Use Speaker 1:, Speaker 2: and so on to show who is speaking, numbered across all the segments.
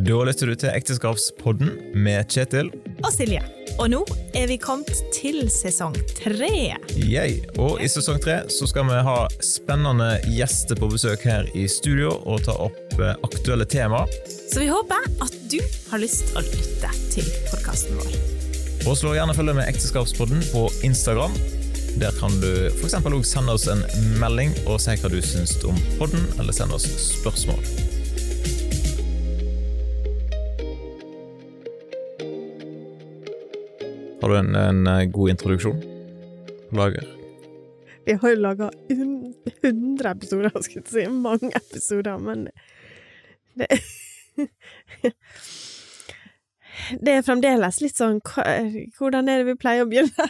Speaker 1: Da lytter du til Ekteskapspodden med Kjetil.
Speaker 2: og Silje. Og nå er vi kommet til sesong tre.
Speaker 1: Jeg. Og i sesong tre så skal vi ha spennende gjester på besøk her i studio og ta opp eh, aktuelle tema.
Speaker 2: Så vi håper at du har lyst å lytte til podkasten vår.
Speaker 1: Og slå gjerne følge med Ekteskapspodden på Instagram. Der kan du f.eks. også sende oss en melding og si hva du syns om podden, eller sende oss spørsmål. Har du en, en eh, god introduksjon på lager?
Speaker 3: Vi har jo laga 100 episoder, jeg skulle si. Mange episoder, men det Det er fremdeles litt sånn hva- Hvordan er det vi pleier å begynne?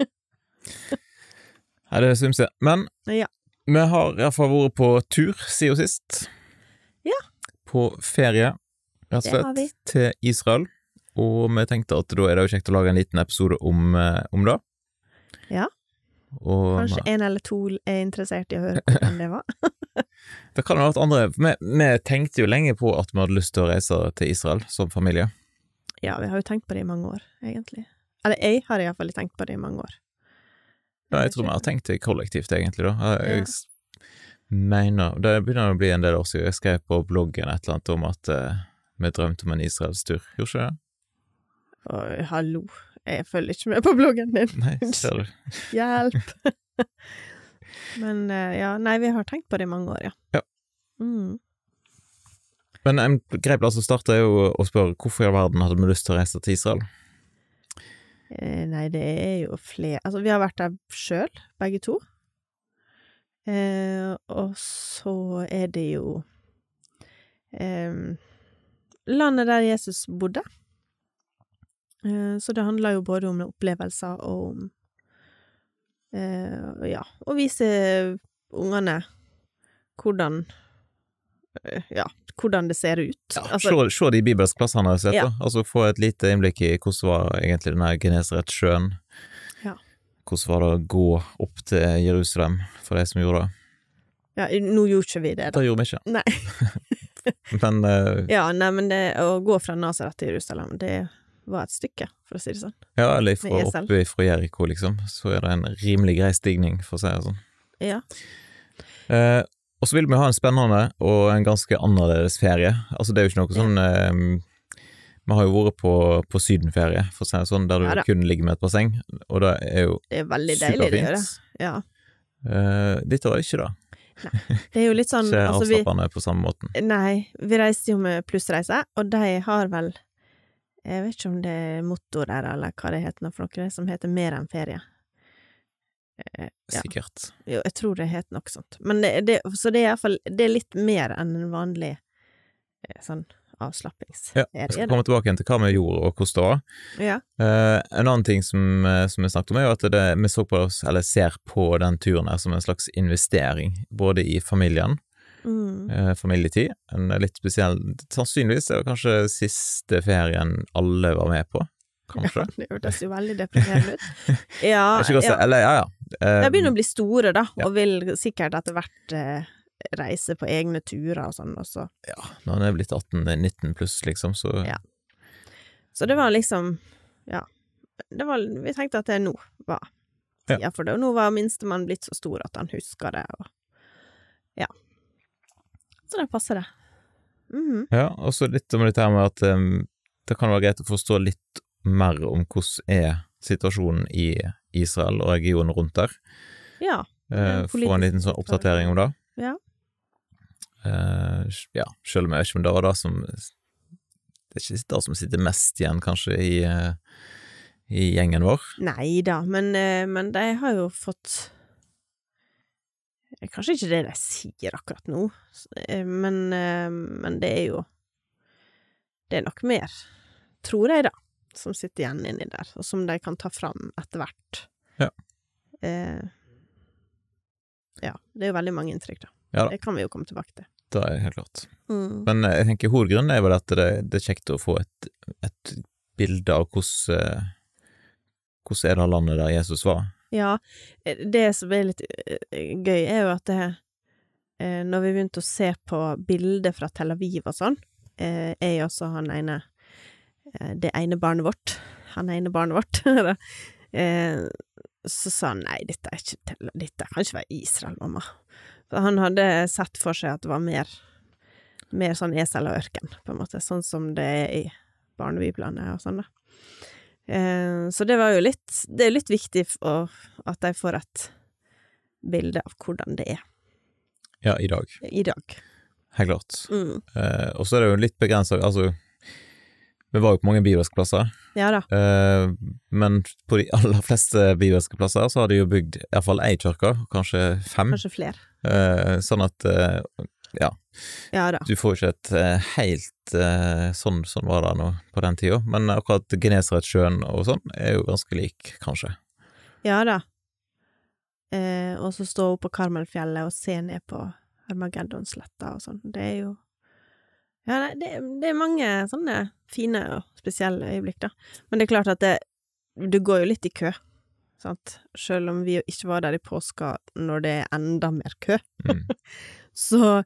Speaker 1: Nei, det syns jeg. Men
Speaker 3: Ja.
Speaker 1: vi har iallfall vært på tur siden sist.
Speaker 3: Ja.
Speaker 1: På ferie, rett og
Speaker 3: Det har vi.
Speaker 1: slett, til Israel. Og vi tenkte at da er det jo kjekt å lage en liten episode om, eh, om det.
Speaker 3: Ja.
Speaker 1: Og
Speaker 3: Kanskje en eller to er interessert i å høre hvordan det var?
Speaker 1: det kan jo ha vært andre vi, vi tenkte jo lenge på at vi hadde lyst til å reise til Israel som familie.
Speaker 3: Ja, vi har jo tenkt på det i mange år, egentlig. Eller jeg har iallfall tenkt på det i mange år.
Speaker 1: Ja, jeg tror vi har tenkt det kollektivt, egentlig, da. Jeg,
Speaker 3: Ja.
Speaker 1: jeg s- mener Det begynner å bli en del år siden. Jeg skrev på bloggen et eller annet om at eh, vi drømte om en israelstur. Gjorde ikke det?
Speaker 3: Oi, hallo, jeg følger ikke med på bloggen din.
Speaker 1: Nei, ser du.
Speaker 3: Hjelp! Men eh, ja, nei, vi har tenkt på det i mange år, ja.
Speaker 1: Ja.
Speaker 3: Mm.
Speaker 1: Men en grei plass å starte er jo å spørre hvorfor i all verden hadde vi lyst til å reise til Israel?
Speaker 3: Eh, Nei, det er jo flere Altså, vi har vært der sjøl, begge to. Eh, og så er det jo eh, Landet der Jesus bodde. Eh, så det handler jo både om opplevelser og om eh, Ja, å vise ungene hvordan eh, Ja, hvordan det ser ut. Altså,
Speaker 1: se, se de bibelske plassene jeg har sett,
Speaker 3: Ja.
Speaker 1: da. Altså få et lite innblikk i hvordan var egentlig denne Genesaretsjøen.
Speaker 3: Ja.
Speaker 1: Hvordan var det å gå opp til Jerusalem for de som gjorde det?
Speaker 3: ja, nå gjorde ikke vi det, da.
Speaker 1: Det gjorde vi ikke.
Speaker 3: Nei.
Speaker 1: Men eh,
Speaker 3: Ja, nei, men det, å gå fra Nazaret til Jerusalem, det var et stykke, for å si det sånn.
Speaker 1: ja, eller fra
Speaker 3: Med esel.
Speaker 1: oppe fra Jeriko, liksom, så er det en rimelig grei stigning, for å si det sånn.
Speaker 3: Ja.
Speaker 1: Eh, og så vil vi ha en spennende og en ganske annerledes ferie. Altså det er jo ikke noe
Speaker 3: Ja.
Speaker 1: sånn eh, Vi har jo vært på, på sydenferie, for å si det sånn, der du
Speaker 3: Ja da.
Speaker 1: kun ligger med et basseng, og det er jo
Speaker 3: Det er veldig deilig å gjøre.
Speaker 1: superfint.
Speaker 3: Ja.
Speaker 1: Eh, Dette var ikke det.
Speaker 3: Det er jo litt sånn
Speaker 1: Ikke
Speaker 3: altså, vi,
Speaker 1: avslappende på samme måten.
Speaker 3: Nei, vi reiste jo med plussreise, og de har vel Jeg vet ikke om det er motto der, eller hva det heter nå for noe, som heter mer enn ferie. Eh, ja.
Speaker 1: Sikkert.
Speaker 3: Jo, jeg tror det het noe sånt. Men det, det, så det er iallfall Det er litt mer enn en vanlig eh, sånn
Speaker 1: Ja,
Speaker 3: avslappingsferie.
Speaker 1: Jeg skal
Speaker 3: da.
Speaker 1: komme tilbake igjen til hva vi gjorde, og hvordan det var.
Speaker 3: ja.
Speaker 1: Eh, en annen ting som, eh, som vi snakket om, er jo at det, vi så på oss, eller ser på den turen her som en slags investering, både i familien
Speaker 3: Mm.
Speaker 1: eh, familietid. En litt spesiell Sannsynligvis er det kanskje siste ferien alle var med på. Kanskje.
Speaker 3: Det hørtes jo veldig deprimerende ut.
Speaker 1: Det
Speaker 3: Ja,
Speaker 1: er ikke godt å si.
Speaker 3: ja.
Speaker 1: Eller, ja, ja. Eh,
Speaker 3: De begynner å bli store, da,
Speaker 1: Ja.
Speaker 3: og vil sikkert etter hvert eh, reise på egne turer og sånn også.
Speaker 1: Når en er blitt 18-19 pluss, liksom, så
Speaker 3: Ja. Så det var liksom Ja. Det var, vi tenkte at det nå var
Speaker 1: Ja.
Speaker 3: tida for det. Og nå var minstemann blitt så stor at han husker det, og Ja. Så da passer det. Mhm.
Speaker 1: Ja, og så litt om dette her med at eh, det kan være greit å forstå litt mer om hvordan er situasjonen i Israel og regionen rundt der.
Speaker 3: Ja.
Speaker 1: Eh,
Speaker 3: en
Speaker 1: få en
Speaker 3: politisk
Speaker 1: liten sånn oppdatering om det.
Speaker 3: Ja.
Speaker 1: Eh, sj- ja, selv om jeg vet ikke om det var det som Det er ikke det som sitter mest igjen, kanskje, i, eh, i gjengen vår.
Speaker 3: Nei da, men, eh, men de har jo fått Det er Kanskje ikke det de sier akkurat nå, s- eh, men, eh, men det er jo Det er nok mer, tror jeg, da, som sitter igjen inni der, og som de kan ta fram etter hvert.
Speaker 1: Ja.
Speaker 3: Eh, ja. Det er jo veldig mange inntrykk, da.
Speaker 1: Ja da.
Speaker 3: Det kan vi jo komme tilbake til.
Speaker 1: Det er helt klart.
Speaker 3: Mm.
Speaker 1: Men eh, jeg tenker hovedgrunnen er vel at det, det er kjekt å få et, et bilde av hvordan eh, Hvordan er det landet der Jesus var?
Speaker 3: Ja, eh, det som er litt eh, gøy, er jo at det, eh, når vi begynte å se på bilder fra Tel Aviv og sånn, eh, er jo også han ene eh, Det ene barnet vårt. Han ene barnet vårt. eh, så sa han nei, dette, er ikke, til- dette kan ikke være Israel, mamma. For han hadde sett for seg at det var mer, mer sånn esel og ørken, på en måte. Sånn som det er i barnebiblene og sånn, da. Eh, så det var jo litt Det er litt viktig f- å, at de får et bilde av hvordan det er
Speaker 1: Ja, i dag.
Speaker 3: i dag.
Speaker 1: Helt klart.
Speaker 3: Mm.
Speaker 1: Eh, og så er det jo litt begrensa Altså, vi var jo på mange bibelske plasser,
Speaker 3: Ja da.
Speaker 1: eh, men på de aller fleste bibelske plasser så har de jo bygd iallfall ei kirke, kanskje fem,
Speaker 3: Kanskje flere.
Speaker 1: eh, sånn at eh,
Speaker 3: Ja da.
Speaker 1: du får ikke et eh, helt eh, sånn, sånn var det nå på den tida, men akkurat Genesaretsjøen og sånn er jo ganske lik, kanskje.
Speaker 3: Ja da. Eh, og så stå opp på Karmelfjellet og se ned på Armageddonsletta og sånn. Det er jo Ja, nei, det, det er mange sånne fine og spesielle øyeblikk, da. Men det er klart at det Du går jo litt i kø, sant. Selv om vi jo ikke var der i påska når det er enda mer kø,
Speaker 1: Mm.
Speaker 3: så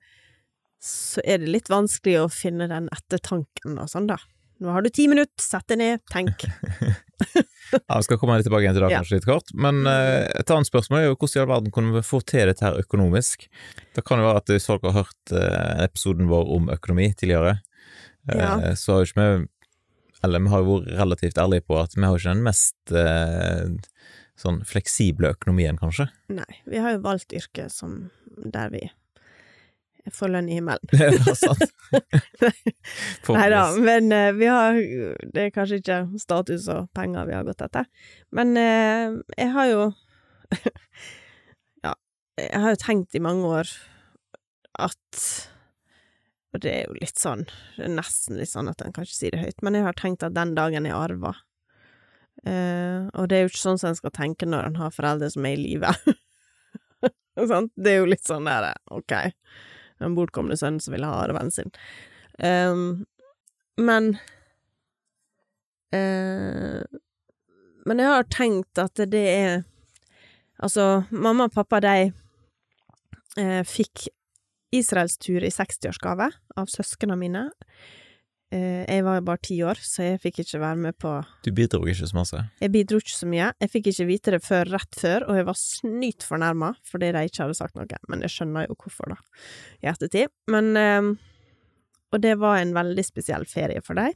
Speaker 3: så er det litt vanskelig å finne den ettertanken og sånn, da. Nå har du ti minutter, sett deg ned, tenk.
Speaker 1: Ja, Vi skal komme litt tilbake igjen til det
Speaker 3: Ja.
Speaker 1: kanskje litt kort, men eh, et annet spørsmål er jo hvordan i all verden kunne vi få til dette her økonomisk? Det kan jo være at hvis folk har hørt eh, episoden vår om økonomi tidligere, eh,
Speaker 3: Ja.
Speaker 1: så har jo ikke vi Eller vi har jo vært relativt ærlige på at vi har jo ikke den mest eh, sånn fleksible økonomien, kanskje.
Speaker 3: Nei, vi har jo valgt yrke som der vi får lønn i himmelen.
Speaker 1: Det er bare sant.
Speaker 3: Nei da,
Speaker 1: Forhåpentligvis.
Speaker 3: men eh, vi har Det er kanskje ikke status og penger vi har gått etter. Men eh, jeg har jo Ja, jeg har jo tenkt i mange år at Og det er jo litt sånn det er Nesten litt sånn at en kan ikke si det høyt, men jeg har tenkt at den dagen jeg arver eh, Og det er jo ikke sånn som en skal tenke når en har foreldre som er i live. Sant? Det er jo litt sånn der OK, den bortkomne sønnen som vil ha arven sin. Ehm, men eh, Men jeg har tenkt at det er Altså, mamma og pappa, de eh, fikk israelstur i 60-årsgave av søsknene mine. Eh, jeg var jo bare ti år, så jeg fikk ikke være med på
Speaker 1: Du bidro ikke så masse.
Speaker 3: jeg bidro ikke så mye. Jeg fikk ikke vite det før rett før, og jeg var snytt fornærma fordi de ikke hadde sagt noe. Men jeg skjønner jo hvorfor, da, i ettertid. Men ehm, Og det var en veldig spesiell ferie for dem.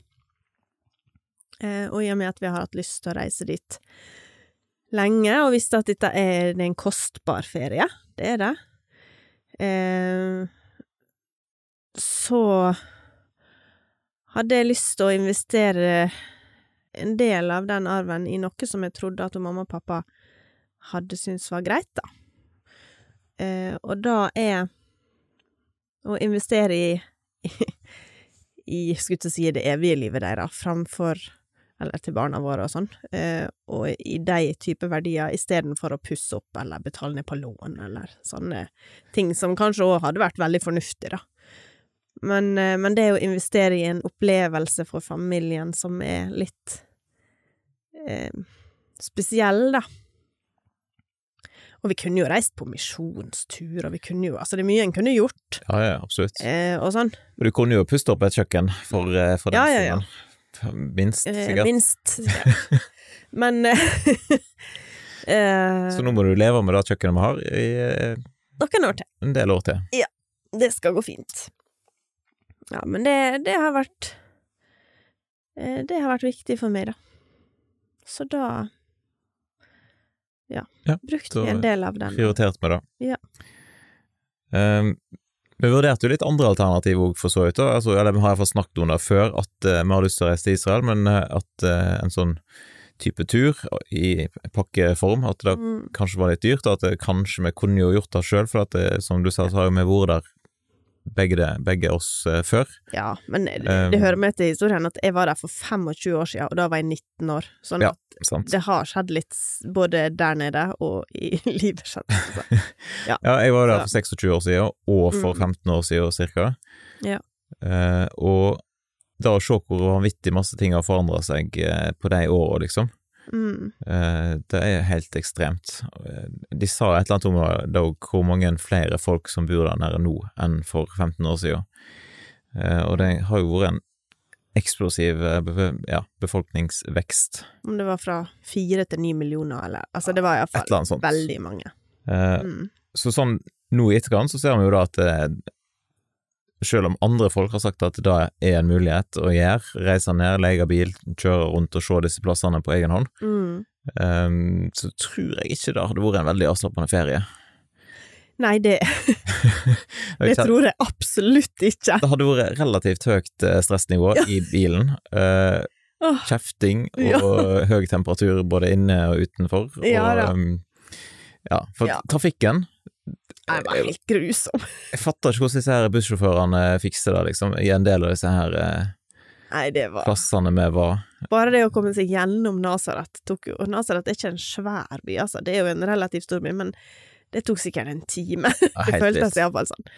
Speaker 3: Eh, og i og med at vi har hatt lyst til å reise dit lenge, og visste at dette er, det er en kostbar ferie, det er det, eh, så hadde jeg lyst til å investere en del av den arven i noe som jeg trodde at hun mamma og pappa hadde syntes var greit, da. Eh, og da er å investere i, i, i skulle til å si det evige livet deres, framfor eller til barna våre og sånn, eh, og i de type verdier istedenfor å pusse opp eller betale ned på lån eller sånne ting som kanskje òg hadde vært veldig fornuftig, da. Men, eh, men det å investere i en opplevelse for familien som er litt eh, spesiell, da. Og vi kunne jo reist på misjonstur, og vi kunne jo Altså, det er mye en kunne gjort,
Speaker 1: Ja, ja, absolutt.
Speaker 3: eh, og sånn.
Speaker 1: Og du kunne jo puste opp et kjøkken for, eh, for den
Speaker 3: Ja, ja, ja.
Speaker 1: siden. Minst,
Speaker 3: Eh,
Speaker 1: sikkert.
Speaker 3: minst. Ja. Men eh, eh,
Speaker 1: Så nå må du leve med det kjøkkenet vi har i eh,
Speaker 3: Noen år til.
Speaker 1: en del år til.
Speaker 3: det skal gå fint. Ja, men det, det har vært eh, Det har vært viktig for meg, da. Så da Ja.
Speaker 1: Ja,
Speaker 3: brukte
Speaker 1: da
Speaker 3: vi en del av den.
Speaker 1: Prioritert med det.
Speaker 3: Ja.
Speaker 1: Ehm, vi vurderte jo litt andre alternativ òg, for så vidt. da. Altså, eller, vi har iallfall snakket om det før, at eh, vi har lyst til å reise til Israel, men eh, at eh, en sånn type tur i pakkeform, at det
Speaker 3: Mm,
Speaker 1: kanskje var litt dyrt, og at det, kanskje vi kunne jo gjort det sjøl, for at det, som du sa, så har jo vi vært der, begge, det, begge oss, eh, før.
Speaker 3: ja, men det,
Speaker 1: Um,
Speaker 3: det hører med til historien at jeg var der for 25 år siden, og da var jeg 19 år. Sånn
Speaker 1: Ja.
Speaker 3: at
Speaker 1: Sant?
Speaker 3: det har skjedd litt s- både der nede og i livet generelt.
Speaker 1: Ja, jeg var jo der
Speaker 3: Så-
Speaker 1: for 26 år siden, og for
Speaker 3: Mm.
Speaker 1: 15 år siden cirka.
Speaker 3: Ja.
Speaker 1: Eh, og da å se hvor vanvittig masse ting har forandra seg eh, på de åra, liksom,
Speaker 3: Mm,
Speaker 1: eh, det er helt ekstremt. Eh, De sa et eller annet om eh, da, hvor mange flere folk som bor der nede nå enn for 15 år siden. Eh, Og det har jo vært en eksplosiv eh, bef- ja, befolkningsvekst.
Speaker 3: Om det var fra fire til ni millioner, eller Altså, det var
Speaker 1: Et eller annet
Speaker 3: iallfall
Speaker 1: sånt.
Speaker 3: veldig mange.
Speaker 1: Eh,
Speaker 3: Mm.
Speaker 1: Så sånn nå i etterkant så ser vi jo da at eh, selv om andre folk har sagt at det er en mulighet å gjøre, reise ned, leie bil, kjøre rundt og se disse plassene på egen hånd,
Speaker 3: Mm.
Speaker 1: eh, så tror jeg ikke det hadde vært en veldig avslappende ferie.
Speaker 3: Nei, det, det tror jeg absolutt ikke.
Speaker 1: Det hadde vært relativt høyt eh, stressnivå i bilen. eh,
Speaker 3: Åh.
Speaker 1: Kjefting og
Speaker 3: Ja.
Speaker 1: høy temperatur både inne og utenfor. Og,
Speaker 3: Ja da.
Speaker 1: ehm, ja, for
Speaker 3: Ja.
Speaker 1: trafikken
Speaker 3: Nei, det var helt grusom.
Speaker 1: Jeg fatter ikke hvordan disse her bussjåførene fikser det, liksom, i en del av disse her eh,
Speaker 3: Nei, det var
Speaker 1: plassene vi var.
Speaker 3: Bare det å komme seg gjennom Nasaret tok jo Og Nasaret er ikke en svær by, altså. Det er jo en relativt stor by, men det tok sikkert en time. Det
Speaker 1: Helt vilt.
Speaker 3: føltes iallfall sånn.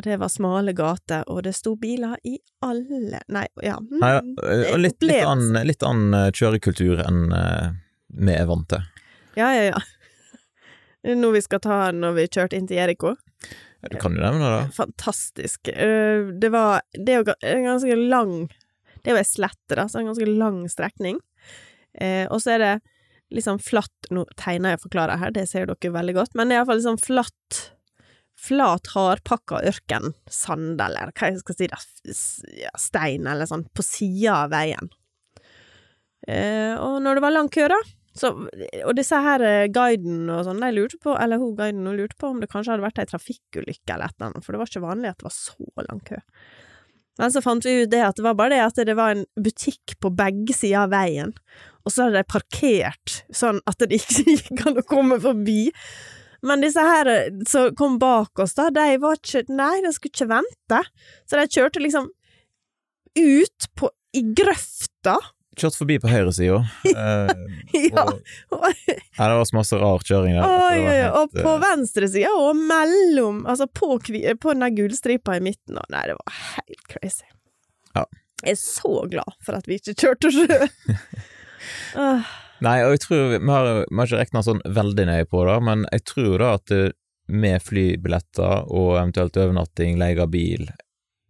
Speaker 3: Og det var smale gater, og det sto biler i alle Nei, ja. mm,
Speaker 1: Nei, eh, og litt, litt
Speaker 3: opplevelse.
Speaker 1: annen, litt annen eh, kjørekultur enn eh, vi er vant til.
Speaker 3: Ja, ja, ja. Det er Noe vi skal ta når vi kjørte inn til Jericho.
Speaker 1: Du kan jo nevne det.
Speaker 3: Fantastisk. Eh, Det var Det er jo ga- en ganske lang Det er jo ei slette, da, så en ganske lang strekning. Eh, og så er det litt sånn flatt Nå tegner jeg og forklarer her, det ser dere veldig godt, men det er iallfall litt sånn flatt Flat, hardpakka ørken, sand eller hva jeg skal si, da, s- ja, stein eller sånn, på sida av veien. Eh, og når det var lang kø, da, så, og disse her eh, guiden og sånn, de lurte på, eller hun guiden hun lurte på om det kanskje hadde vært ei trafikkulykke eller et eller annet, for det var ikke vanlig at det var så lang kø. Men så fant vi ut det at det var bare det at det var en butikk på begge sider av veien, og så hadde de parkert sånn at det ikke gikk an å komme forbi. Men disse her eh, som kom bak oss, da, de var ikke Nei, de skulle ikke vente. Så de kjørte liksom ut på, i grøfta.
Speaker 1: Kjørt forbi på høyresida. Uh,
Speaker 3: Ja, og
Speaker 1: ja, det var så masse rar kjøring der. at
Speaker 3: Oi,
Speaker 1: det var
Speaker 3: oi, oi.
Speaker 1: helt,
Speaker 3: Og på
Speaker 1: eh,
Speaker 3: venstresida, og mellom Altså på, kvi, på den der gullstripa i midten. Og nei, det var helt crazy.
Speaker 1: Ja.
Speaker 3: Jeg er så glad for at vi ikke kjørte Ah, sjø. Åh,
Speaker 1: Nei, og jeg tror vi, vi, har, vi har ikke regna sånn veldig nøye på det, men jeg tror da at eh, med flybilletter og eventuelt overnatting, leie av bil,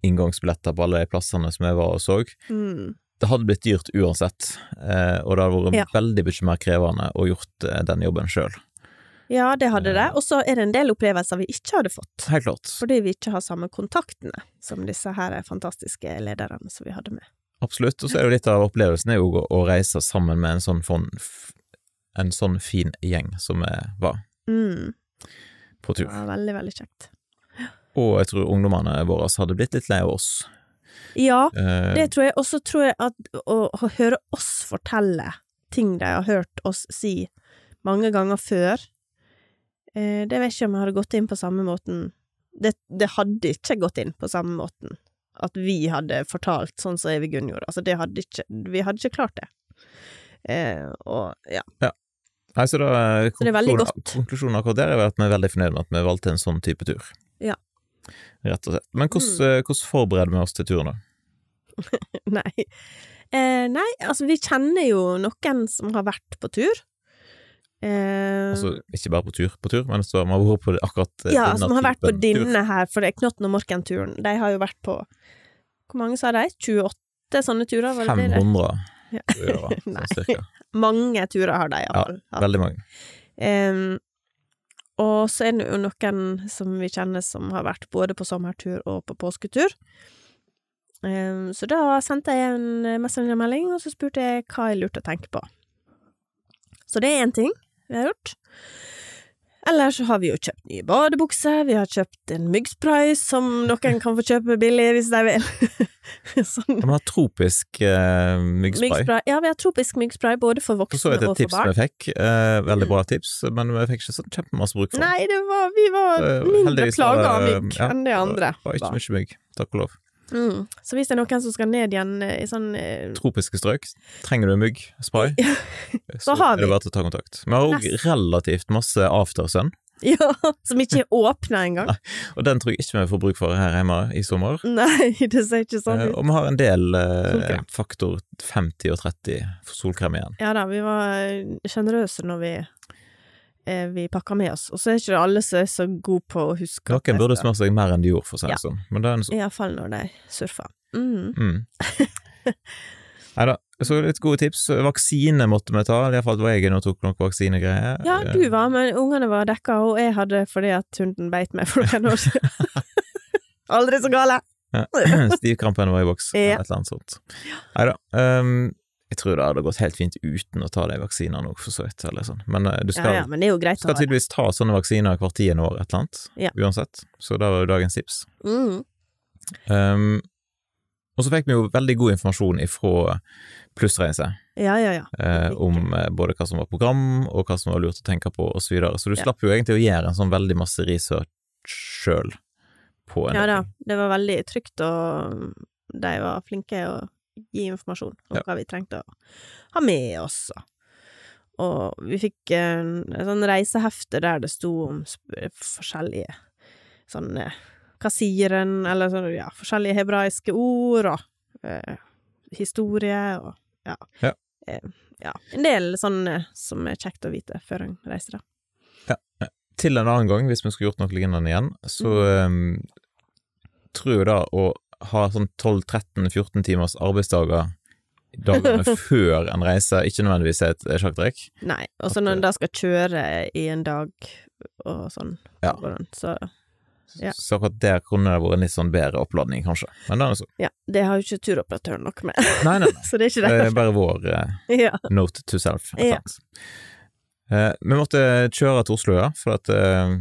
Speaker 1: inngangsbilletter på alle de plassene som jeg var og så,
Speaker 3: mm.
Speaker 1: det hadde blitt dyrt uansett, eh, og det hadde vært
Speaker 3: Ja.
Speaker 1: veldig mye mer krevende å gjort eh, den jobben sjøl.
Speaker 3: Ja, det hadde det. Og så er det en del opplevelser vi ikke hadde fått.
Speaker 1: Helt klart.
Speaker 3: Fordi vi ikke har samme kontaktene som disse her fantastiske lederne som vi hadde med.
Speaker 1: Absolutt. Og så er jo litt av opplevelsen er jo å, å reise sammen med en sånn, fon, f, en sånn fin gjeng som vi var
Speaker 3: Mm.
Speaker 1: på
Speaker 3: Det
Speaker 1: tur.
Speaker 3: var veldig, veldig kjekt.
Speaker 1: Og jeg tror ungdommene våre hadde blitt litt lei av oss.
Speaker 3: Ja,
Speaker 1: Eh,
Speaker 3: Det tror jeg. Og så tror jeg at å, å høre oss fortelle ting de har hørt oss si mange ganger før eh, Det vet jeg ikke om jeg hadde gått inn på samme måten det, det hadde ikke gått inn på samme måten at vi hadde fortalt sånn som Evy-Gunn gjorde. Altså, det hadde ikke Vi hadde ikke klart det. Eh, og ja.
Speaker 1: nei, så da, eh,
Speaker 3: det er veldig
Speaker 1: konklusjonen-
Speaker 3: godt.
Speaker 1: Konklusjonen akkurat der er vel at vi er veldig fornøyd med at vi valgte en sånn type tur.
Speaker 3: Ja. Mm.
Speaker 1: Rett og slett. Men hvordan, eh, hvordan forbereder vi oss til turen, da?
Speaker 3: Nei. Eh, nei, altså, vi kjenner jo noen som har vært på tur. Eh,
Speaker 1: Altså ikke bare på tur, på tur, men så har vi vært på akkurat eh,
Speaker 3: Ja,
Speaker 1: denne
Speaker 3: som har vært på
Speaker 1: typen tur.
Speaker 3: denne her, for det er Knotten og Morken-turen. De har jo vært på Hvor mange sa de? 28 sånne turer? Var det det?
Speaker 1: 500
Speaker 3: Ja.
Speaker 1: turer,
Speaker 3: Nei.
Speaker 1: sånn cirka.
Speaker 3: Mange turer har de
Speaker 1: Ja,
Speaker 3: iallfall. Ja,
Speaker 1: Veldig mange.
Speaker 3: um, og så er det jo noen som vi kjenner som har vært både på sommertur og på påsketur. Em, så da sendte jeg en messengermelding, og så spurte jeg hva jeg lurte å tenke på. Så det er én ting vi har gjort. Ellers så har vi jo kjøpt nye badebukser, vi har kjøpt en myggspray som noen kan få kjøpe billig hvis de vil. sånn
Speaker 1: De har tropisk eh, myggspray.
Speaker 3: myggspray. Ja, vi har tropisk myggspray både for
Speaker 1: For så
Speaker 3: voksne
Speaker 1: vidt et
Speaker 3: og for
Speaker 1: tips vi
Speaker 3: barn.
Speaker 1: fikk. Eh, veldig bra tips, men vi fikk ikke så kjempemasse bruk for det.
Speaker 3: Nei, det var, vi
Speaker 1: Det-
Speaker 3: var mindre
Speaker 1: Sånn. eh, heldigvis var
Speaker 3: plaga av
Speaker 1: det-
Speaker 3: mygg
Speaker 1: ja,
Speaker 3: enn det andre.
Speaker 1: Det var ikke
Speaker 3: var.
Speaker 1: mye mygg, takk og lov.
Speaker 3: Mm. Så hvis det er noen som skal ned igjen eh, i sånn eh,
Speaker 1: Tropiske strøk, trenger du myggspray, så,
Speaker 3: har
Speaker 1: er det
Speaker 3: vi.
Speaker 1: bare til å ta kontakt. Vi har òg
Speaker 3: Nest.
Speaker 1: relativt masse aftersun,
Speaker 3: Ja, som ikke er åpna engang.
Speaker 1: og den tror jeg ikke vi får bruk for her hjemme i sommer.
Speaker 3: Nei, det ser ikke sånn
Speaker 1: Eh,
Speaker 3: ut.
Speaker 1: og vi har en del eh,
Speaker 3: Solkrem.
Speaker 1: faktor 50 og 30 for solkrem igjen.
Speaker 3: Ja da, eh, vi var sjenerøse når vi eh, vi pakker med oss. Og så er ikke det alle som er så gode på å huske at de
Speaker 1: Noen burde
Speaker 3: skal-
Speaker 1: smurt seg mer enn de gjorde, for å si det
Speaker 3: Ja.
Speaker 1: sånn. Men det er en sånn
Speaker 3: I hvert fall når de surfer. Mm.
Speaker 1: Mm. Nei da. Så litt gode tips. Vaksine måtte vi ta, iallfall var jeg inne og tok noen vaksinegreier. Eh,
Speaker 3: Ja, du var, men ungene var dekka, og jeg hadde fordi at hunden beit meg for noen år siden. Aldri så gale!
Speaker 1: Stivkrampen var i boks,
Speaker 3: Ja.
Speaker 1: eller et eller annet sånt. Nei da. jeg tror det hadde gått helt fint uten å ta de vaksinene òg, for så vidt. Eller sånn. Men eh, du
Speaker 3: Ja,
Speaker 1: skal,
Speaker 3: ja, men det er jo greit å
Speaker 1: skal
Speaker 3: ha det.
Speaker 1: tydeligvis ta sånne vaksiner hvert tiende år, et eller annet.
Speaker 3: Ja.
Speaker 1: Uansett. Så det var jo dagens tips.
Speaker 3: Mm.
Speaker 1: Ehm, og så fikk vi jo veldig god informasjon ifra Plussreise.
Speaker 3: Ja, ja, ja.
Speaker 1: eh, om eh, både hva som var program, og hva som var lurt å tenke på, osv. Så, videre. så du
Speaker 3: Ja.
Speaker 1: slapp jo egentlig å gjøre en sånn veldig masse research sjøl på en
Speaker 3: Ja
Speaker 1: del
Speaker 3: da,
Speaker 1: ting.
Speaker 3: det var veldig trygt, og de var flinke å gi informasjon om
Speaker 1: Ja.
Speaker 3: hva vi trengte å ha med oss. og- Og vi fikk en, en sånn reisehefte der det sto om sp- forskjellige sånne kassiren, eller sånn, ja, forskjellige hebraiske ord, og eh, historie, og ja.
Speaker 1: Ja.
Speaker 3: Eh, ja. En del sånn eh, som er kjekt å vite før en reiser, da.
Speaker 1: Til en annen gang, hvis vi skulle gjort noe lignende igjen, så
Speaker 3: Mm.
Speaker 1: eh, tror jeg da å ha sånn 12-13-14 timers arbeidsdager dagene før en reise, ikke nødvendigvis er et eh, sjakktrekk.
Speaker 3: Nei. Og så
Speaker 1: At,
Speaker 3: når
Speaker 1: eh,
Speaker 3: en da skal kjøre i en dag og sånn,
Speaker 1: Ja.
Speaker 3: hvordan, så Ja.
Speaker 1: Så akkurat der kunne det vært en litt sånn bedre oppladning, kanskje. Men det er altså
Speaker 3: Ja, det har jo ikke turoperatøren noe med,
Speaker 1: Nei, nei,
Speaker 3: så det er ikke
Speaker 1: det
Speaker 3: det.
Speaker 1: er bare vår eh,
Speaker 3: Ja.
Speaker 1: Note to self.
Speaker 3: Ja.
Speaker 1: sant? Eh, vi måtte kjøre til Oslo, ja. For at, eh,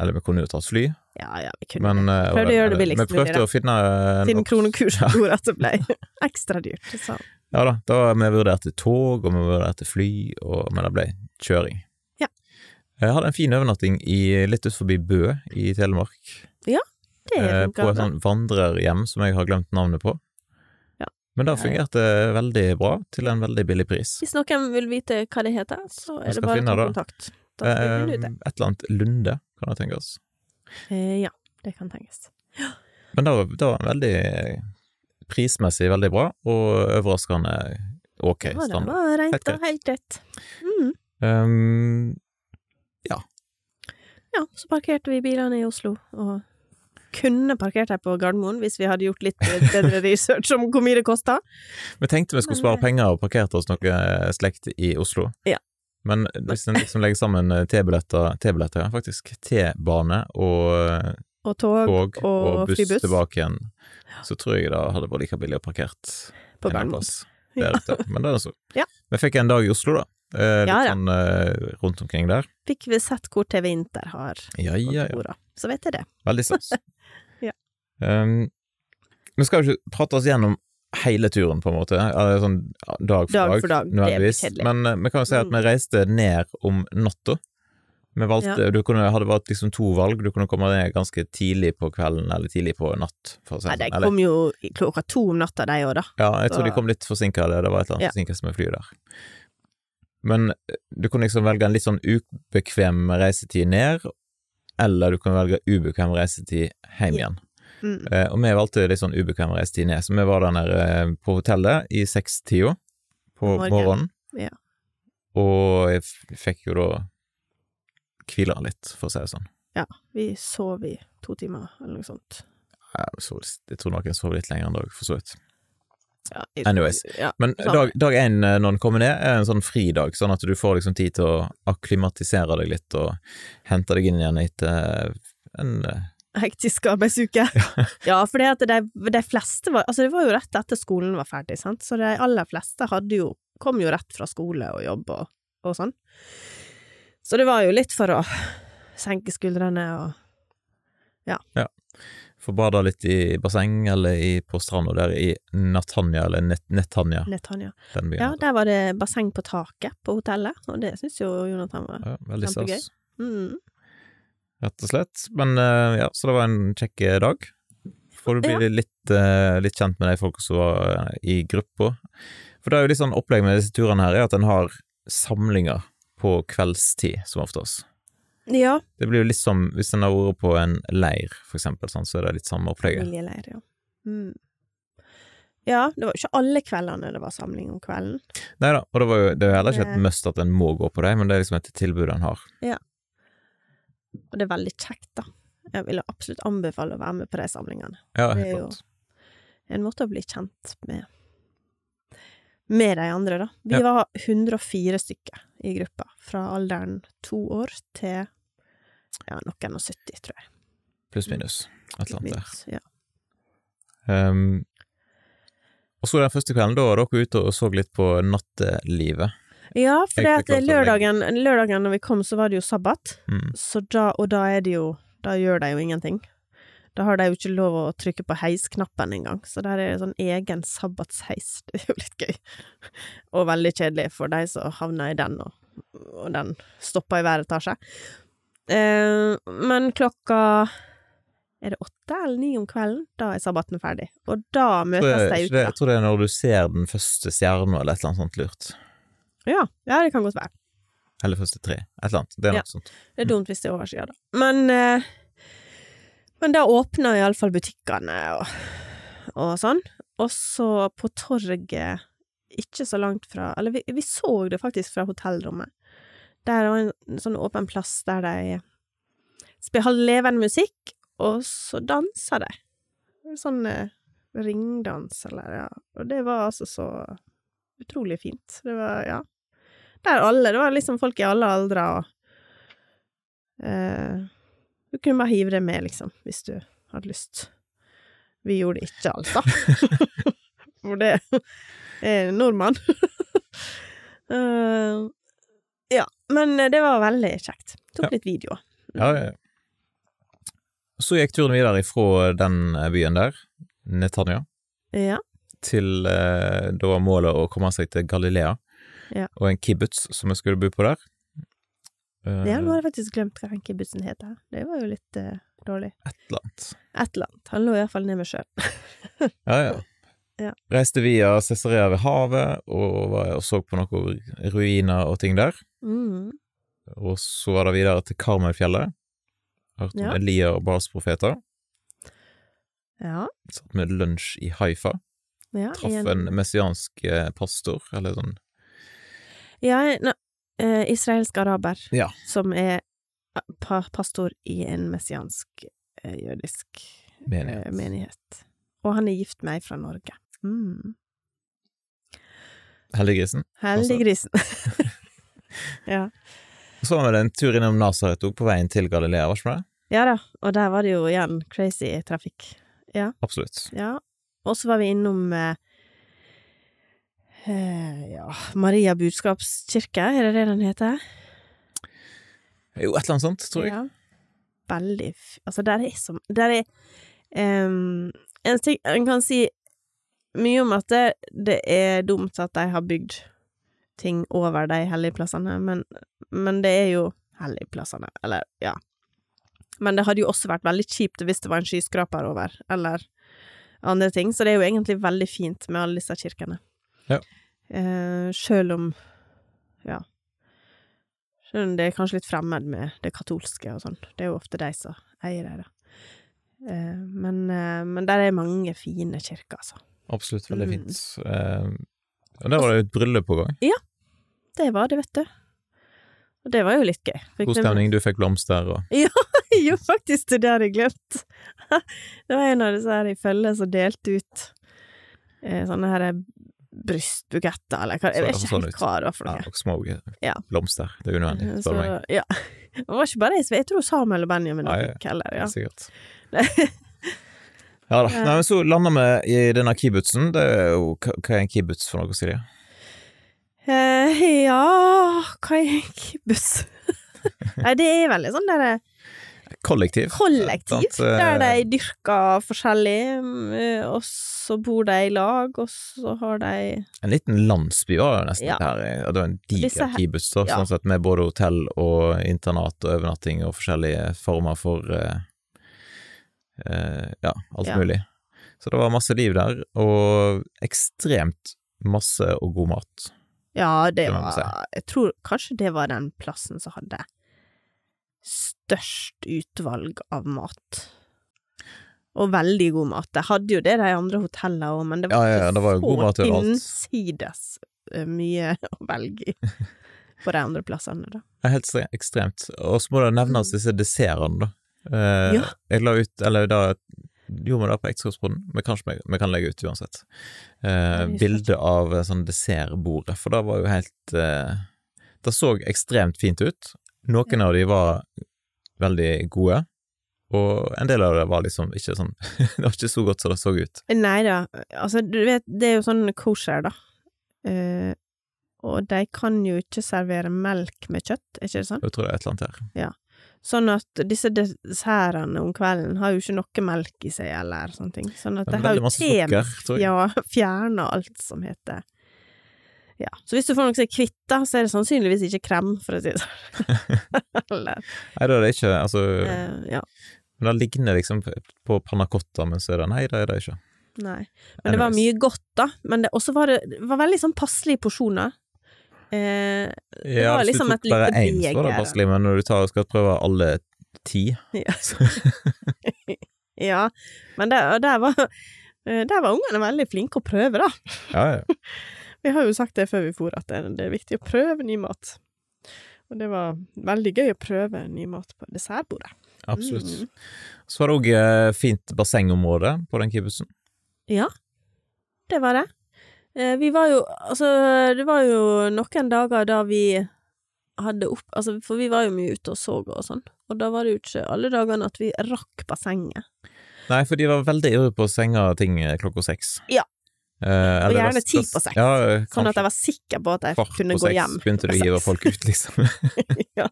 Speaker 1: eller vi kunne jo tatt fly,
Speaker 3: ja, ja, vi kunne
Speaker 1: men
Speaker 3: det.
Speaker 1: eh,
Speaker 3: Prøvde å gjøre det billigst
Speaker 1: Vi prøvde
Speaker 3: mulig, da.
Speaker 1: å finne eh, en
Speaker 3: Siden
Speaker 1: opp-
Speaker 3: kronekursen
Speaker 1: Ja,
Speaker 3: gjorde at det ble ekstra dyrt. Så.
Speaker 1: ja da, da vi vurderte tog, og vi vurderte fly, og, men det ble kjøring.
Speaker 3: Ja.
Speaker 1: Jeg hadde en fin overnatting i, litt ut forbi Bø i Telemark.
Speaker 3: Det
Speaker 1: eh, på
Speaker 3: funka
Speaker 1: et
Speaker 3: bra.
Speaker 1: sånt vandrerhjem som jeg har glemt navnet på.
Speaker 3: Ja.
Speaker 1: Men det
Speaker 3: Ja, ja.
Speaker 1: fungerte veldig bra, til en veldig billig pris.
Speaker 3: Hvis noen vil vite hva det heter, så
Speaker 1: Jeg
Speaker 3: er det
Speaker 1: skal
Speaker 3: bare å
Speaker 1: finne
Speaker 3: ta
Speaker 1: det.
Speaker 3: kontakt. Da skal vi
Speaker 1: Eh,
Speaker 3: finne
Speaker 1: et
Speaker 3: ut det.
Speaker 1: eller annet Lunde, kan det tenkes.
Speaker 3: Eh, Ja, det kan tenkes.
Speaker 1: Men det var, det var en veldig prismessig veldig bra, og overraskende ok
Speaker 3: Ja, det
Speaker 1: standard. Helt
Speaker 3: var rent
Speaker 1: greit.
Speaker 3: og helt greit. Mm.
Speaker 1: Um,
Speaker 3: Ja, så parkerte vi bilene i Oslo, og kunne parkert her på Gardermoen hvis vi hadde gjort litt eh, bedre research om hvor mye det kosta.
Speaker 1: vi tenkte vi skulle
Speaker 3: Men,
Speaker 1: spare
Speaker 3: eh,
Speaker 1: penger og parkerte oss noe eh, slekt i Oslo.
Speaker 3: Ja.
Speaker 1: Men hvis en liksom legger sammen eh, T-billetter, T-billetter, ja, faktisk, T-bane og eh,
Speaker 3: Og tog
Speaker 1: tog og,
Speaker 3: og
Speaker 1: buss,
Speaker 3: flybuss.
Speaker 1: tilbake igjen, så tror jeg det hadde vært like billig å parkert
Speaker 3: på
Speaker 1: en annen
Speaker 3: Gardermoen.
Speaker 1: plass der ute. Men det er så.
Speaker 3: Ja.
Speaker 1: Vi fikk en dag i Oslo, da. Eh, litt
Speaker 3: Ja, ja.
Speaker 1: sånn eh, rundt omkring der.
Speaker 3: Fikk vi sett hvor TV Inter har
Speaker 1: Ja, ja, ja.
Speaker 3: kontorer, så vet jeg det.
Speaker 1: Veldig stas.
Speaker 3: Ja.
Speaker 1: um, vi skal jo ikke prate oss gjennom hele turen, på en måte, eller sånn dag for dag,
Speaker 3: Dag for dag, det blir
Speaker 1: nødvendigvis.
Speaker 3: kjedelig. Mm.
Speaker 1: Men eh, vi kan jo si at vi reiste ned om natta. Vi valgte, du kunne, hadde valgt liksom to valg, du kunne komme ned ganske tidlig på kvelden eller tidlig på natt. For å si
Speaker 3: Nei,
Speaker 1: det
Speaker 3: de
Speaker 1: sånn. Eller,
Speaker 3: kom jo i klokka to om natta, de òg, da.
Speaker 1: ja, jeg tror
Speaker 3: så-
Speaker 1: de kom litt forsinka, eller det var et eller
Speaker 3: Ja.
Speaker 1: annet forsinkelse med flyet der. Men eh, du kunne liksom velge en litt sånn ubekvem reisetid ned, eller du kunne velge ubekvem reisetid hjem igjen.
Speaker 3: Mm.
Speaker 1: Eh, og vi valgte litt sånn ubekvem reisetid ned, så vi var der nede eh, på hotellet i sekstida på
Speaker 3: Morgen.
Speaker 1: morgenen.
Speaker 3: Ja.
Speaker 1: Og jeg f- fikk jo da hvile litt, for å si det sånn.
Speaker 3: Vi sov i to timer, eller noe sånt.
Speaker 1: Jeg, så, jeg tror noen sov litt lenger en dag, for så vidt.
Speaker 3: Ja, i-
Speaker 1: Anyways.
Speaker 3: Ja,
Speaker 1: Men
Speaker 3: Samme.
Speaker 1: dag, dag én eh, når den kommer ned, er en sånn fridag, sånn at du får liksom tid til å akklimatisere deg litt og hente deg inn igjen etter en eh,
Speaker 3: hektisk arbeidsuke. ja, for det at de, de fleste var Altså, det var jo rett etter skolen var ferdig, sant, så de aller fleste hadde jo Kom jo rett fra skole og jobb og, og sånn. Så det var jo litt for å senke skuldrene og
Speaker 1: Få bada litt i basseng eller i, på stranda der i Natanya, eller Net Netanya,
Speaker 3: Netanya.
Speaker 1: den byen.
Speaker 3: Ja,
Speaker 1: heter.
Speaker 3: der var det basseng på taket på hotellet, og det syns jo Jonathan var
Speaker 1: Ja, veldig
Speaker 3: Kjempegøy.
Speaker 1: stas,
Speaker 3: mm.
Speaker 1: rett og slett. Men eh, ja, så det var en kjekk eh, dag. Får du bli litt, eh, litt kjent med de folka som var eh, i gruppa. For det er jo litt sånn opplegg med disse turene her, er at en har samlinger på kveldstid, som oftest.
Speaker 3: Ja,
Speaker 1: Det blir jo litt som hvis en har vært på en leir, for eksempel, sånn, så er det litt samme opplegget.
Speaker 3: Familieleir, ja. Mm. Ja, det var jo ikke alle kveldene det var samling om kvelden.
Speaker 1: Nei da, og det, var jo, det er jo heller ikke
Speaker 3: Det-
Speaker 1: et must at en må gå på det, men det er liksom et tilbud en har.
Speaker 3: Og det er veldig kjekt, da. Jeg ville absolutt anbefale å være med på de samlingene.
Speaker 1: Ja,
Speaker 3: Det
Speaker 1: helt
Speaker 3: er jo
Speaker 1: klart.
Speaker 3: en måte å bli kjent med med de andre, da. Vi
Speaker 1: Ja.
Speaker 3: var 104 stykker i gruppa, fra alderen to år til ja, noen og 70, tror jeg.
Speaker 1: Pluss minus. Et eller annet der.
Speaker 3: Minus, Ja.
Speaker 1: Ehm, og så den første kvelden, da var dere ute og så litt på nattelivet.
Speaker 3: Ja, for det
Speaker 1: Jeg
Speaker 3: at
Speaker 1: fikk lov til å
Speaker 3: lørdagen, lørdagen når vi kom, så var det jo sabbat,
Speaker 1: Mm.
Speaker 3: så da, og da er det jo Da gjør de jo ingenting. Da har de jo ikke lov å trykke på heisknappen engang, så der er det sånn egen sabbatsheis. Det er jo litt gøy. Og veldig kjedelig for de som havner i den, og, og den stopper i hver etasje. Eh, men klokka Er det åtte eller ni om kvelden? Da er sabbaten ferdig. Og da
Speaker 1: Jeg tror,
Speaker 3: møtes
Speaker 1: det,
Speaker 3: de
Speaker 1: ikke
Speaker 3: ute.
Speaker 1: det, jeg tror det er når du ser den første stjerna, eller et eller annet sånt lurt.
Speaker 3: Ja, ja, det kan godt være.
Speaker 1: Eller første tre. Et eller annet. Det er
Speaker 3: Ja.
Speaker 1: noe sånt.
Speaker 3: Det er dumt hvis det er oversida, da. Men, eh, men da åpna iallfall butikkene og, og sånn. Og så på torget ikke så langt fra Eller vi, vi så det faktisk fra hotellrommet. Der var en sånn åpen plass der de spil- hadde levende musikk, og så dansa de. Sånn eh, ringdans, eller ja. Og det var altså så utrolig fint. Det var, ja. Der alle. Det var liksom folk i alle aldre og Eh, du kunne bare hive det med, liksom, hvis du hadde lyst. Vi gjorde det ikke, altså. For det er nordmann. Eh, ja, men det var veldig kjekt.
Speaker 1: Ja.
Speaker 3: Tok litt videoer.
Speaker 1: Ja, ja. Så gikk turen videre ifra den eh, byen der, Netanya,
Speaker 3: Ja.
Speaker 1: til eh, da var målet å komme seg til Galilea,
Speaker 3: Ja.
Speaker 1: og en kibbutz som jeg skulle bo på der. Eh,
Speaker 3: ja, nå har jeg faktisk glemt hva den kibbutzen heter. Det var jo litt eh, dårlig.
Speaker 1: Et eller annet.
Speaker 3: Et eller annet. Han lå iallfall nede med sjøen.
Speaker 1: Ja, ja.
Speaker 3: Ja.
Speaker 1: Reiste via Cesarea ved havet, og, var, og så på noen ruiner og ting der.
Speaker 3: Mm.
Speaker 1: Og så var det videre til Karmøyfjellet. Hørte om
Speaker 3: Ja.
Speaker 1: Elia og Bars profeter.
Speaker 3: Ja.
Speaker 1: Satt med lunsj i Haifa.
Speaker 3: ja.
Speaker 1: Traff
Speaker 3: igjen.
Speaker 1: en messiansk eh, pastor, eller sånn
Speaker 3: Ja, ne, eh, israelsk araber,
Speaker 1: Ja.
Speaker 3: som er eh, pa pastor i en messiansk eh, jødisk
Speaker 1: menighet.
Speaker 3: eh, menighet. Og han er gift med ei fra Norge.
Speaker 1: Sånn
Speaker 3: Mm.
Speaker 1: Heldiggrisen.
Speaker 3: Heldiggrisen. ja.
Speaker 1: Og Så var det en tur innom Nasaret òg, på veien til Galilea, var ikke det?
Speaker 3: ja da, og der var det jo igjen crazy trafikk.
Speaker 1: Absolutt.
Speaker 3: Ja. Og så var vi innom eh, eh, ja, Maria budskapskirke, er det det den heter?
Speaker 1: Jo, et eller annet sånt, tror jeg.
Speaker 3: Ja. Veldig f- Altså, der er som Der er ehm, En ting En kan si mye om at det, det er dumt at de har bygd ting over de hellige plassene, men, men det er jo hellige plassene, eller ja. Men det hadde jo også vært veldig kjipt hvis det var en skyskraper over, eller andre ting, så det er jo egentlig veldig fint med alle disse kirkene.
Speaker 1: Ja.
Speaker 3: Eh, selv om Ja. Selv om det er kanskje litt fremmed med det katolske og sånn. Det er jo ofte de som eier det, da. Eh, men, eh, men der er mange fine kirker, altså.
Speaker 1: Absolutt, veldig
Speaker 3: Mm.
Speaker 1: fint. Eh, og der var det jo et bryllup på gang.
Speaker 3: Det var det, vet du. Og det var jo litt gøy. Fikk
Speaker 1: God
Speaker 3: det med-
Speaker 1: stemning, du fikk blomster og
Speaker 3: jo, faktisk, det hadde jeg glemt. Det var en av disse her i følge som delte ut eh, sånne her brystbuketter, eller hva, jeg vet
Speaker 1: Så-
Speaker 3: ikke
Speaker 1: sånn
Speaker 3: helt
Speaker 1: ut.
Speaker 3: hva det var for
Speaker 1: ja,
Speaker 3: noe.
Speaker 1: og små
Speaker 3: Ja.
Speaker 1: blomster. Det er unødvendig,
Speaker 3: Så,
Speaker 1: spør du meg.
Speaker 3: ja. Det var ikke bare jeg, som- jeg tror Samuel og Benjamin
Speaker 1: Nei,
Speaker 3: fikk heller, ja.
Speaker 1: Sikkert.
Speaker 3: Nei.
Speaker 1: Ja da.
Speaker 3: Ja.
Speaker 1: Nei, men så lander vi i denne kibbutzen. Det er jo, hva hva er en kibbutz for noe, Silje?
Speaker 3: Eh, ja, hva er en kibbutz? Nei, det er veldig sånn der eh,
Speaker 1: Kollektiv.
Speaker 3: kollektiv,
Speaker 1: Et eller
Speaker 3: der
Speaker 1: annet, eh,
Speaker 3: de dyrker forskjellig, mm, eh, og så bor de i lag, og så har de
Speaker 1: En liten landsby var det nesten
Speaker 3: Ja.
Speaker 1: her. ja, Det var en
Speaker 3: Disse
Speaker 1: diger
Speaker 3: her-
Speaker 1: kibbutz, da,
Speaker 3: ja.
Speaker 1: sånn sett, med både hotell og internat og overnatting og forskjellige former for eh, eh, Ja, alt
Speaker 3: Ja.
Speaker 1: mulig. Så det var masse liv der, og ekstremt masse og god mat.
Speaker 3: Ja, det
Speaker 1: Det må man
Speaker 3: var Jeg tror kanskje det var den plassen som hadde størst utvalg av mat. Og veldig god mat. De hadde jo det, de andre hotellene òg, men det
Speaker 1: Ja,
Speaker 3: var
Speaker 1: ja, ja, det var jo god mat
Speaker 3: så
Speaker 1: overalt.
Speaker 3: innsides eh, mye å velge i. på de andre plassene, da.
Speaker 1: Det er helt stre- ekstremt. Og så må det nevnes disse dessertene, da. Eh,
Speaker 3: Mm. Ja.
Speaker 1: Jeg la ut, eller da gjorde vi det på Ekteskapsboden, men kanskje vi, vi kan legge ut uansett, eh,
Speaker 3: det er
Speaker 1: bilde av eh, sånn dessertbordet, for det var jo helt eh, Det så ekstremt fint ut. Noen av de var veldig gode, og en del av det var liksom ikke sånn Det var ikke så godt som det så ut.
Speaker 3: Nei da, altså du vet, det er jo sånn kosher, da. Eh, og de kan jo ikke servere melk med kjøtt, er ikke det sånn?
Speaker 1: Jeg tror det er et eller annet her.
Speaker 3: Sånn at disse dessertene om kvelden har jo ikke noe melk i seg, eller sånne ting. Sånn at
Speaker 1: Det
Speaker 3: de
Speaker 1: er
Speaker 3: har
Speaker 1: veldig
Speaker 3: jo
Speaker 1: masse sukker,
Speaker 3: temisk
Speaker 1: tror jeg.
Speaker 3: Ja, fjerna alt som heter Ja. Så hvis du får noe som er kvitt, da, så er det sannsynligvis ikke krem, for å si det sånn. eller
Speaker 1: Nei, da er det ikke Altså,
Speaker 3: eh, Ja.
Speaker 1: men det ligner liksom på panna cotta, men så er det Nei, det er det ikke.
Speaker 3: Nei. Men det var
Speaker 1: Anyways.
Speaker 3: mye godt, da. Men det også var det det var veldig sånn passelige porsjoner. Eh, Det
Speaker 1: Ja,
Speaker 3: var
Speaker 1: hvis
Speaker 3: liksom
Speaker 1: du
Speaker 3: et
Speaker 1: tok bare
Speaker 3: lite
Speaker 1: én, så var det
Speaker 3: beger.
Speaker 1: passelig, men når du tar og skal prøve alle ti
Speaker 3: Ja.
Speaker 1: så-
Speaker 3: ja. Men der, og der var eh, der var ungene veldig flinke å prøve, da.
Speaker 1: Ja, ja.
Speaker 3: Vi har jo sagt det før vi for, at det er, det er viktig å prøve ny mat. Og det var veldig gøy å prøve ny mat på dessertbordet.
Speaker 1: Absolutt.
Speaker 3: Mm.
Speaker 1: Så var det òg fint bassengområde på den kibbutzen.
Speaker 3: Det var det. Eh, Vi var jo Altså, det var jo noen dager da vi hadde opp Altså, for vi var jo mye ute og så og sånn, og da var det jo ikke alle dagene at vi rakk bassenget.
Speaker 1: Nei, for de var veldig ivrige på å senge ting eh, klokka seks.
Speaker 3: Ja.
Speaker 1: Eh, eller
Speaker 3: gjerne
Speaker 1: det-
Speaker 3: ti på seks,
Speaker 1: Ja, eh,
Speaker 3: Sånn at
Speaker 1: kanskje
Speaker 3: jeg var sikker på at jeg
Speaker 1: kvart
Speaker 3: kunne
Speaker 1: på
Speaker 3: gå
Speaker 1: seks
Speaker 3: hjem.
Speaker 1: begynte du å
Speaker 3: klokka
Speaker 1: hive
Speaker 3: seks.
Speaker 1: folk ut, liksom.
Speaker 3: ja.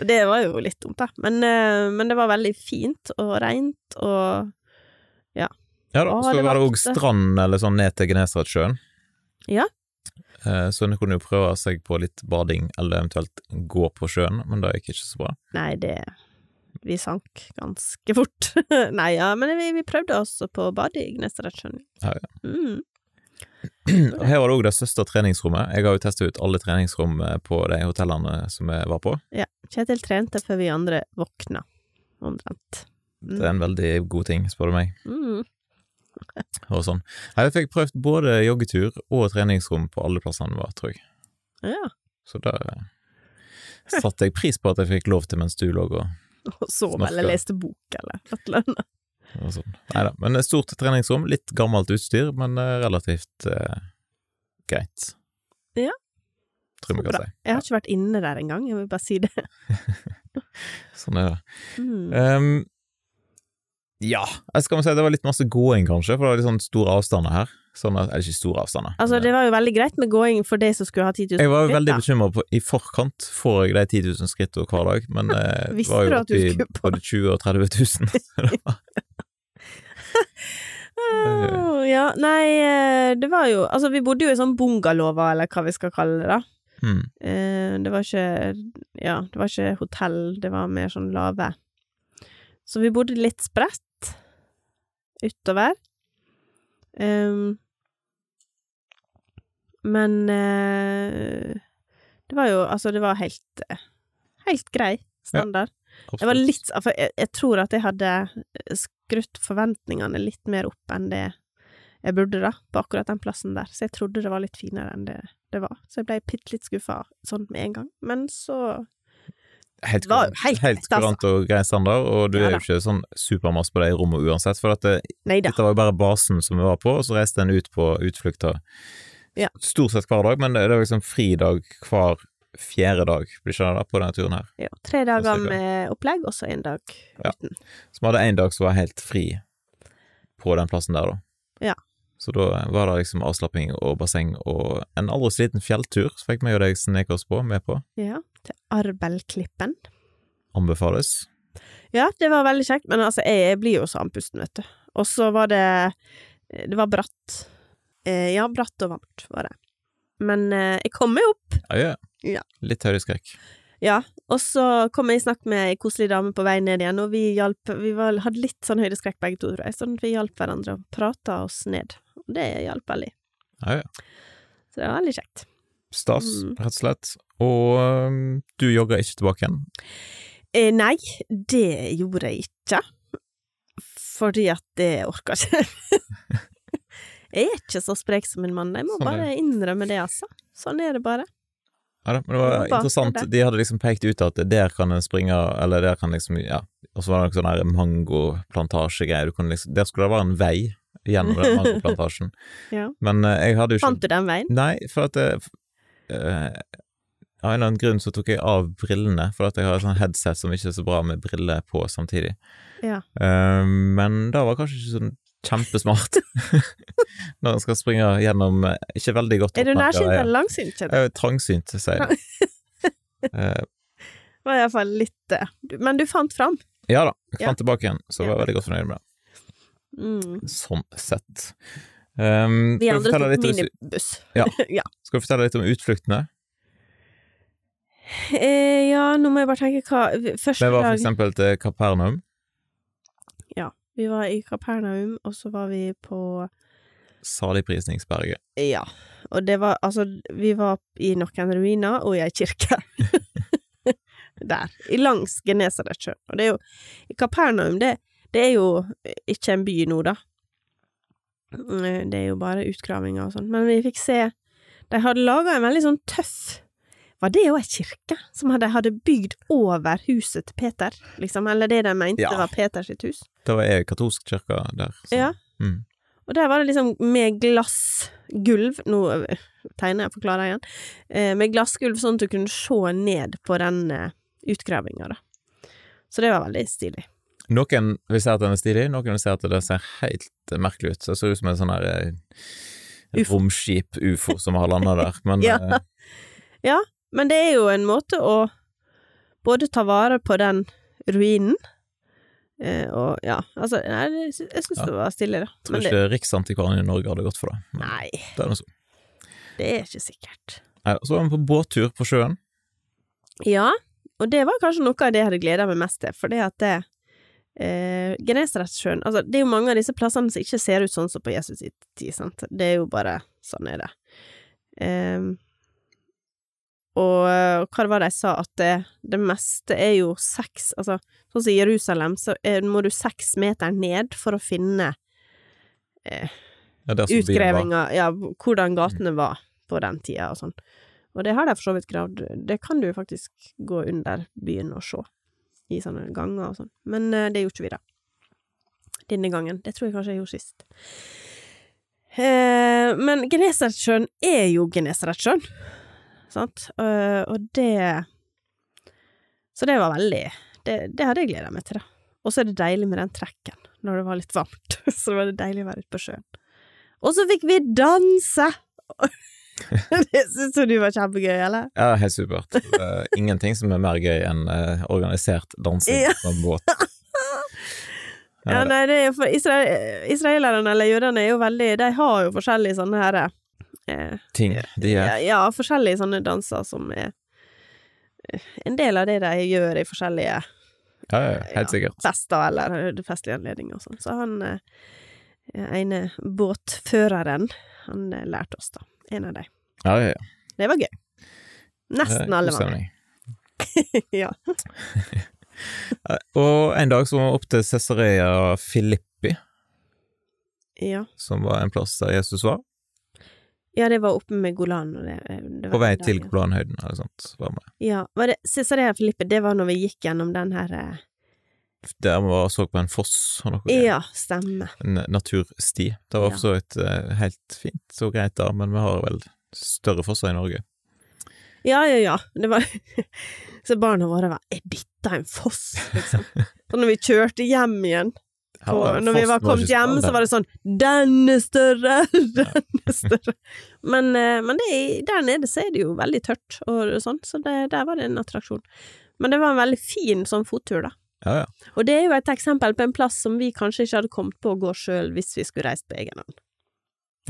Speaker 3: Og Det var jo litt dumt, da. Men, eh, men det var veldig fint og rent og
Speaker 1: Ja da,
Speaker 3: Å,
Speaker 1: så
Speaker 3: det
Speaker 1: var det
Speaker 3: var
Speaker 1: òg
Speaker 3: ofte.
Speaker 1: strand eller sånn ned til Genesaretsjøen.
Speaker 3: Ja.
Speaker 1: Eh, Så en kunne jo prøve seg på litt bading, eller eventuelt gå på sjøen, men det gikk ikke så bra.
Speaker 3: Nei, det Vi sank ganske fort. Nei, ja, men vi, vi prøvde også på badet i Gnesteretsjøen.
Speaker 1: Ja,
Speaker 3: Mm.
Speaker 1: Og Her var det òg det største treningsrommet. Jeg har jo testa ut alle treningsrom eh, på de hotellene som jeg var på.
Speaker 3: Kjetil trente før vi andre våkna, omtrent.
Speaker 1: Det er en veldig god ting, spør du meg.
Speaker 3: Mm.
Speaker 1: Og sånn. Nei, Jeg fikk prøvd både joggetur og treningsrom på alle plassene jeg var, tror jeg.
Speaker 3: Ja.
Speaker 1: Så det satte jeg pris på at jeg fikk lov til mens du lå og,
Speaker 3: Og sov
Speaker 1: Snorka.
Speaker 3: eller leste bok eller et eller annet.
Speaker 1: og sånn. Nei da. Men et stort treningsrom, litt gammelt utstyr, men eh, relativt eh, greit.
Speaker 3: Ja.
Speaker 1: Tror jeg vi
Speaker 3: Så
Speaker 1: kan si.
Speaker 3: Jeg har ikke vært inne der engang, jeg vil bare si det.
Speaker 1: Sånn er det.
Speaker 3: Mm.
Speaker 1: Ehm, ja, jeg skal vel si at det var litt masse gåing, kanskje, for det var litt sånn store avstander her. Sånn at, eller ikke store avstander.
Speaker 3: Altså, det var jo veldig greit med gåing for de som skulle ha 10 000
Speaker 1: jeg var jo
Speaker 3: skritt,
Speaker 1: veldig
Speaker 3: da.
Speaker 1: bekymra i forkant, får jeg de 10 000 skrittene hver dag, men eh, det
Speaker 3: Visste
Speaker 1: var
Speaker 3: du
Speaker 1: jo
Speaker 3: at du
Speaker 1: oppi
Speaker 3: skulle på?
Speaker 1: både 20 000 og 30 000. så det var-
Speaker 3: Åh, ja, nei, eh, det var jo Altså, vi bodde jo i sånn bungalower, eller hva vi skal kalle det, da.
Speaker 1: mm.
Speaker 3: Eh, det var ikke Ja, det var ikke hotell, det var mer sånn lave. Så vi bodde litt spredt utover. Ehm, men eh, det var jo Altså, det var helt eh, Helt grei standard. Jeg var
Speaker 1: absolutt.
Speaker 3: litt For jeg, jeg tror at jeg hadde eh, skrutt forventningene litt mer opp enn det jeg burde, da, på akkurat den plassen der. Så jeg trodde det var litt finere enn det det var. Så jeg ble bitte litt skuffa sånn med en gang. Men så
Speaker 1: helt,
Speaker 3: det var jo
Speaker 1: kurant-
Speaker 3: helt
Speaker 1: helt
Speaker 3: greit, altså.
Speaker 1: kurant og grei standard, og du
Speaker 3: Ja
Speaker 1: er
Speaker 3: da.
Speaker 1: jo ikke sånn supermasse på det i rommet uansett, for at eh, det,
Speaker 3: Nei da.
Speaker 1: Dette var jo bare basen som vi var på, og så reiste en ut på utflukter
Speaker 3: Ja.
Speaker 1: stort sett hver dag, men det det var liksom fridag hver fjerde dag, blir ikke det da, på denne turen her.
Speaker 3: Ja, tre
Speaker 1: Så
Speaker 3: dager
Speaker 1: cirka.
Speaker 3: med opplegg, og så en dag
Speaker 1: Ja.
Speaker 3: uten.
Speaker 1: Så vi hadde én dag som var helt fri på den plassen der, da.
Speaker 3: Ja.
Speaker 1: Så da var det liksom avslapping og basseng og en aldri så liten fjelltur, så fikk vi og deg sneke oss på, med på.
Speaker 3: Ja, til Arbelklippen.
Speaker 1: Anbefales.
Speaker 3: Ja, det var veldig kjekt, men altså, jeg, jeg blir jo så andpusten, vet du. Og så var det Det var bratt. Eh, ja, bratt og varmt var det. Men eh, jeg kom meg opp.
Speaker 1: Ja, ja.
Speaker 3: Ja.
Speaker 1: Litt høydeskrekk.
Speaker 3: Ja, og så kom jeg i snakk med ei koselig dame på vei ned igjen, og vi hjalp Vi var, hadde litt sånn høydeskrekk begge to, tror jeg, sånn at vi hjalp hverandre og prata oss ned. Og det hjalp veldig.
Speaker 1: Ja, ja.
Speaker 3: Så det var veldig kjekt.
Speaker 1: Stas,
Speaker 3: Mm.
Speaker 1: rett og slett. Og øhm, du jogga ikke tilbake igjen.
Speaker 3: Eh, nei, det gjorde jeg ikke. Fordi at det orka ikke. jeg er ikke så sprek som en mann, jeg må
Speaker 1: Sånn er
Speaker 3: bare innrømme det, altså. Sånn er det bare.
Speaker 1: Ja, da, men det var
Speaker 3: Det var bra,
Speaker 1: interessant.
Speaker 3: det.
Speaker 1: De hadde liksom pekt ut at der kan en springe, eller der kan liksom Ja. Og så var det noe sånn her mangoplantasjegreier. Du kunne liksom Der skulle det være en vei gjennom den mangoplantasjen.
Speaker 3: Ja.
Speaker 1: Men eh, jeg hadde jo ikke
Speaker 3: Fant du den veien?
Speaker 1: Nei, for at eh, f- eh, Av en eller annen grunn så tok jeg av brillene, for at jeg har et sånt headset som ikke er så bra med briller på samtidig.
Speaker 3: Ja.
Speaker 1: Eh, men det var kanskje ikke sånn kjempesmart når en skal springe gjennom eh, ikke veldig godt
Speaker 3: Er du
Speaker 1: oppmerket
Speaker 3: nærsynt
Speaker 1: veier.
Speaker 3: eller langsynt, kjenner
Speaker 1: Jeg er trangsynt, sier jeg. Eh,
Speaker 3: Det var iallfall litt det. Du- Men du fant fram.
Speaker 1: ja da, jeg
Speaker 3: Ja.
Speaker 1: fant tilbake igjen, så jeg var
Speaker 3: Ja.
Speaker 1: veldig godt fornøyd med det.
Speaker 3: Mm.
Speaker 1: Sånn sett. Um, skal, du
Speaker 3: Vi andre
Speaker 1: fortelle
Speaker 3: tok
Speaker 1: litt om,
Speaker 3: minibuss.
Speaker 1: skal du fortelle litt om utfluktene?
Speaker 3: Eh, ja, nå må jeg bare tenke hva Første
Speaker 1: Det var for
Speaker 3: dag
Speaker 1: eksempel til Kapernaum,
Speaker 3: vi var i Kapernaum, og så var vi på
Speaker 1: saligprisningsberget.
Speaker 3: Ja. Og det var altså Vi var i noen ruiner og i ei kirke. Der. i Langs Genesaretsjøen. Og det er jo i Kapernaum, det, det er jo ikke en by nå, da. Eh, Det er jo bare utgravinger og sånn. Men vi fikk se De hadde laga en veldig sånn tøff Var det jo ei kirke som de hadde bygd over huset til Peter, liksom? Eller det de mente
Speaker 1: Ja.
Speaker 3: var Peters sitt hus?
Speaker 1: Det var jeg i katolsk kirke der. så-
Speaker 3: Ja.
Speaker 1: Mm.
Speaker 3: Og der var det liksom med glassgulv Nå ø, tegner jeg og forklarer igjen. Eh, med glassgulv, sånn at du kunne se ned på den eh, utgravinga, da. Så det var veldig stilig.
Speaker 1: Noen vil si at den er stilig, noen vil si at det ser helt merkelig ut. Så Det ser ut som en sånn her eh, et
Speaker 3: Ufo.
Speaker 1: romskip-ufo som har landa der. Men
Speaker 3: Ja.
Speaker 1: eh,
Speaker 3: Men det er jo en måte å både ta vare på den ruinen eh, og ja, altså Nei, jeg sy- jeg syns
Speaker 1: Ja.
Speaker 3: det var stilig, da.
Speaker 1: jeg tror ikke Riksantikvaren i Norge hadde gått for det. Men
Speaker 3: Nei,
Speaker 1: det er noe sånn.
Speaker 3: det er ikke sikkert.
Speaker 1: Nei, Så var vi på båttur på sjøen.
Speaker 3: Ja, og det var kanskje noe av det jeg hadde gleda meg mest til, fordi at det eh, Genesaretsjøen Altså, det er jo mange av disse plassene som ikke ser ut sånn som på Jesus sitt tid, sant? Det er jo bare Sånn er det. Ehm, og eh, hva var det jeg sa, at det, det meste er jo seks Altså, sånn som i Jerusalem, så er, må du seks meter ned for å finne
Speaker 1: Ja, der som byen var.
Speaker 3: utgrevinga, ja, hvordan gatene var på den tida og sånn. Og det har de for så vidt gravd Det kan du faktisk gå under byen og se, i sånne ganger og sånn. Men eh, det gjorde ikke vi, da. Denne gangen. Det tror jeg kanskje jeg gjorde sist. Eh, men Genesaretsjøen er jo Genesaretsjøen, sant? Eh, og det Så det var veldig Det, det hadde jeg gleda meg til, da. Og så er det deilig med den trekken, når det var litt varmt. så var det deilig å være ute på sjøen. Og så fikk vi danse! det syns jo du var kjempegøy, eller?
Speaker 1: Ja, helt supert. Det er ingenting som er mer gøy enn eh, organisert dansing
Speaker 3: Ja.
Speaker 1: på en båt. Ja,
Speaker 3: Ja,
Speaker 1: det-
Speaker 3: nei, det er jo for Isra Israelerne eller jødene er jo veldig De har jo forskjellige sånne her eh,
Speaker 1: Ting de
Speaker 3: ja.
Speaker 1: gjør.
Speaker 3: ja, forskjellige sånne danser som er eh, en del av det de gjør i forskjellige
Speaker 1: Ja, ja, helt
Speaker 3: Ja.
Speaker 1: sikkert.
Speaker 3: fester eller eh, festlige anledninger og sånn. Så han eh, ene båtføreren, han eh, lærte oss, da. En av de.
Speaker 1: Ja, ja, ja.
Speaker 3: Det var gøy.
Speaker 1: Det er
Speaker 3: Nesten alle
Speaker 1: god
Speaker 3: var med.
Speaker 1: stemning.
Speaker 3: ja.
Speaker 1: Ja, Og en dag så var vi opp til Cesarea Filippi,
Speaker 3: ja.
Speaker 1: som var en plass der Jesus var.
Speaker 3: Ja, det var oppe med Golan. Og det, eh, det var
Speaker 1: På vei
Speaker 3: den
Speaker 1: til
Speaker 3: dagen.
Speaker 1: Golanhøyden eller sånt. Var vi.
Speaker 3: Ja. Var det Cesarea Filippe? Det var når vi gikk gjennom den her eh,
Speaker 1: Der vi var og så på en foss og noe. greier.
Speaker 3: Ja, stemmer.
Speaker 1: En eh, natursti. Det var
Speaker 3: Ja.
Speaker 1: for så vidt eh, helt fint og greit da, men vi har vel større fosser i Norge.
Speaker 3: Ja, ja, ja. Det var Så barna våre var Er dette en foss, liksom? Så når vi kjørte hjem igjen,
Speaker 1: Her
Speaker 3: og
Speaker 1: det
Speaker 3: når vi
Speaker 1: fossen
Speaker 3: var kommet
Speaker 1: ikke
Speaker 3: hjem, så var det sånn Den er større! Den er større! Men, eh, men det, er- der nede så er det jo veldig tørt og sånn, så det, der var det en attraksjon. Men det var en veldig fin sånn fottur, da.
Speaker 1: Ja, ja.
Speaker 3: Og det er jo et eksempel på en plass som vi kanskje ikke hadde kommet på å gå sjøl hvis vi skulle reist på egen hånd.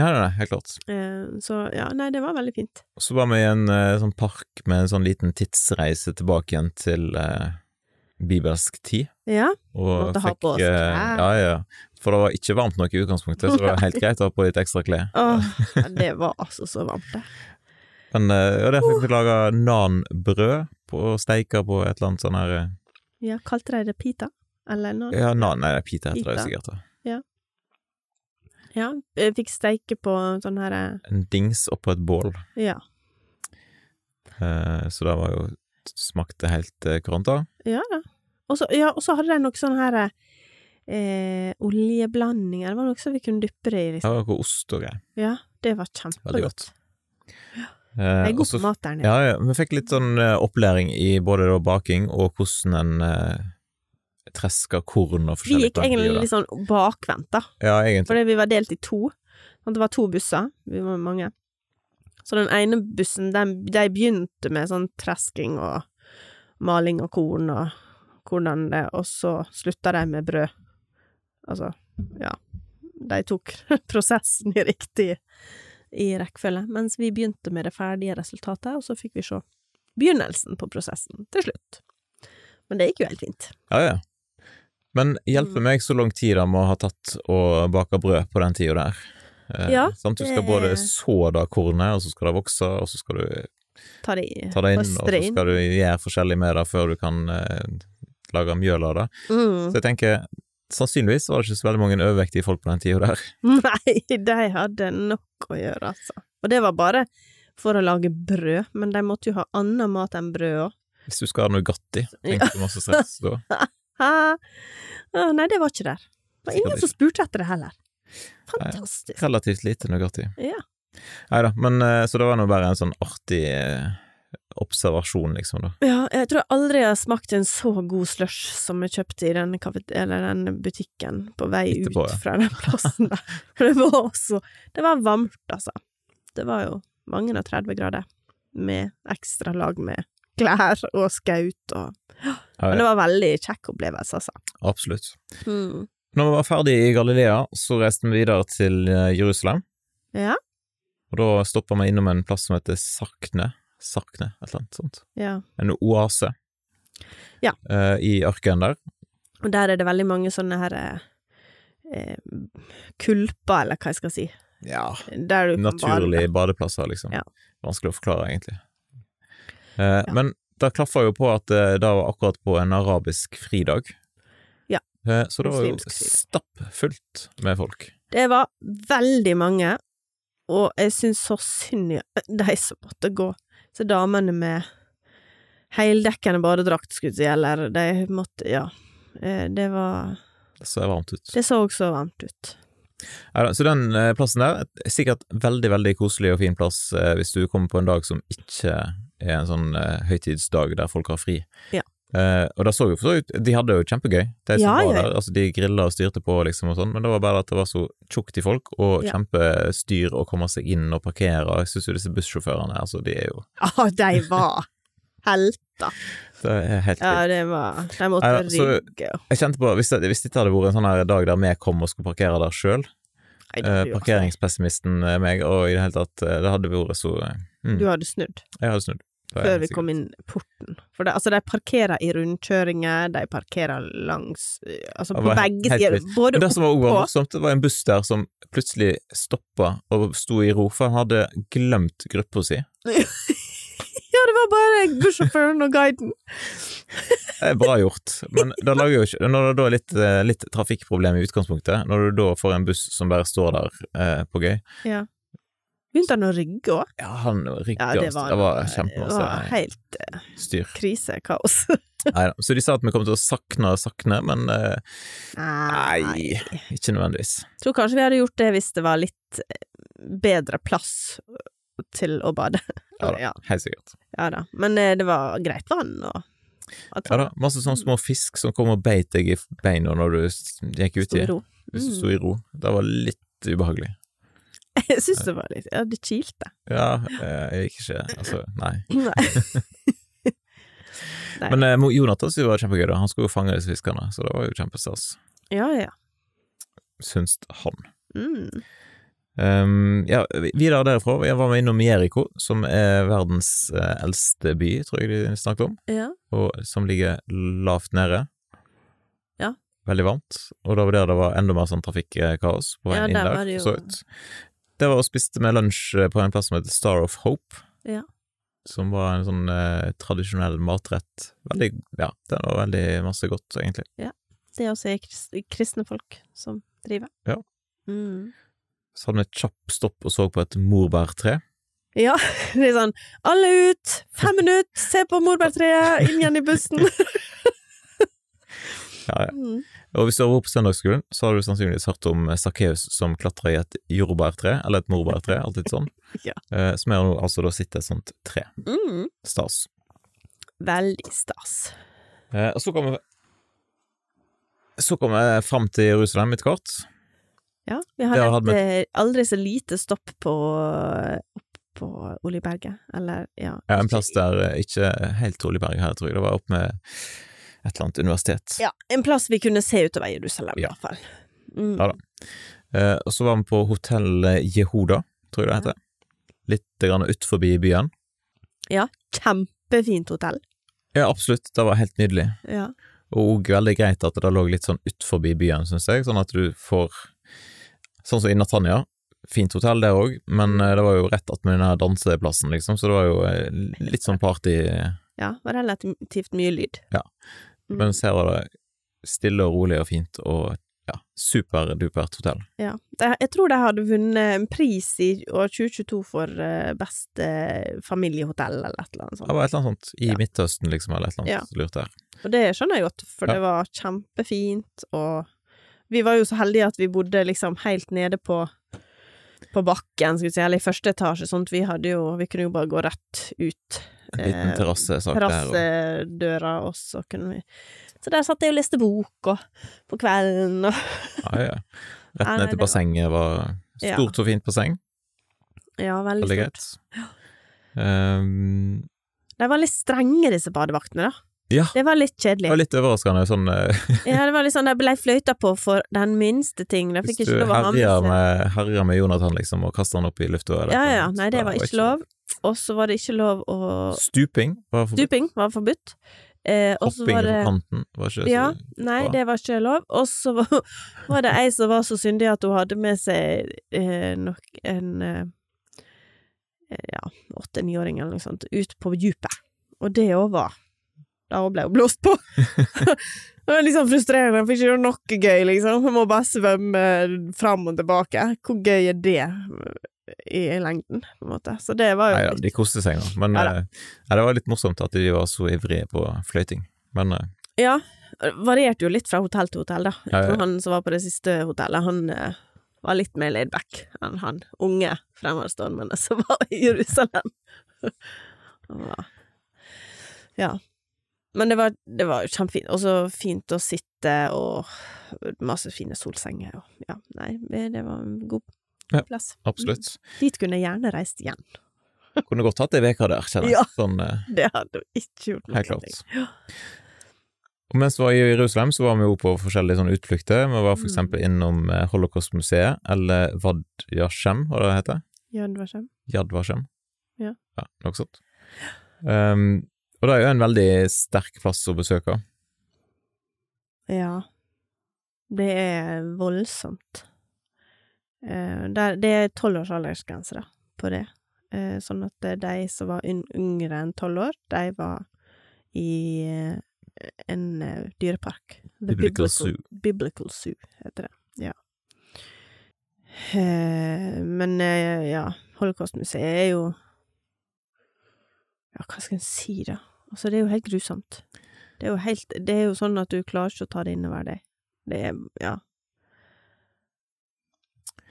Speaker 1: ja nei, nei, helt klart.
Speaker 3: Eh, så ja, nei, det var veldig fint.
Speaker 1: Og så var vi i en eh, sånn park med en sånn liten tidsreise tilbake igjen til eh, bibelsk tid.
Speaker 3: Ja,
Speaker 1: Og
Speaker 3: Måtte ha på oss
Speaker 1: eh,
Speaker 3: klær.
Speaker 1: ja, ja. For det var ikke varmt nok i utgangspunktet, så det var helt greit å ha på litt ekstra klær.
Speaker 3: Åh, ja, det var altså så varmt, det.
Speaker 1: Men eh, og der fikk vi laga nanbrød på- og steika på et eller annet sånn her eh,
Speaker 3: Ja, kalte de det pita? Eller noe?
Speaker 1: Ja, nan, nei, det er pita heter det
Speaker 3: Pita.
Speaker 1: sikkert. da.
Speaker 3: Ja, jeg fikk steike på sånn her eh,
Speaker 1: En dings oppå et bål.
Speaker 3: Ja.
Speaker 1: Eh, så det var jo Smakte helt eh, koranta.
Speaker 3: Ja da. Og så ja, og så hadde de noe sånn her eh, oljeblanding, eller var det noe som vi kunne dyppe det i?
Speaker 1: Det
Speaker 3: Liksom.
Speaker 1: var noe ost og greier.
Speaker 3: Ja, det var
Speaker 1: Veldig
Speaker 3: kjempegodt.
Speaker 1: godt.
Speaker 3: Jeg
Speaker 1: Eh,
Speaker 3: er
Speaker 1: og
Speaker 3: god
Speaker 1: så
Speaker 3: på mat der nede.
Speaker 1: Ja, ja. Vi fikk litt sånn eh, opplæring i både da baking og hvordan en eh, tresker korn og
Speaker 3: Vi
Speaker 1: forskjellige
Speaker 3: gikk egentlig
Speaker 1: planter.
Speaker 3: litt sånn bakvendt, da.
Speaker 1: Ja, egentlig.
Speaker 3: Fordi vi var delt i to. Sånn, det var to busser, vi var mange. Så den ene bussen, den, de begynte med sånn tresking og maling og korn og hvordan det Og så slutta de med brød. Altså, ja. De tok prosessen i riktig i rekkefølge. Mens vi begynte med det ferdige resultatet, og så fikk vi se begynnelsen på prosessen til slutt. Men det gikk jo helt fint.
Speaker 1: Ja, ja. Men hjelpe
Speaker 3: Mm.
Speaker 1: meg så lang tid det må ha tatt å bake brød på den tida der. Eh,
Speaker 3: Ja,
Speaker 1: sant? Du skal
Speaker 3: det-
Speaker 1: både så det kornet, og så skal det vokse, og så skal du
Speaker 3: Ta det i.
Speaker 1: ta det inn, og
Speaker 3: Høste
Speaker 1: så
Speaker 3: det inn.
Speaker 1: skal du gjøre forskjellig med det før du kan eh, lage mjøl av det.
Speaker 3: Mm.
Speaker 1: Så jeg tenker, sannsynligvis var det ikke så veldig mange overvektige folk på den tida der.
Speaker 3: Nei, de hadde nok å gjøre, altså. Og det var bare for å lage brød, men de måtte jo ha annen mat enn brød òg.
Speaker 1: Hvis du skal ha Nugatti,
Speaker 3: Ja.
Speaker 1: tenker du masse stress da.
Speaker 3: Nei, det var ikke der. Det var
Speaker 1: Sikkert
Speaker 3: ingen som spurte etter det heller. Fantastisk.
Speaker 1: Relativt lite Nugatti.
Speaker 3: Ja.
Speaker 1: Nei da, men eh, så det var nå bare en sånn artig eh, observasjon, liksom, da.
Speaker 3: Ja, jeg tror aldri jeg har smakt en så god slush som jeg kjøpte i den, kafet- eller den butikken på vei
Speaker 1: Etterpå, ja.
Speaker 3: ut fra den plassen der. For det var også Det var varmt, altså. Det var jo mange og 30 grader, med ekstra lag med klær og skaut og
Speaker 1: Ja,
Speaker 3: Men
Speaker 1: ja,
Speaker 3: det var veldig kjekk opplevelse, altså.
Speaker 1: absolutt.
Speaker 3: Mm.
Speaker 1: Når vi var ferdig i Galilea, så reiste vi videre til eh, Jerusalem.
Speaker 3: Ja.
Speaker 1: Og da stoppa vi innom en plass som heter Sakne. Sakne, et eller annet sånt.
Speaker 3: ja.
Speaker 1: En oase.
Speaker 3: Ja.
Speaker 1: Eh, I ørkenen der.
Speaker 3: Og der er det veldig mange sånne her eh, eh, kulper, eller hva jeg skal si.
Speaker 1: Ja.
Speaker 3: Der du kan
Speaker 1: Naturlige badeplasser, liksom.
Speaker 3: Ja.
Speaker 1: Vanskelig å forklare, egentlig. Eh,
Speaker 3: Ja.
Speaker 1: Men det klaffa jo på at eh, det var akkurat på en arabisk fridag.
Speaker 3: Ja.
Speaker 1: Eh, så det var jo
Speaker 3: Muslimsk fridag.
Speaker 1: stappfullt med folk.
Speaker 3: bade. Det var veldig mange, og jeg syns så synd i de som måtte gå. Så damene med heldekkende badedrakt, skulle jeg si, eller de måtte Ja. Eh, Det var
Speaker 1: Det ser varmt ut.
Speaker 3: Det så også varmt ut.
Speaker 1: Neida, Så den eh, plassen der er sikkert veldig, veldig koselig og fin plass eh, hvis du kommer på en dag som ikke er en sånn eh, høytidsdag der folk har fri.
Speaker 3: Ja.
Speaker 1: Eh, og det så jo for så ut, de hadde det jo kjempegøy, de som
Speaker 3: Ja,
Speaker 1: var
Speaker 3: ja, ja.
Speaker 1: der. Altså, de grilla og styrte på, liksom, og sånn, men det var bare at det var så tjukt i folk, og
Speaker 3: Ja.
Speaker 1: kjempestyr å komme seg inn og parkere. Jeg syns jo disse bussjåførene, altså, de er jo
Speaker 3: Ja, de var helter!
Speaker 1: Det er helt vilt.
Speaker 3: Ja, det var De måtte
Speaker 1: Neida, så-
Speaker 3: rygge.
Speaker 1: Jeg kjente på, hvis, det, hvis dette hadde vært en sånn her dag der vi kom og skulle parkere der sjøl,
Speaker 3: Nei, det
Speaker 1: eh,
Speaker 3: tror jeg.
Speaker 1: parkeringspessimisten eh, meg, og i det hele tatt, eh, det hadde vært så eh, mm,
Speaker 3: Du hadde snudd
Speaker 1: Jeg hadde snudd. Det er
Speaker 3: før
Speaker 1: helt
Speaker 3: vi
Speaker 1: sikkert.
Speaker 3: kom inn porten. For det, altså, de parkerer i rundkjøringer, de parkerer langs eh, Altså
Speaker 1: Det
Speaker 3: på
Speaker 1: var
Speaker 3: begge
Speaker 1: helt
Speaker 3: sider.
Speaker 1: vilt. Men
Speaker 3: Både
Speaker 1: Det som var også var
Speaker 3: oppå
Speaker 1: morsomt, det var en buss der som plutselig stoppa og sto i ro, for han hadde glemt gruppa si.
Speaker 3: Ja, det var bare bussjåføren og guiden.
Speaker 1: Det er bra gjort, men det lager jo ikke Når det da er litt, eh, litt trafikkproblem i utgangspunktet, når du da får en buss som bare står der eh, på gøy
Speaker 3: Ja. Begynte han å rygge òg?
Speaker 1: Ja, han rygger
Speaker 3: Ja, det var,
Speaker 1: Det var
Speaker 3: det var
Speaker 1: kjempemasse
Speaker 3: helt
Speaker 1: styr.
Speaker 3: krisekaos.
Speaker 1: Neida. Så de sa at vi kom til å sakne og sakne, men eh, nei, ikke nødvendigvis.
Speaker 3: Jeg tror kanskje vi hadde gjort det hvis det var litt eh, bedre plass til å bade.
Speaker 1: Ja da.
Speaker 3: Ja,
Speaker 1: Helt sikkert.
Speaker 3: ja da. Men eh, det var greit vann og at
Speaker 1: Ja da, masse sånne små fisk som kom og beit deg i beina når du s- gikk
Speaker 3: sto
Speaker 1: uti.
Speaker 3: i ro.
Speaker 1: hvis du
Speaker 3: Mm.
Speaker 1: sto i ro. Det var litt ubehagelig.
Speaker 3: Jeg syns det var litt Ja, det kilte.
Speaker 1: Ja, eh, jeg gikk ikke Altså, nei.
Speaker 3: Nei. Nei.
Speaker 1: Men eh, Mo- Jonathan syntes det var kjempegøy, da. Han skulle jo fange disse fiskene, så det var jo kjempestas,
Speaker 3: Ja, ja.
Speaker 1: syns han.
Speaker 3: Mm.
Speaker 1: Um, ja, vi- videre derifra jeg var vi innom Jericho, som er verdens eh, eldste by, tror jeg de snakket om,
Speaker 3: Ja.
Speaker 1: og som ligger lavt nede.
Speaker 3: Ja.
Speaker 1: Veldig varmt, og det var der det var enda mer sånn trafikkaos på
Speaker 3: Ja,
Speaker 1: veien
Speaker 3: der
Speaker 1: inn
Speaker 3: var
Speaker 1: der.
Speaker 3: det
Speaker 1: for Så
Speaker 3: jo-
Speaker 1: vidt. Det var og spiste med lunsj eh, på en plass som heter Star of Hope.
Speaker 3: Ja.
Speaker 1: Som var en sånn eh, tradisjonell matrett. Veldig, ja, den var veldig masse godt, egentlig.
Speaker 3: Det er også krist kristne folk som driver.
Speaker 1: Ja.
Speaker 3: Mm.
Speaker 1: Så hadde vi et kjapt stopp og så på et morbærtre.
Speaker 3: Ja, det er sånn Alle ut! Fem minutter! Se på morbærtreet! Inn igjen i bussen!
Speaker 1: Ja, ja.
Speaker 3: Mm.
Speaker 1: Og hvis du har vært på søndagsskolen, så har du sannsynligvis hørt om Sakkeus som klatrer i et jordbærtre, eller et morbærtre, alltid sånn,
Speaker 3: Ja.
Speaker 1: eh, som er nå altså da sitter et sånt tre.
Speaker 3: Mm.
Speaker 1: Stas.
Speaker 3: Veldig stas.
Speaker 1: Eh, og så kommer så kom jeg fram til Jerusalem etter hvert.
Speaker 3: Ja, vi
Speaker 1: Det har
Speaker 3: har
Speaker 1: hatt
Speaker 3: et eh, aldri så lite stopp på opp på Oljeberget, eller ja
Speaker 1: Ja, en plass der eh, ikke helt trolig berg her, tror jeg. Det var opp med et eller annet universitet.
Speaker 3: Ja, en plass vi kunne se utover Jerusalem, i
Speaker 1: Ja.
Speaker 3: hvert fall. Mm.
Speaker 1: Ja da. Eh, og så var vi på hotell Jehoda, tror jeg det heter. Litt grann ut forbi byen.
Speaker 3: Kjempefint hotell.
Speaker 1: Ja, absolutt. Det var helt nydelig.
Speaker 3: Ja.
Speaker 1: Og veldig greit at det lå litt sånn ut forbi byen, synes jeg. Sånn at du får Sånn som i Natanya. Fint hotell der òg, men eh, det var jo rett attmed den her danseplassen, liksom, så det var jo eh, litt sånn party.
Speaker 3: ja, var relativt mye lyd.
Speaker 1: Ja.
Speaker 3: Mm.
Speaker 1: Mens her var det stille og rolig og fint og ja, superdupert hotell.
Speaker 3: Ja. De- Jeg tror de hadde vunnet en pris i år 2022 for eh, best eh, familiehotell, eller et eller
Speaker 1: Det
Speaker 3: annet sånt.
Speaker 1: var et eller annet sånt i
Speaker 3: Ja.
Speaker 1: Midtøsten, liksom, eller et eller annet lurt der.
Speaker 3: Og det skjønner jeg godt, for
Speaker 1: Ja.
Speaker 3: det var kjempefint, og vi var jo så heldige at vi bodde liksom helt nede på på bakken, skulle vi si, eller i første etasje, sånn at vi hadde jo Vi kunne jo bare gå rett ut
Speaker 1: En liten
Speaker 3: Eh,
Speaker 1: terrassesak der. Og,
Speaker 3: terrassedøra, og så kunne vi Så der satt jeg og leste bok, og på kvelden, og
Speaker 1: ja, ja. Rett
Speaker 3: Nei, nei,
Speaker 1: ned
Speaker 3: det
Speaker 1: til
Speaker 3: var-
Speaker 1: bassenget var
Speaker 3: Ja.
Speaker 1: stort og fint basseng.
Speaker 3: Ja, veldig
Speaker 1: Veldig
Speaker 3: stort.
Speaker 1: greit. Um,
Speaker 3: De var litt strenge, disse badevaktene, da.
Speaker 1: ja,
Speaker 3: Det var litt
Speaker 1: det
Speaker 3: kjedelig.
Speaker 1: var litt overraskende. Sånn, eh,
Speaker 3: Ja, det var litt sånn, De ble fløyta på for den minste ting. De
Speaker 1: hvis
Speaker 3: fikk
Speaker 1: du
Speaker 3: ikke lov å ha med
Speaker 1: herjer
Speaker 3: seg
Speaker 1: med, herjer med Jonathan liksom, og kaster han opp i lufta eller
Speaker 3: Ja,
Speaker 1: et eller
Speaker 3: ja,
Speaker 1: annet,
Speaker 3: nei, det var ikke lov. Og så var det ikke lov å
Speaker 1: Stuping var forbudt.
Speaker 3: Duping var forbudt. Eh, og så
Speaker 1: Hopping
Speaker 3: var
Speaker 1: fra
Speaker 3: det
Speaker 1: kanten var ikke så
Speaker 3: Ja, Nei,
Speaker 1: bra.
Speaker 3: det var ikke lov. Og så var, var det ei som var så syndig at hun hadde med seg eh, nok en eh, Ja, åtte-niåring eller noe sånt, ut på dypet. Og det òg var Da hun ble hun blåst på. det var litt sånn frustrerende, for ikke gjøre noe gøy, liksom. Hun må bare svømme fram og tilbake. Hvor gøy er det i lengden, på en måte? Så det var jo
Speaker 1: Nei da, de koste seg nå. Men
Speaker 3: Ja da.
Speaker 1: eh, nei, det var litt morsomt at de var så ivrige på fløyting. Men eh,
Speaker 3: Ja, varierte jo litt fra hotell til hotell, da. Jeg
Speaker 1: Ja, ja, ja.
Speaker 3: tror han som var på det siste hotellet, han eh, var litt mer laid back enn han unge fremadstormende som var i Jerusalem. Han var- ja. Men det var, det var kjempefint. Og så fint å sitte, og masse fine solsenger. Og, ja, nei, det var en god
Speaker 1: Ja.
Speaker 3: plass.
Speaker 1: absolutt.
Speaker 3: Dit kunne jeg gjerne reist igjen.
Speaker 1: Kunne godt hatt ei uke der, kjenner jeg.
Speaker 3: Mm. Ja.
Speaker 1: Sånn, eh,
Speaker 3: Det hadde jeg ikke gjort
Speaker 1: Helt
Speaker 3: noe.
Speaker 1: klart. Og mens vi var i Jerusalem, så var vi jo på forskjellige sånne utflukter. Vi var for
Speaker 3: Mm.
Speaker 1: eksempel innom eh, Holocaustmuseet, eller Vad Yashem, hva det heter.
Speaker 3: Ja, det var kjempe.
Speaker 1: Yad Vashem.
Speaker 3: Ja.
Speaker 1: ja. Noe sånt. Um, og det er jo en veldig sterk plass å besøke.
Speaker 3: Ja. Det er voldsomt. Eh, der, det er tolvårsaldersgrense, da, på det. Eh, sånn at eh, de som var un yngre enn tolv år, de var i eh, en eh, dyrepark. The
Speaker 1: Biblical Zoo.
Speaker 3: Biblical Zoo, heter det. Ja. Eh, men eh, ja, Holocaustmuseet er jo Ja, hva skal en si, da? Altså, det er jo helt grusomt. Det er jo helt Det er jo sånn at du klarer ikke å ta det innover deg. Det er Ja.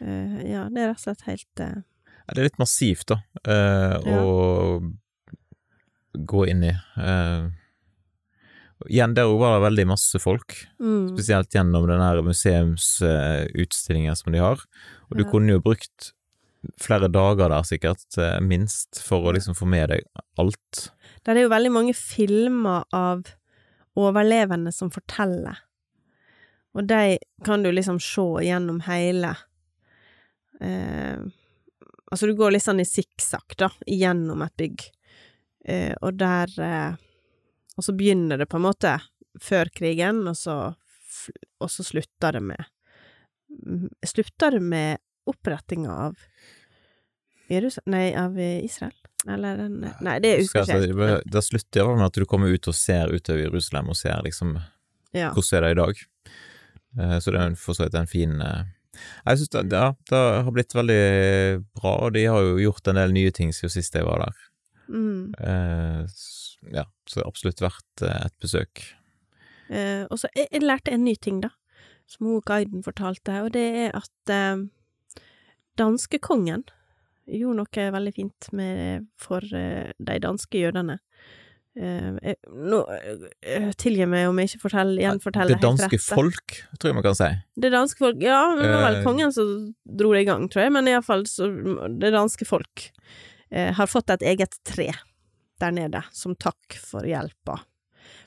Speaker 3: Eh, ja, det er rett og slett helt eh,
Speaker 1: Ja, Det er litt massivt, da, eh, å gå inn i. Eh, igjen, der òg var det veldig masse folk.
Speaker 3: mm.
Speaker 1: spesielt gjennom den her museumsutstillingen som de har. Og du
Speaker 3: Ja.
Speaker 1: kunne jo brukt flere dager der sikkert, eh, minst, for å liksom få med deg alt.
Speaker 3: Der er jo veldig mange filmer av overlevende som forteller. Og de kan du liksom se gjennom hele eh, Altså, du går litt sånn i sikksakk, da, gjennom et bygg. Eh, og der eh, Og så begynner det på en måte før krigen, og så, fl- og så slutter det med m- Slutter det med opprettinga av Jerusal... Nei, av eh, Israel? Eller den Nei, det husker jeg ikke. helt.
Speaker 1: det, det slutter iallfall med at du kommer ut og ser utover Jerusalem og ser liksom
Speaker 3: Ja.
Speaker 1: hvordan er det i dag. Eh, Så det er jo en- for så vidt en fin eh, Jeg synes det, ja, det har blitt veldig bra, og de har jo gjort en del nye ting siden sist jeg var der.
Speaker 3: Mm.
Speaker 1: Eh, s- ja, så det er absolutt verdt eh, et besøk.
Speaker 3: Eh, og så jeg, jeg lærte en ny ting, da, som hun guiden fortalte, og det er at eh, danskekongen gjorde noe veldig fint med, for eh, de danske jødene. Eh, jeg, nå eh, tilgi meg om jeg ikke forteller, gjenforteller
Speaker 1: det danske
Speaker 3: helt rett. eh. da.
Speaker 1: folk, tror jeg man kan si.
Speaker 3: Det danske folk Ja, det var vel
Speaker 1: Eh.
Speaker 3: kongen som dro det i gang, tror jeg, men iallfall så Det danske folk eh, har fått et eget tre der nede som takk for hjelpa.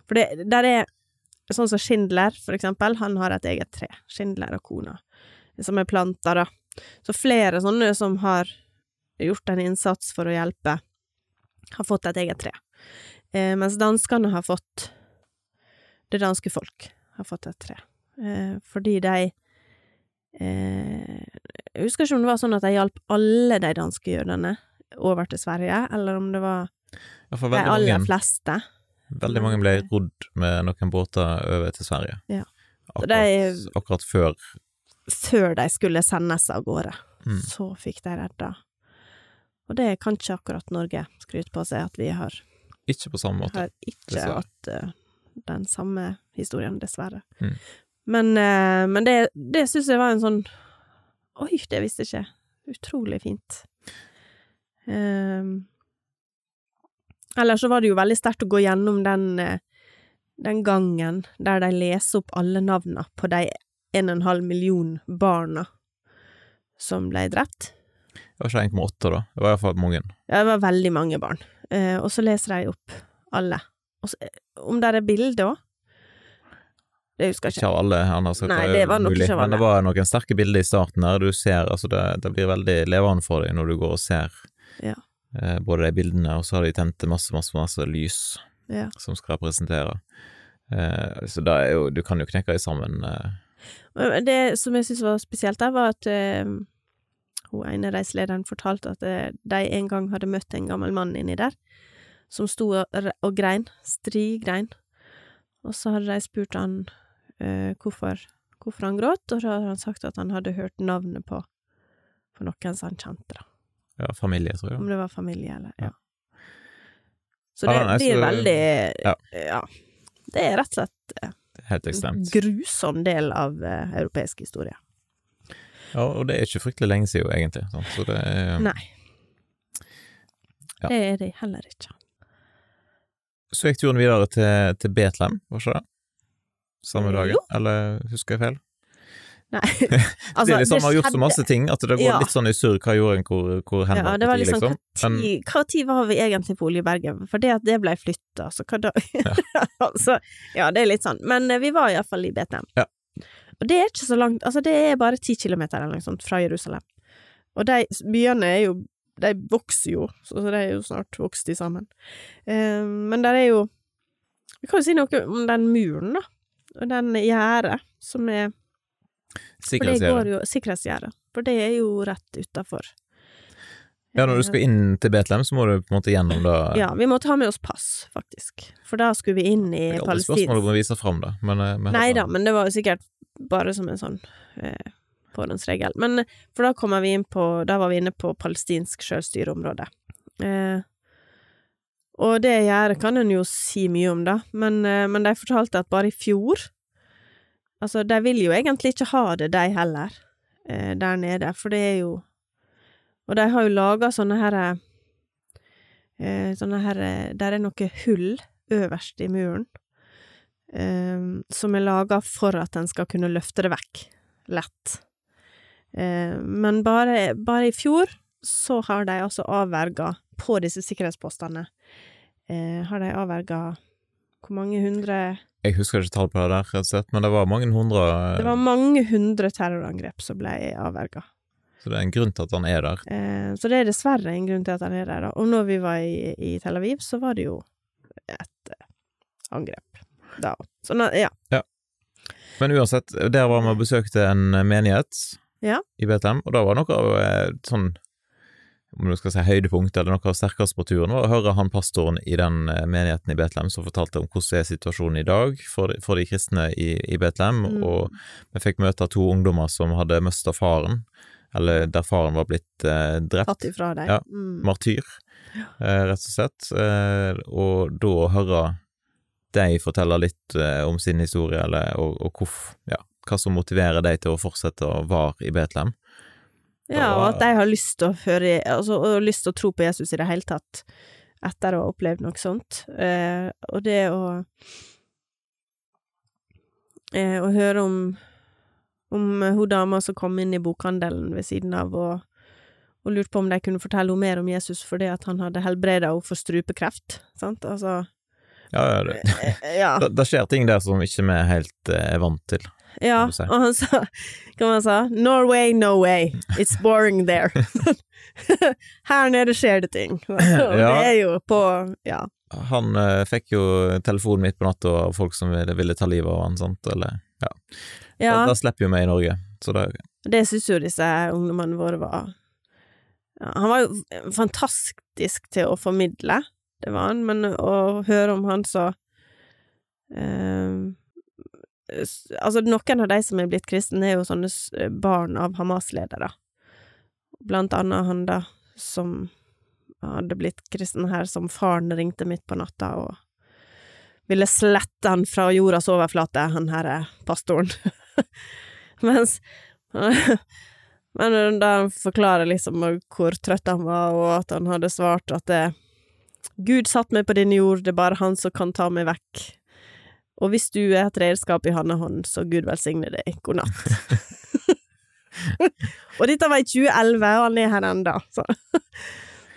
Speaker 3: For det der er Sånn som Schindler, for eksempel, han har et eget tre. Schindler og kona. Som er planta, da. Så flere sånne som har gjort en innsats for å hjelpe, har fått et eget tre. Eh, mens danskene har fått Det danske folk har fått et tre. Eh, fordi de eh, Jeg husker ikke om det var sånn at de hjalp alle de danske jødene over til Sverige, eller om det var
Speaker 1: Ja, for
Speaker 3: de
Speaker 1: veldig mange,
Speaker 3: aller fleste.
Speaker 1: Veldig mange ble rodd med noen båter over til Sverige.
Speaker 3: Ja. Så det er-
Speaker 1: Akkurat, akkurat før.
Speaker 3: Før de skulle sendes av gårde.
Speaker 1: Mm.
Speaker 3: Så fikk de redda. Og det kan ikke akkurat Norge skryte på seg, at vi har,
Speaker 1: Ikke på samme måte.
Speaker 3: har ikke
Speaker 1: dessverre.
Speaker 3: hatt eh, den samme historien, dessverre.
Speaker 1: Mm.
Speaker 3: Men, eh, men det, det syns jeg var en sånn Oi, det visste jeg ikke. Utrolig fint. Ehm, Eller så var det jo veldig sterkt å gå gjennom den, eh, den gangen der de leser opp alle navnene på de en og en halv million barna som ble drept.
Speaker 1: Det var ikke 1,8 da, det var iallfall mange.
Speaker 3: Ja, det var veldig mange barn. Eh, og så leser de opp alle. Og så, eh, om det er bilder òg? Det husker jeg ikke.
Speaker 1: Ikke av alle, annars så
Speaker 3: Nei,
Speaker 1: er
Speaker 3: det var nok
Speaker 1: mulig.
Speaker 3: ikke av
Speaker 1: Men det
Speaker 3: alle.
Speaker 1: var noen sterke bilder i starten her, du ser, altså det, det blir veldig levende for deg når du går og ser
Speaker 3: Ja.
Speaker 1: eh, både de bildene, og så har de tent masse, masse, masse lys
Speaker 3: Ja.
Speaker 1: som skal representere. Eh, så det er jo, du kan jo knekke dem sammen. Eh,
Speaker 3: Men Det som jeg syntes var spesielt der, var at eh, hun ene reiselederen fortalte at eh, de en gang hadde møtt en gammel mann inni der, som sto og, r- og grein, strigrein. Og så hadde de spurt han eh, hvorfor, hvorfor han gråt, og da hadde han sagt at han hadde hørt navnet på, på noen som han kjente, da.
Speaker 1: ja, familie, tror jeg.
Speaker 3: Om det var familie, eller
Speaker 1: Ja.
Speaker 3: ja. Så
Speaker 1: Ja,
Speaker 3: det
Speaker 1: nei,
Speaker 3: blir
Speaker 1: så-
Speaker 3: veldig
Speaker 1: ja.
Speaker 3: ja. Det er rett og slett
Speaker 1: Helt
Speaker 3: en
Speaker 1: ekstremt.
Speaker 3: grusom del av eh, europeisk historie.
Speaker 1: Ja, og det er ikke fryktelig lenge siden, jo, egentlig. Sant? Så det er, eh,
Speaker 3: Nei.
Speaker 1: Ja.
Speaker 3: Det er de heller ikke.
Speaker 1: Så gikk turen videre til, til Betlehem, var ikke det? Samme dagen,
Speaker 3: Jo.
Speaker 1: eller husker jeg feil?
Speaker 3: Nei.
Speaker 1: det er liksom, man har gjort så
Speaker 3: Altså, skjedde-
Speaker 1: masse ting at det går
Speaker 3: Ja.
Speaker 1: litt sånn i surr hva gjorde en, hvor, hvor hen
Speaker 3: Ja, det var
Speaker 1: når,
Speaker 3: liksom,
Speaker 1: liksom.
Speaker 3: Hva tid- hva tid var vi egentlig på Oljeberget? For det at det ble flytta, så hva da? altså, ja, det er litt sånn. Men eh, vi var iallfall i Betlehem.
Speaker 1: Ja.
Speaker 3: Og det er ikke så langt, altså det er bare ti kilometer eller noe sånt fra Jerusalem. Og de byene er jo, de vokser jo, så så de er jo snart vokst i sammen. Eh, men der er jo Vi kan jo si noe om den muren, da. Og den gjerdet som er For det går
Speaker 1: Sikkerhetsgjerdet.
Speaker 3: jo Sikkerhetsgjerdet. For det er jo rett utafor.
Speaker 1: Ja, når du skal inn til Betlehem, så må du på en måte gjennom det.
Speaker 3: Ja, vi må ta med oss pass, faktisk. For da skulle vi inn i
Speaker 1: det er aldri
Speaker 3: Palestina.
Speaker 1: spørsmål om å vise fram det, men, eh, men
Speaker 3: Nei da, men det var jo sikkert bare som en sånn eh, forhåndsregel. Men eh, for da kommer vi inn på Da var vi inne på palestinsk sjølstyreområde. Eh, og det gjerdet kan en jo si mye om, da, men, eh, men de fortalte at bare i fjor Altså, de vil jo egentlig ikke ha det, de heller, eh, der nede, for det er jo Og de har jo laga sånne her eh, Sånne her eh, Der er noe hull øverst i muren eh, som er laga for at en skal kunne løfte det vekk lett. Eh, men bare, bare i fjor så har de altså avverga, på disse sikkerhetspostene, eh, har de avverga hvor mange hundre
Speaker 1: Jeg husker ikke tall på det der, rett og slett, men det var mange hundre, eh,
Speaker 3: Det var mange hundre terrorangrep som ble avverga.
Speaker 1: så det er en grunn til at han er der.
Speaker 3: Eh, så det er dessverre en grunn til at han er der, da. Og når vi var i, i Tel Aviv, så var det jo et eh, angrep da òg. Så nå, ja.
Speaker 1: Men uansett, der var vi og besøkte en eh, menighet
Speaker 3: Ja.
Speaker 1: i Betlehem, og det var noe av eh, sånn om du skal si høydepunkt eller noe av sterkest på turen, var å høre han pastoren i den eh, menigheten i Betlehem som fortalte om hvordan er situasjonen i dag for de, for de kristne i, i Betlehem,
Speaker 3: Mm.
Speaker 1: og vi fikk møte to ungdommer som hadde mista faren, eller der faren var blitt eh, drept,
Speaker 3: Tatt ifra deg.
Speaker 1: Ja.
Speaker 3: Mm.
Speaker 1: martyr, eh, rett og slett, eh, og da å høre de fortelle litt eh, om sin historie, eller, og, og hvorf- ja, hva som motiverer de til å fortsette å være i Betlehem.
Speaker 3: Ja, og at de har lyst til å høre altså, og lyst til å tro på Jesus i det hele tatt etter å ha opplevd noe sånt. Eh, og det å eh, Å høre om om hun dama som kom inn i bokhandelen ved siden av og, og lurte på om de kunne fortelle henne mer om Jesus fordi at han hadde helbreda henne for strupekreft, sant? Altså
Speaker 1: Ja, ja, det,
Speaker 3: eh, Ja.
Speaker 1: Det, det skjer ting der som ikke vi er helt eh, er vant til.
Speaker 3: Ja,
Speaker 1: kan du si.
Speaker 3: og han sa Hva var det han sa? Norway, no way. It's boring there. Her nede skjer det ting. Og Det er jo på Ja.
Speaker 1: Han eh, fikk jo telefonen midt på natta av folk som ville, ville ta livet av han, sant, eller ja.
Speaker 3: ja
Speaker 1: Det, det slipper jo vi i Norge, så det
Speaker 3: det syns jo disse ungdommene våre var ja, Han var jo fantastisk til å formidle, det var han, men å høre om han så eh, s- Altså, noen av de som er blitt kristne, er jo sånne s- barn av Hamas-ledere. Blant annet han da, som hadde blitt kristen her, som faren ringte midt på natta og ville slette han fra jordas overflate, han herre pastoren. Mens Men da han forklarer liksom hvor trøtt han var, og at han hadde svart at det, Gud satt meg på denne jord, det er bare han som kan ta meg vekk. Og hvis du er et redskap i hans hånd, så Gud velsigne deg. God natt. og dette var i 2011, og han er her ennå, så.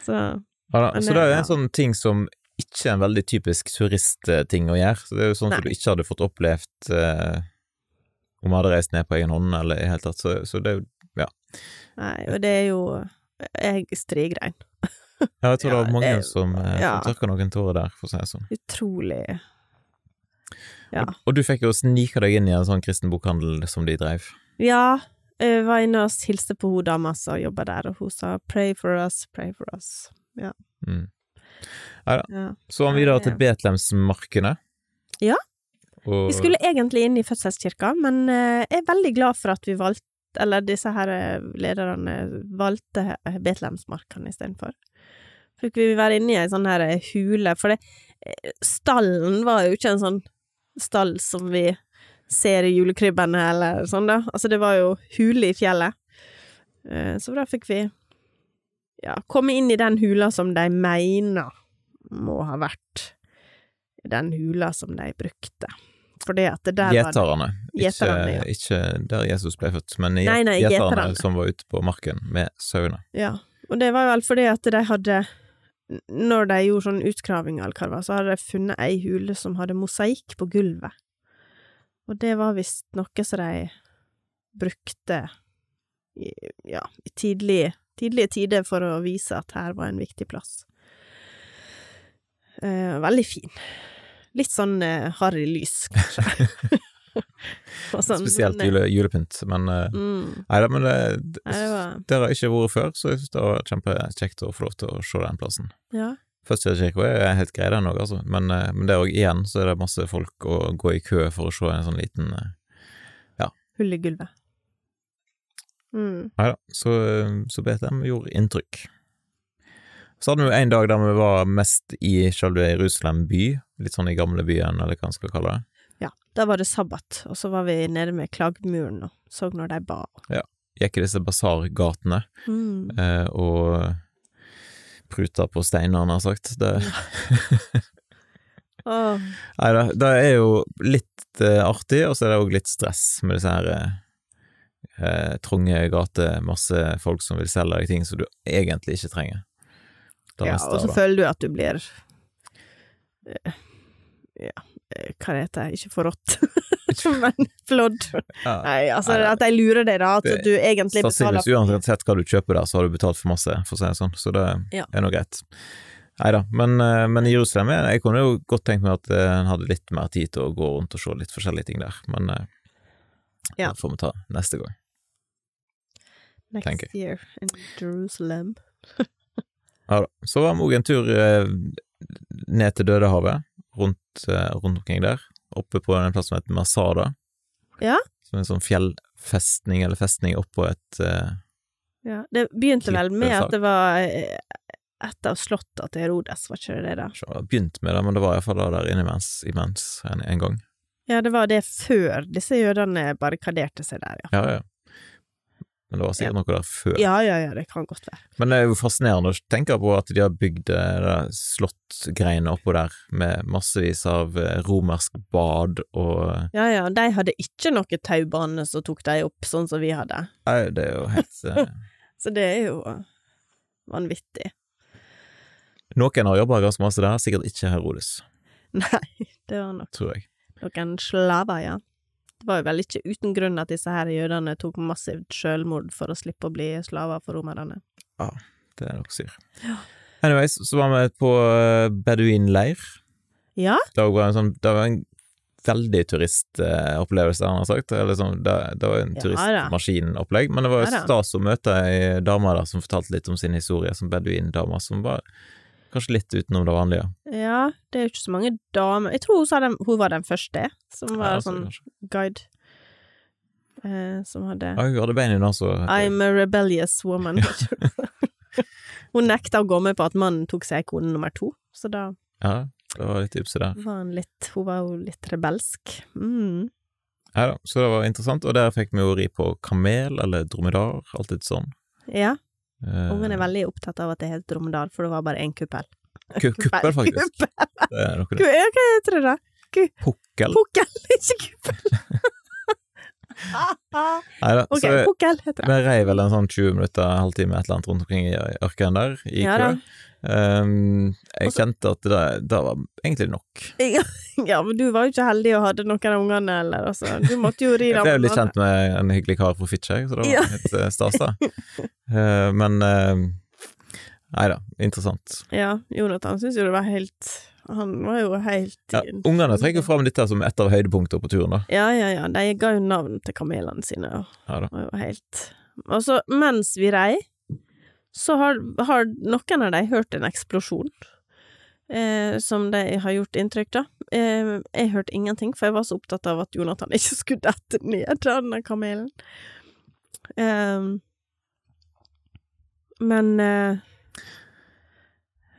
Speaker 3: så
Speaker 1: ja, da.
Speaker 3: Men
Speaker 1: Så det er jo
Speaker 3: ja.
Speaker 1: en sånn ting som ikke er en veldig typisk turistting å gjøre. Så det er jo sånn
Speaker 3: Nei.
Speaker 1: som du ikke hadde fått opplevd eh, om vi hadde reist ned på egen hånd, eller i det hele tatt. Så, så det er jo
Speaker 3: Nei, og det er jo Jeg strigrein.
Speaker 1: ja, Jeg tror
Speaker 3: Ja,
Speaker 1: det var mange
Speaker 3: det-
Speaker 1: som, eh,
Speaker 3: ja.
Speaker 1: som tørka noen tårer der, for å si det sånn.
Speaker 3: Utrolig Ja.
Speaker 1: Og, og du fikk jo snika deg inn i en sånn kristen bokhandel som de dreiv.
Speaker 3: Ja, jeg var inne og hilste på hun dama som jobba der, og hun sa 'pray for us, pray for us'.
Speaker 1: Mm.
Speaker 3: Ja.
Speaker 1: Så han videre til Betlehemsmarkene.
Speaker 3: Ja.
Speaker 1: Og,
Speaker 3: Vi skulle egentlig inn i fødselskirka, men eh, jeg er veldig glad for at vi valgte eller disse her eh, lederne valgte eh, Betlehemsmarkene istedenfor. Fikk vi være inne i ei sånn her eh, hule, for det, eh, stallen var jo ikke en sånn stall som vi ser i julekrybbene eller sånn, da. Altså, det var jo hule i fjellet. Eh, Så da fikk vi ja, komme inn i den hula som de mener må ha vært den hula som de brukte. Fordi at det der var det-
Speaker 1: Gjeterne. Ikke,
Speaker 3: Gjeterne, ja.
Speaker 1: ikke der Jesus ble født, men
Speaker 3: Nei, nei,
Speaker 1: gjeterne
Speaker 3: gjeterne.
Speaker 1: som var ute på marken med sauene.
Speaker 3: Ja, og det var vel fordi at de hadde n- Når de gjorde sånn utgraving, eller hva det var, så hadde de funnet ei hule som hadde mosaikk på gulvet. Og det var visst noe som de brukte i, ja, i tidlig, tidlige tider for å vise at her var en viktig plass. Eh, veldig fin. Litt sånn eh, harry lys, kanskje. Og sånn-
Speaker 1: Spesielt
Speaker 3: sånn, eh,
Speaker 1: jule, julepynt, men eh,
Speaker 3: Mm,
Speaker 1: Nei da, men det,
Speaker 3: Nei, det var-
Speaker 1: der har jeg ikke vært før, så jeg syns det var kjempekjekt å få lov til å se den plassen.
Speaker 3: ja.
Speaker 1: Førstekirka er helt grei, den òg, altså, men, eh, men der òg igjen så er det masse folk å gå i kø for å se en sånn liten eh,
Speaker 3: Hull i gulvet. Mm.
Speaker 1: Nei da, så, eh, så BTM gjorde inntrykk. Så hadde vi jo en dag der vi var mest i selve Jerusalem by, litt sånn i gamlebyen, eller hva en skal kalle det.
Speaker 3: Ja, da var det sabbat, og så var vi nede med klaggmuren og så når de ba.
Speaker 1: Gikk i disse basargatene eh, og pruta på steiner, nær sagt. Det,
Speaker 3: Åh,
Speaker 1: nei da, det er jo litt eh, artig, og så er det òg litt stress med disse her eh, eh, trange gater, masse folk som vil selge deg ting som du egentlig ikke trenger. Det
Speaker 3: ja,
Speaker 1: meste
Speaker 3: og
Speaker 1: av
Speaker 3: så
Speaker 1: det.
Speaker 3: føler du at du blir eh, Ja, eh, hva det heter det? Ikke forrådt, men flådd.
Speaker 1: Ja.
Speaker 3: Nei, altså
Speaker 1: Nei, nei.
Speaker 3: at de lurer deg, da. At
Speaker 1: Det-
Speaker 3: du egentlig betaler
Speaker 1: Sannsynligvis uansett hva du kjøper der, så har du betalt for masse, for å si det sånn, så det
Speaker 3: Ja.
Speaker 1: er nå greit. Nei da, men, eh, men i Jerusalem jeg, jeg kunne jo godt tenkt meg at eh, en hadde litt mer tid til å gå rundt og se litt forskjellige ting der, men eh,
Speaker 3: Ja.
Speaker 1: det får vi ta neste gang.
Speaker 3: next
Speaker 1: tenker
Speaker 3: year in Jerusalem.
Speaker 1: Ja da. Så var vi òg en tur eh, ned til Dødehavet, rundt, eh, rundt omkring der. Oppe på en plass som heter Masada.
Speaker 3: Ja.
Speaker 1: Som er en sånn fjellfestning, eller festning oppå et eh,
Speaker 3: Ja, det begynte vel med
Speaker 1: Klippesak.
Speaker 3: at det var eh, et av slotta til Herodes, var ikke det det der?
Speaker 1: ikke om jeg har begynt med det, men det var iallfall det der inne mens, imens en, en gang.
Speaker 3: Ja, det var det før disse jødene barrikaderte seg der, ja.
Speaker 1: Ja, ja. Men det var sikkert noe der før.
Speaker 3: Ja, ja, ja, det kan godt være.
Speaker 1: Men det er jo fascinerende å tenke på at de har bygd eh, det slottgreiene oppå der med massevis av eh, romersk bad og eh,
Speaker 3: Ja, ja, de hadde ikke noe taubane som tok de opp, sånn som vi hadde.
Speaker 1: Nei, det er jo helt eh,
Speaker 3: Så det er jo eh, vanvittig.
Speaker 1: Noen har jobba ganske masse der, sikkert ikke Herodes,
Speaker 3: Nei, det var nok
Speaker 1: tror jeg.
Speaker 3: noen slaver, ja. Det var jo vel ikke uten grunn at disse her jødene tok massivt selvmord for å slippe å bli slaver for romerne.
Speaker 1: Det er nok syr. Anyways, så var vi på eh, beduinleir.
Speaker 3: Ja,
Speaker 1: Det var en, sånn, det var en veldig turistopplevelse, han har sagt. Eller sånn, det, det var en
Speaker 3: Ja da.
Speaker 1: turistmaskinopplegg. Men det var jo
Speaker 3: Ja da.
Speaker 1: stas å møte ei dame der som fortalte litt om sin historie som beduindame, som var kanskje litt utenom det vanlige.
Speaker 3: ja, det er jo ikke så mange damer Jeg tror hun, sa den, hun var den første som var
Speaker 1: Ja, altså,
Speaker 3: sånn
Speaker 1: kanskje.
Speaker 3: guide, eh, som hadde
Speaker 1: ja, hun hadde bein i nesa.
Speaker 3: I'm a rebellious woman. hun nekta å gå med på at mannen tok seg kone nummer to, så da
Speaker 1: Ja, det var litt ypse der.
Speaker 3: var han litt Hun var jo litt rebelsk. Mm.
Speaker 1: Ja da, så det var interessant. Og der fikk vi jo ri på kamel eller dromedar, alltid sånn.
Speaker 3: Ja,
Speaker 1: Eh,
Speaker 3: ungen er veldig opptatt av at det het Dromedar, for det var bare én kuppel.
Speaker 1: ku- Kuppel, faktisk.
Speaker 3: Kuppel.
Speaker 1: Det er noe
Speaker 3: Ku-
Speaker 1: det.
Speaker 3: ja, Hva heter det, da?
Speaker 1: Pukkel.
Speaker 3: Pukkel, ikke kuppel!
Speaker 1: Nei da.
Speaker 3: ok,
Speaker 1: Så vi-
Speaker 3: pukkel heter det.
Speaker 1: vi rei vel en sånn 20 minutter, en halvtime, et eller annet rundt omkring i ørkenen der, i
Speaker 3: Ja da.
Speaker 1: kø. Ehm, jeg
Speaker 3: Og så-
Speaker 1: kjente at det, det var egentlig nok.
Speaker 3: Ja, men du var jo ikke heldig og hadde noen av ungene, eller altså. Du måtte jo ri
Speaker 1: Jeg
Speaker 3: dem.
Speaker 1: ble jo litt kjent med en hyggelig kar fra Fitjar, så det var
Speaker 3: Ja.
Speaker 1: litt eh, stas, da. Eh, men eh, Nei da, interessant.
Speaker 3: Ja, Jonathan syns jo det var helt Han var jo helt
Speaker 1: Ja, ungene trekker fram dette som et av høydepunktene på turen, da.
Speaker 3: Ja, ja, ja. De ga jo navn til kamelene sine. og
Speaker 1: Ja da.
Speaker 3: Det var jo helt Og så, mens vi rei, så har, har noen av dem hørt en eksplosjon. Eh, som de har gjort inntrykk, da. Eh, jeg hørte ingenting, for jeg var så opptatt av at Jonathan ikke skulle dette ned, denne kamelen. Eh, men eh,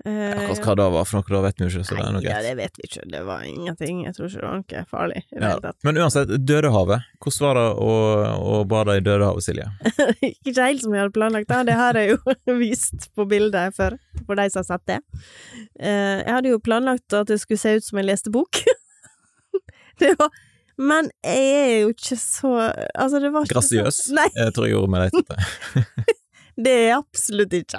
Speaker 3: eh,
Speaker 1: Akkurat hva det var for noe, da vet vi jo ikke, så det er
Speaker 3: Nei,
Speaker 1: noe
Speaker 3: ja,
Speaker 1: greit.
Speaker 3: det vet vi ikke. Det var ingenting. Jeg tror ikke det var noe farlig i det
Speaker 1: Ja.
Speaker 3: hele tatt.
Speaker 1: Men uansett, Dødehavet. Hvordan var det å, å bade i Dødehavet, Silje?
Speaker 3: ikke helt som jeg hadde planlagt, da. Det har jeg jo vist på bildet før, for de som har sett det. Eh, jeg hadde jo planlagt at det skulle se ut som jeg leste bok. det var Men jeg er jo ikke så Altså, det var ikke så-
Speaker 1: Grasiøs?
Speaker 3: Nei,
Speaker 1: Jeg tror jeg gjorde meg litt
Speaker 3: det er jeg absolutt ikke.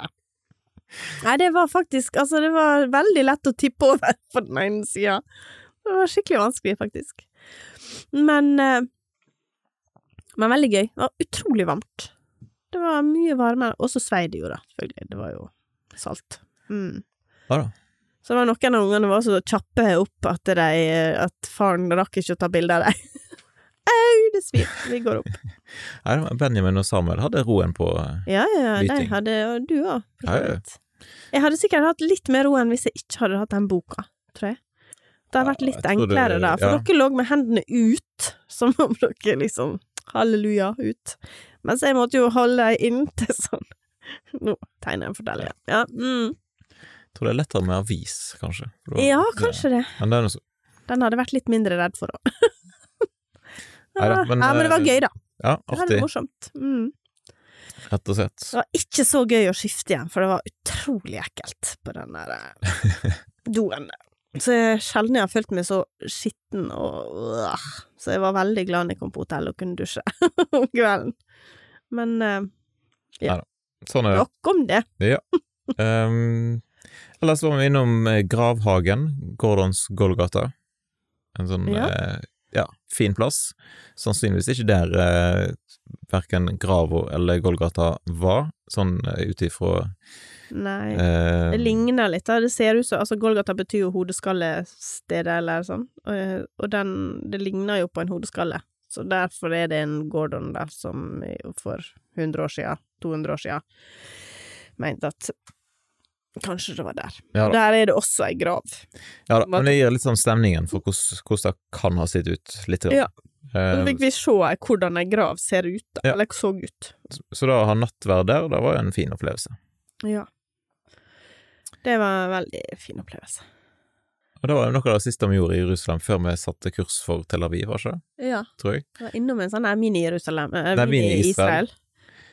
Speaker 3: Nei, det var faktisk Altså, det var veldig lett å tippe over på den ene sida. Det var skikkelig vanskelig, faktisk. Men eh, Men veldig gøy. Det var utrolig varmt. Det var mye varmere. Og så svei det jo, da, selvfølgelig. Det var jo salt. Mm.
Speaker 1: Ja da.
Speaker 3: Så det var noen av ungene var så kjappe opp at, de, at faren rakk ikke å ta bilde av dem. Au, det svir. Vi går opp.
Speaker 1: Nei, det var Benjamin og Samuel hadde roen på eh,
Speaker 3: Ja, ja, ja, de
Speaker 1: Lyting.
Speaker 3: hadde Og du òg, for så
Speaker 1: Ja, ja.
Speaker 3: vidt. Jeg hadde sikkert hatt litt mer ro enn hvis jeg ikke hadde hatt den boka, tror jeg. Det hadde
Speaker 1: Ja,
Speaker 3: vært litt
Speaker 1: jeg tror det-
Speaker 3: enklere da, for
Speaker 1: ja.
Speaker 3: dere lå med hendene ut, som om dere liksom Halleluja, ut. Mens jeg måtte jo holde dem inntil sånn. Nå tegner jeg en fortelling. Ja, mm.
Speaker 1: Jeg tror det er lettere med avis, kanskje. For det var-
Speaker 3: ja kanskje det.
Speaker 1: Men det er noe så...
Speaker 3: Den hadde vært litt mindre redd for òg. Ja,
Speaker 1: Neida, men,
Speaker 3: men det var
Speaker 1: eh,
Speaker 3: gøy, da.
Speaker 1: Ja,
Speaker 3: Det var
Speaker 1: artig,
Speaker 3: morsomt. Mm.
Speaker 1: rett og slett.
Speaker 3: Det var ikke så gøy å skifte igjen, for det var utrolig ekkelt på den der eh, doen. Så jeg sjelden jeg har følt meg så skitten og øh, Så jeg var veldig glad når jeg kom på hotell og kunne dusje om kvelden. Men eh,
Speaker 1: Sånn er det.
Speaker 3: nok om det.
Speaker 1: Ehm, ellers var vi innom eh, Gravhagen, Gordons Golgata. En sånn
Speaker 3: Ja.
Speaker 1: ja. ja, fin plass. Sannsynligvis ikke der eh, verken Gravo eller Golgata var, sånn eh, ut ifra
Speaker 3: Nei.
Speaker 1: eh,
Speaker 3: Det ligner litt, da. Det ser ut som Altså, Golgata betyr jo hodeskallestedet, eller sånn. Og, og den Det ligner jo på en hodeskalle. Så derfor er det en Gordon der som jo for 100 år siden, 200 år siden, mente at Kanskje det var der.
Speaker 1: Ja da.
Speaker 3: Der er det også ei grav.
Speaker 1: Ja, da. Men det gir litt sånn stemningen for hvordan, hvordan det kan ha sett ut. litt. grann.
Speaker 3: Ja.
Speaker 1: Eh,
Speaker 3: Da fikk vi se hvordan ei grav ser ut, da.
Speaker 1: Ja.
Speaker 3: Eller så ut.
Speaker 1: så da å ha nattverd der, det var jo en fin opplevelse.
Speaker 3: Ja. Det var en veldig fin opplevelse.
Speaker 1: Og det var jo noe av det siste vi gjorde i Jerusalem før vi satte kurs for Tel Aviv, var ikke det?
Speaker 3: Ja.
Speaker 1: Tror jeg.
Speaker 3: Jeg var innom en sånn her mini-Jerusalem, eh,
Speaker 1: Det er mini-Israel.
Speaker 3: mini-Israel.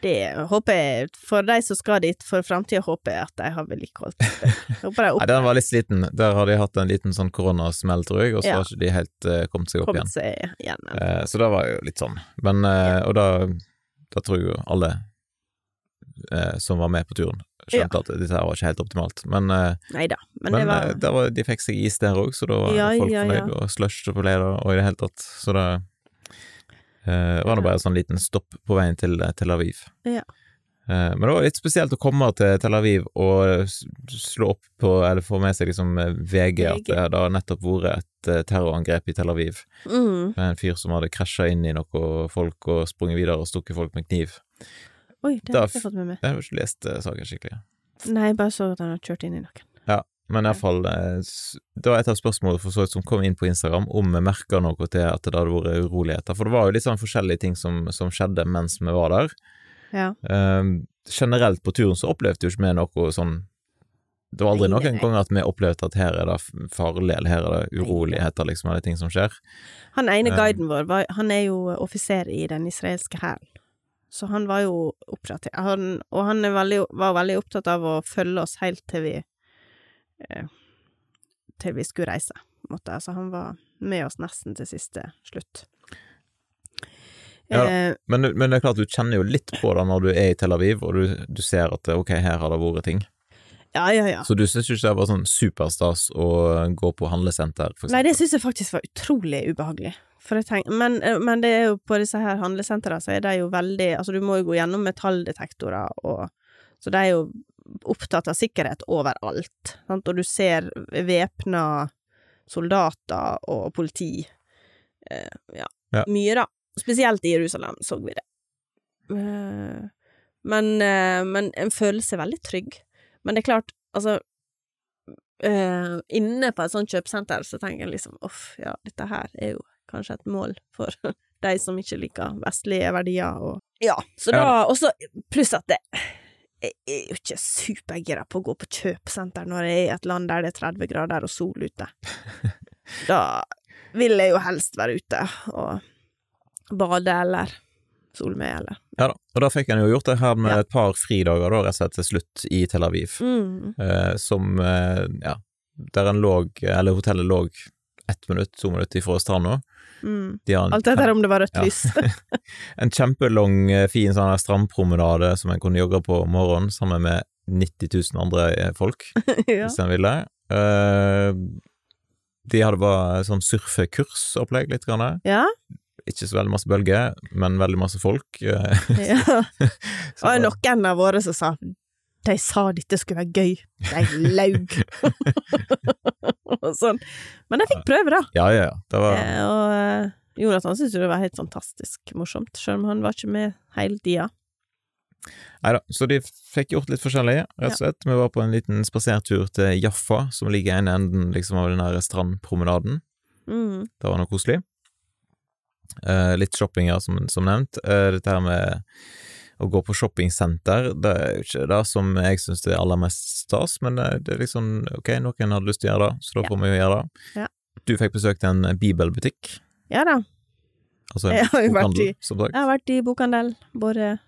Speaker 3: Det håper jeg, for de som skal dit for framtida, håper jeg at de har vedlikeholdt det. Jeg Håper de
Speaker 1: Nei, den var litt sliten. Der har de hatt en liten sånn koronasmell, tror jeg, og så
Speaker 3: Ja.
Speaker 1: har ikke de helt eh, kommet seg opp igjen.
Speaker 3: oppkommer seg igjen.
Speaker 1: Eh, så det var jo litt sånn. Men, eh, og da, da tror jeg jo alle eh, som var med på turen, skjønte at dette her var ikke helt optimalt. Men, eh,
Speaker 3: Nei da, men,
Speaker 1: men,
Speaker 3: det var
Speaker 1: eh, der var, de fikk seg is der òg, så da var
Speaker 3: Ja,
Speaker 1: folk
Speaker 3: ja, ja.
Speaker 1: fornøyd, og slush og leder og i det hele tatt. Så det eh, var nå bare en sånn liten stopp på veien til eh, Tel Aviv.
Speaker 3: Ja.
Speaker 1: Eh, Men det var litt spesielt å komme til Tel Aviv og s- slå opp på, eller få med seg liksom eh, VG, at
Speaker 3: VG.
Speaker 1: det hadde nettopp vært et eh, terrorangrep i Tel Aviv
Speaker 3: mm.
Speaker 1: med en fyr som hadde krasja inn i noe folk og sprunget videre og stukket folk med kniv.
Speaker 3: Oi, det
Speaker 1: Da
Speaker 3: har jeg
Speaker 1: f-
Speaker 3: ikke fått med meg.
Speaker 1: Jeg har ikke lest eh, saken skikkelig.
Speaker 3: Nei, jeg bare så at han hadde kjørt inn i noen.
Speaker 1: Men iallfall, eh, det var et av spørsmålene for så vidt som kom inn på Instagram, om vi merka noe til at det hadde vært uroligheter. For det var jo litt sånn forskjellige ting som, som skjedde mens vi var der.
Speaker 3: Ja.
Speaker 1: Ehm, generelt på turen så opplevde jo ikke vi noe sånn Det var aldri
Speaker 3: Nei,
Speaker 1: noen
Speaker 3: nei.
Speaker 1: gang at vi opplevde at her er det f- farlig, eller her er det uroligheter, liksom, eller ting som skjer.
Speaker 3: Han ene
Speaker 1: Eh.
Speaker 3: guiden vår, var, han er jo offiser i den israelske hæren. Så han var jo oppdatert. Han, og han er veldig, var veldig opptatt av å følge oss helt til vi eh, Til vi skulle reise. på en måte. Altså, han var med oss nesten til siste slutt.
Speaker 1: Ja da.
Speaker 3: Eh,
Speaker 1: Men, men det er klart du kjenner jo litt på det når du er i Tel Aviv, og du, du ser at eh, ok, her har det vært ting.
Speaker 3: ja, ja, ja.
Speaker 1: Så du syns ikke det var sånn superstas å gå på handlesenter, for
Speaker 3: Nei,
Speaker 1: eksempel?
Speaker 3: det syns jeg faktisk var utrolig ubehagelig. For jeg tenk, men, eh, men det er jo på disse her handlesentrene, så er de jo veldig Altså, du må jo gå gjennom metalldetektorer og Så de er jo opptatt av sikkerhet overalt, sant, og du ser væpna soldater og politi. Eh, ja.
Speaker 1: Ja.
Speaker 3: Mye, da. Spesielt i Jerusalem så vi det. Eh, men, eh, men en følelse veldig trygg. Men det er klart, altså eh, inne på et sånt kjøpesenter, så tenker jeg liksom uff, ja, dette her er jo kanskje et mål for de som ikke liker vestlige verdier og Ja, så
Speaker 1: Ja.
Speaker 3: da Og så pluss at det jeg er jo ikke supergira på å gå på kjøpesenter når jeg er i et land der det er 30 grader og sol ute. Da vil jeg jo helst være ute og bade eller sole meg, eller
Speaker 1: Ja da. Og da fikk en jo gjort det her med
Speaker 3: Ja.
Speaker 1: et par fridager, da, rett og slett til slutt i Tel Aviv,
Speaker 3: Mm.
Speaker 1: eh, som eh, ja, der en lå, eller hotellet lå ett minutt, to minutter ifra stranda.
Speaker 3: Mm.
Speaker 1: De har en,
Speaker 3: Alt etter
Speaker 1: kjem-
Speaker 3: om det var rødt
Speaker 1: Ja.
Speaker 3: lys.
Speaker 1: en kjempelang, eh, fin sånn her strandpromenade som en kunne jogge på om morgenen sammen med 90 000 andre eh, folk.
Speaker 3: ja.
Speaker 1: hvis en ville. Eh, de hadde bare sånn surfekursopplegg, litt. Grann.
Speaker 3: ja.
Speaker 1: Ikke så veldig masse bølger, men veldig masse folk. eh,
Speaker 3: ja.
Speaker 1: så
Speaker 3: Og
Speaker 1: det-
Speaker 3: noen av våre som sa de sa dette skulle være gøy, de laug. og sånn. Men jeg fikk prøve, da.
Speaker 1: Ja, ja, ja. Det var,
Speaker 3: Eh, Og eh, Jonathan syntes jo det var helt fantastisk morsomt, selv om han var ikke med hele tida.
Speaker 1: Nei da. Så de fikk gjort litt forskjellig, rett og slett. Vi var på en liten spasertur til Jaffa, som ligger i ene enden liksom, av den der strandpromenaden.
Speaker 3: Mm.
Speaker 1: Det var noe koselig. Eh, litt shopping, ja, som, som nevnt. Eh, dette her med å gå på shoppingsenter, det er jo ikke det som jeg syns er aller mest stas, men eh, det er liksom ok, noen hadde lyst til å gjøre det, så da
Speaker 3: Ja.
Speaker 1: får vi jo gjøre det.
Speaker 3: Ja.
Speaker 1: Du fikk besøkt en bibelbutikk,
Speaker 3: Ja da.
Speaker 1: altså
Speaker 3: Jeg
Speaker 1: en
Speaker 3: har jo vært
Speaker 1: bokhandel,
Speaker 3: i-
Speaker 1: som sagt.
Speaker 3: Jeg har vært i bokhandel, både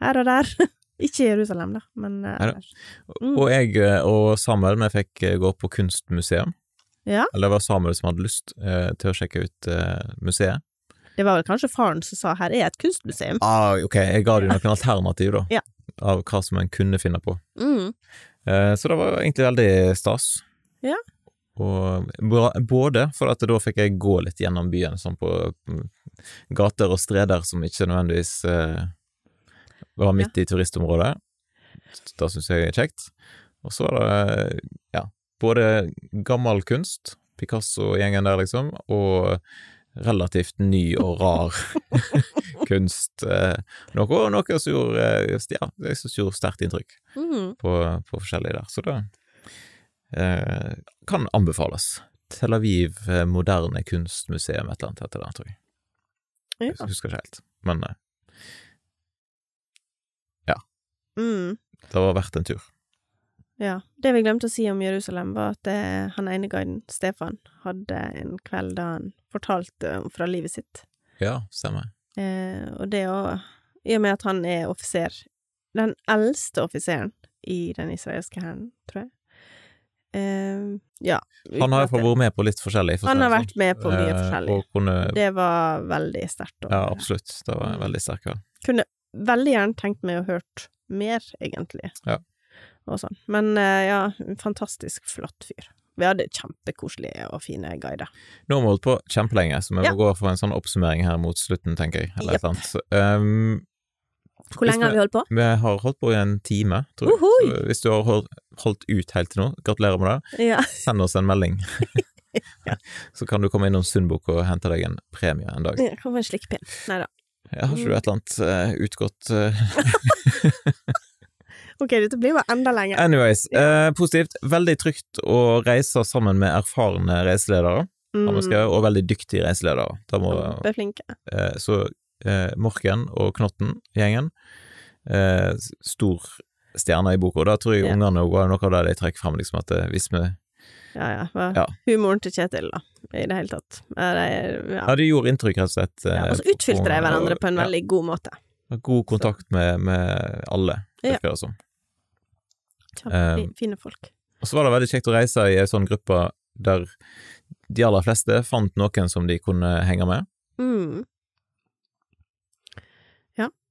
Speaker 3: her og der. ikke i Jerusalem, da, men eh,
Speaker 1: Neida.
Speaker 3: ellers. Mm.
Speaker 1: Og jeg eh, og Samuel, vi fikk eh, gå på kunstmuseum.
Speaker 3: Ja.
Speaker 1: Eller det var Samuel som hadde lyst eh, til å sjekke ut eh, museet.
Speaker 3: Det var vel kanskje faren som sa 'her er et kunstmuseum'.
Speaker 1: Ah, ok, jeg ga deg noen alternativ, da,
Speaker 3: Ja.
Speaker 1: av hva som en kunne finne på.
Speaker 3: Mm.
Speaker 1: Eh, Så det var egentlig veldig stas.
Speaker 3: Ja.
Speaker 1: Og bra- både for at da fikk jeg gå litt gjennom byen, sånn på mm, gater og streder som ikke nødvendigvis eh, var midt i turistområdet. Det syns jeg er kjekt. Og så var det, eh, ja, både gammel kunst, Picasso og gjengen der, liksom, og relativt ny og rar kunst. eh, Noe, noe som gjorde, eh, ja, jeg synes gjorde sterkt inntrykk
Speaker 3: Mm.
Speaker 1: på, på forskjellig der. Så det eh, kan anbefales. Tel Aviv eh, Moderne Kunstmuseum, et eller annet heter det, tror jeg.
Speaker 3: Ja.
Speaker 1: Jeg husker ikke helt. Men eh,
Speaker 3: Mm.
Speaker 1: det var verdt en tur.
Speaker 3: Ja. Det vi glemte å si om Jerusalem, var at eh, han ene guiden, Stefan, hadde en kveld da han fortalte om fra livet sitt.
Speaker 1: Ja, stemmer.
Speaker 3: Eh, og det å I og med at han er offiser Den eldste offiseren i den israelske hæren, tror jeg. Eh, ja.
Speaker 1: Han har iallfall
Speaker 3: uten at det-
Speaker 1: vært med på litt forskjellig. for å si
Speaker 3: Han har
Speaker 1: det sånn.
Speaker 3: vært med på mye
Speaker 1: Eh,
Speaker 3: forskjellig.
Speaker 1: Og kunne
Speaker 3: Det var veldig sterkt. å
Speaker 1: Ja,
Speaker 3: høre.
Speaker 1: absolutt. Det var en veldig sterk kveld.
Speaker 3: veldig gjerne tenkt meg å hørt mer, egentlig.
Speaker 1: Ja.
Speaker 3: Og sånn. Men eh, ja, en fantastisk flott fyr. Vi hadde kjempekoselige og fine guider.
Speaker 1: Nå har vi holdt på kjempelenge, så vi
Speaker 3: Ja.
Speaker 1: må gå for en sånn oppsummering her mot slutten, tenker jeg. Eller et
Speaker 3: Jepp.
Speaker 1: eller annet. Ehm,
Speaker 3: Hvor
Speaker 1: lenge har vi
Speaker 3: holdt på?
Speaker 1: vi har holdt på i en time, tror jeg.
Speaker 3: Ohoi!
Speaker 1: Så hvis du har holdt, holdt ut helt til nå, gratulerer med det.
Speaker 3: Ja.
Speaker 1: Send oss en melding. så kan du komme innom Sundbukk og hente deg en premie en dag.
Speaker 3: Jeg kan få en slikkpinn. Nei da.
Speaker 1: Ja, har ikke du et eller annet eh, utgått eh,
Speaker 3: Ok, dette blir bare enda lenger.
Speaker 1: Anyways, eh, positivt. Veldig trygt å reise sammen med erfarne reiseledere,
Speaker 3: Mm.
Speaker 1: har vi skrevet, og veldig dyktige reiseledere. Da må,
Speaker 3: Kjempeflinke.
Speaker 1: eh, så eh, Morken og Knotten-gjengen, eh, s- stor stjerne i boka. Og Da tror jeg
Speaker 3: Ja.
Speaker 1: ungene også var noe av det de trekker fram, liksom at eh, hvis vi
Speaker 3: Ja, ja. hva-
Speaker 1: Ja.
Speaker 3: Humoren til Kjetil, da. I det hele tatt. Ja, det- ja.
Speaker 1: Ja, det gjorde inntrykk, rett og slett. eh,
Speaker 3: Ja, og så
Speaker 1: på-
Speaker 3: utfylte de
Speaker 1: på-
Speaker 3: hverandre på en
Speaker 1: ja,
Speaker 3: veldig god måte.
Speaker 1: God kontakt med, med alle,
Speaker 3: Ja.
Speaker 1: virker det som. Eh.
Speaker 3: Kjempe- Fine folk.
Speaker 1: Og så var det veldig kjekt å reise i ei sånn gruppe der de aller fleste fant noen som de kunne henge med.
Speaker 3: Mm.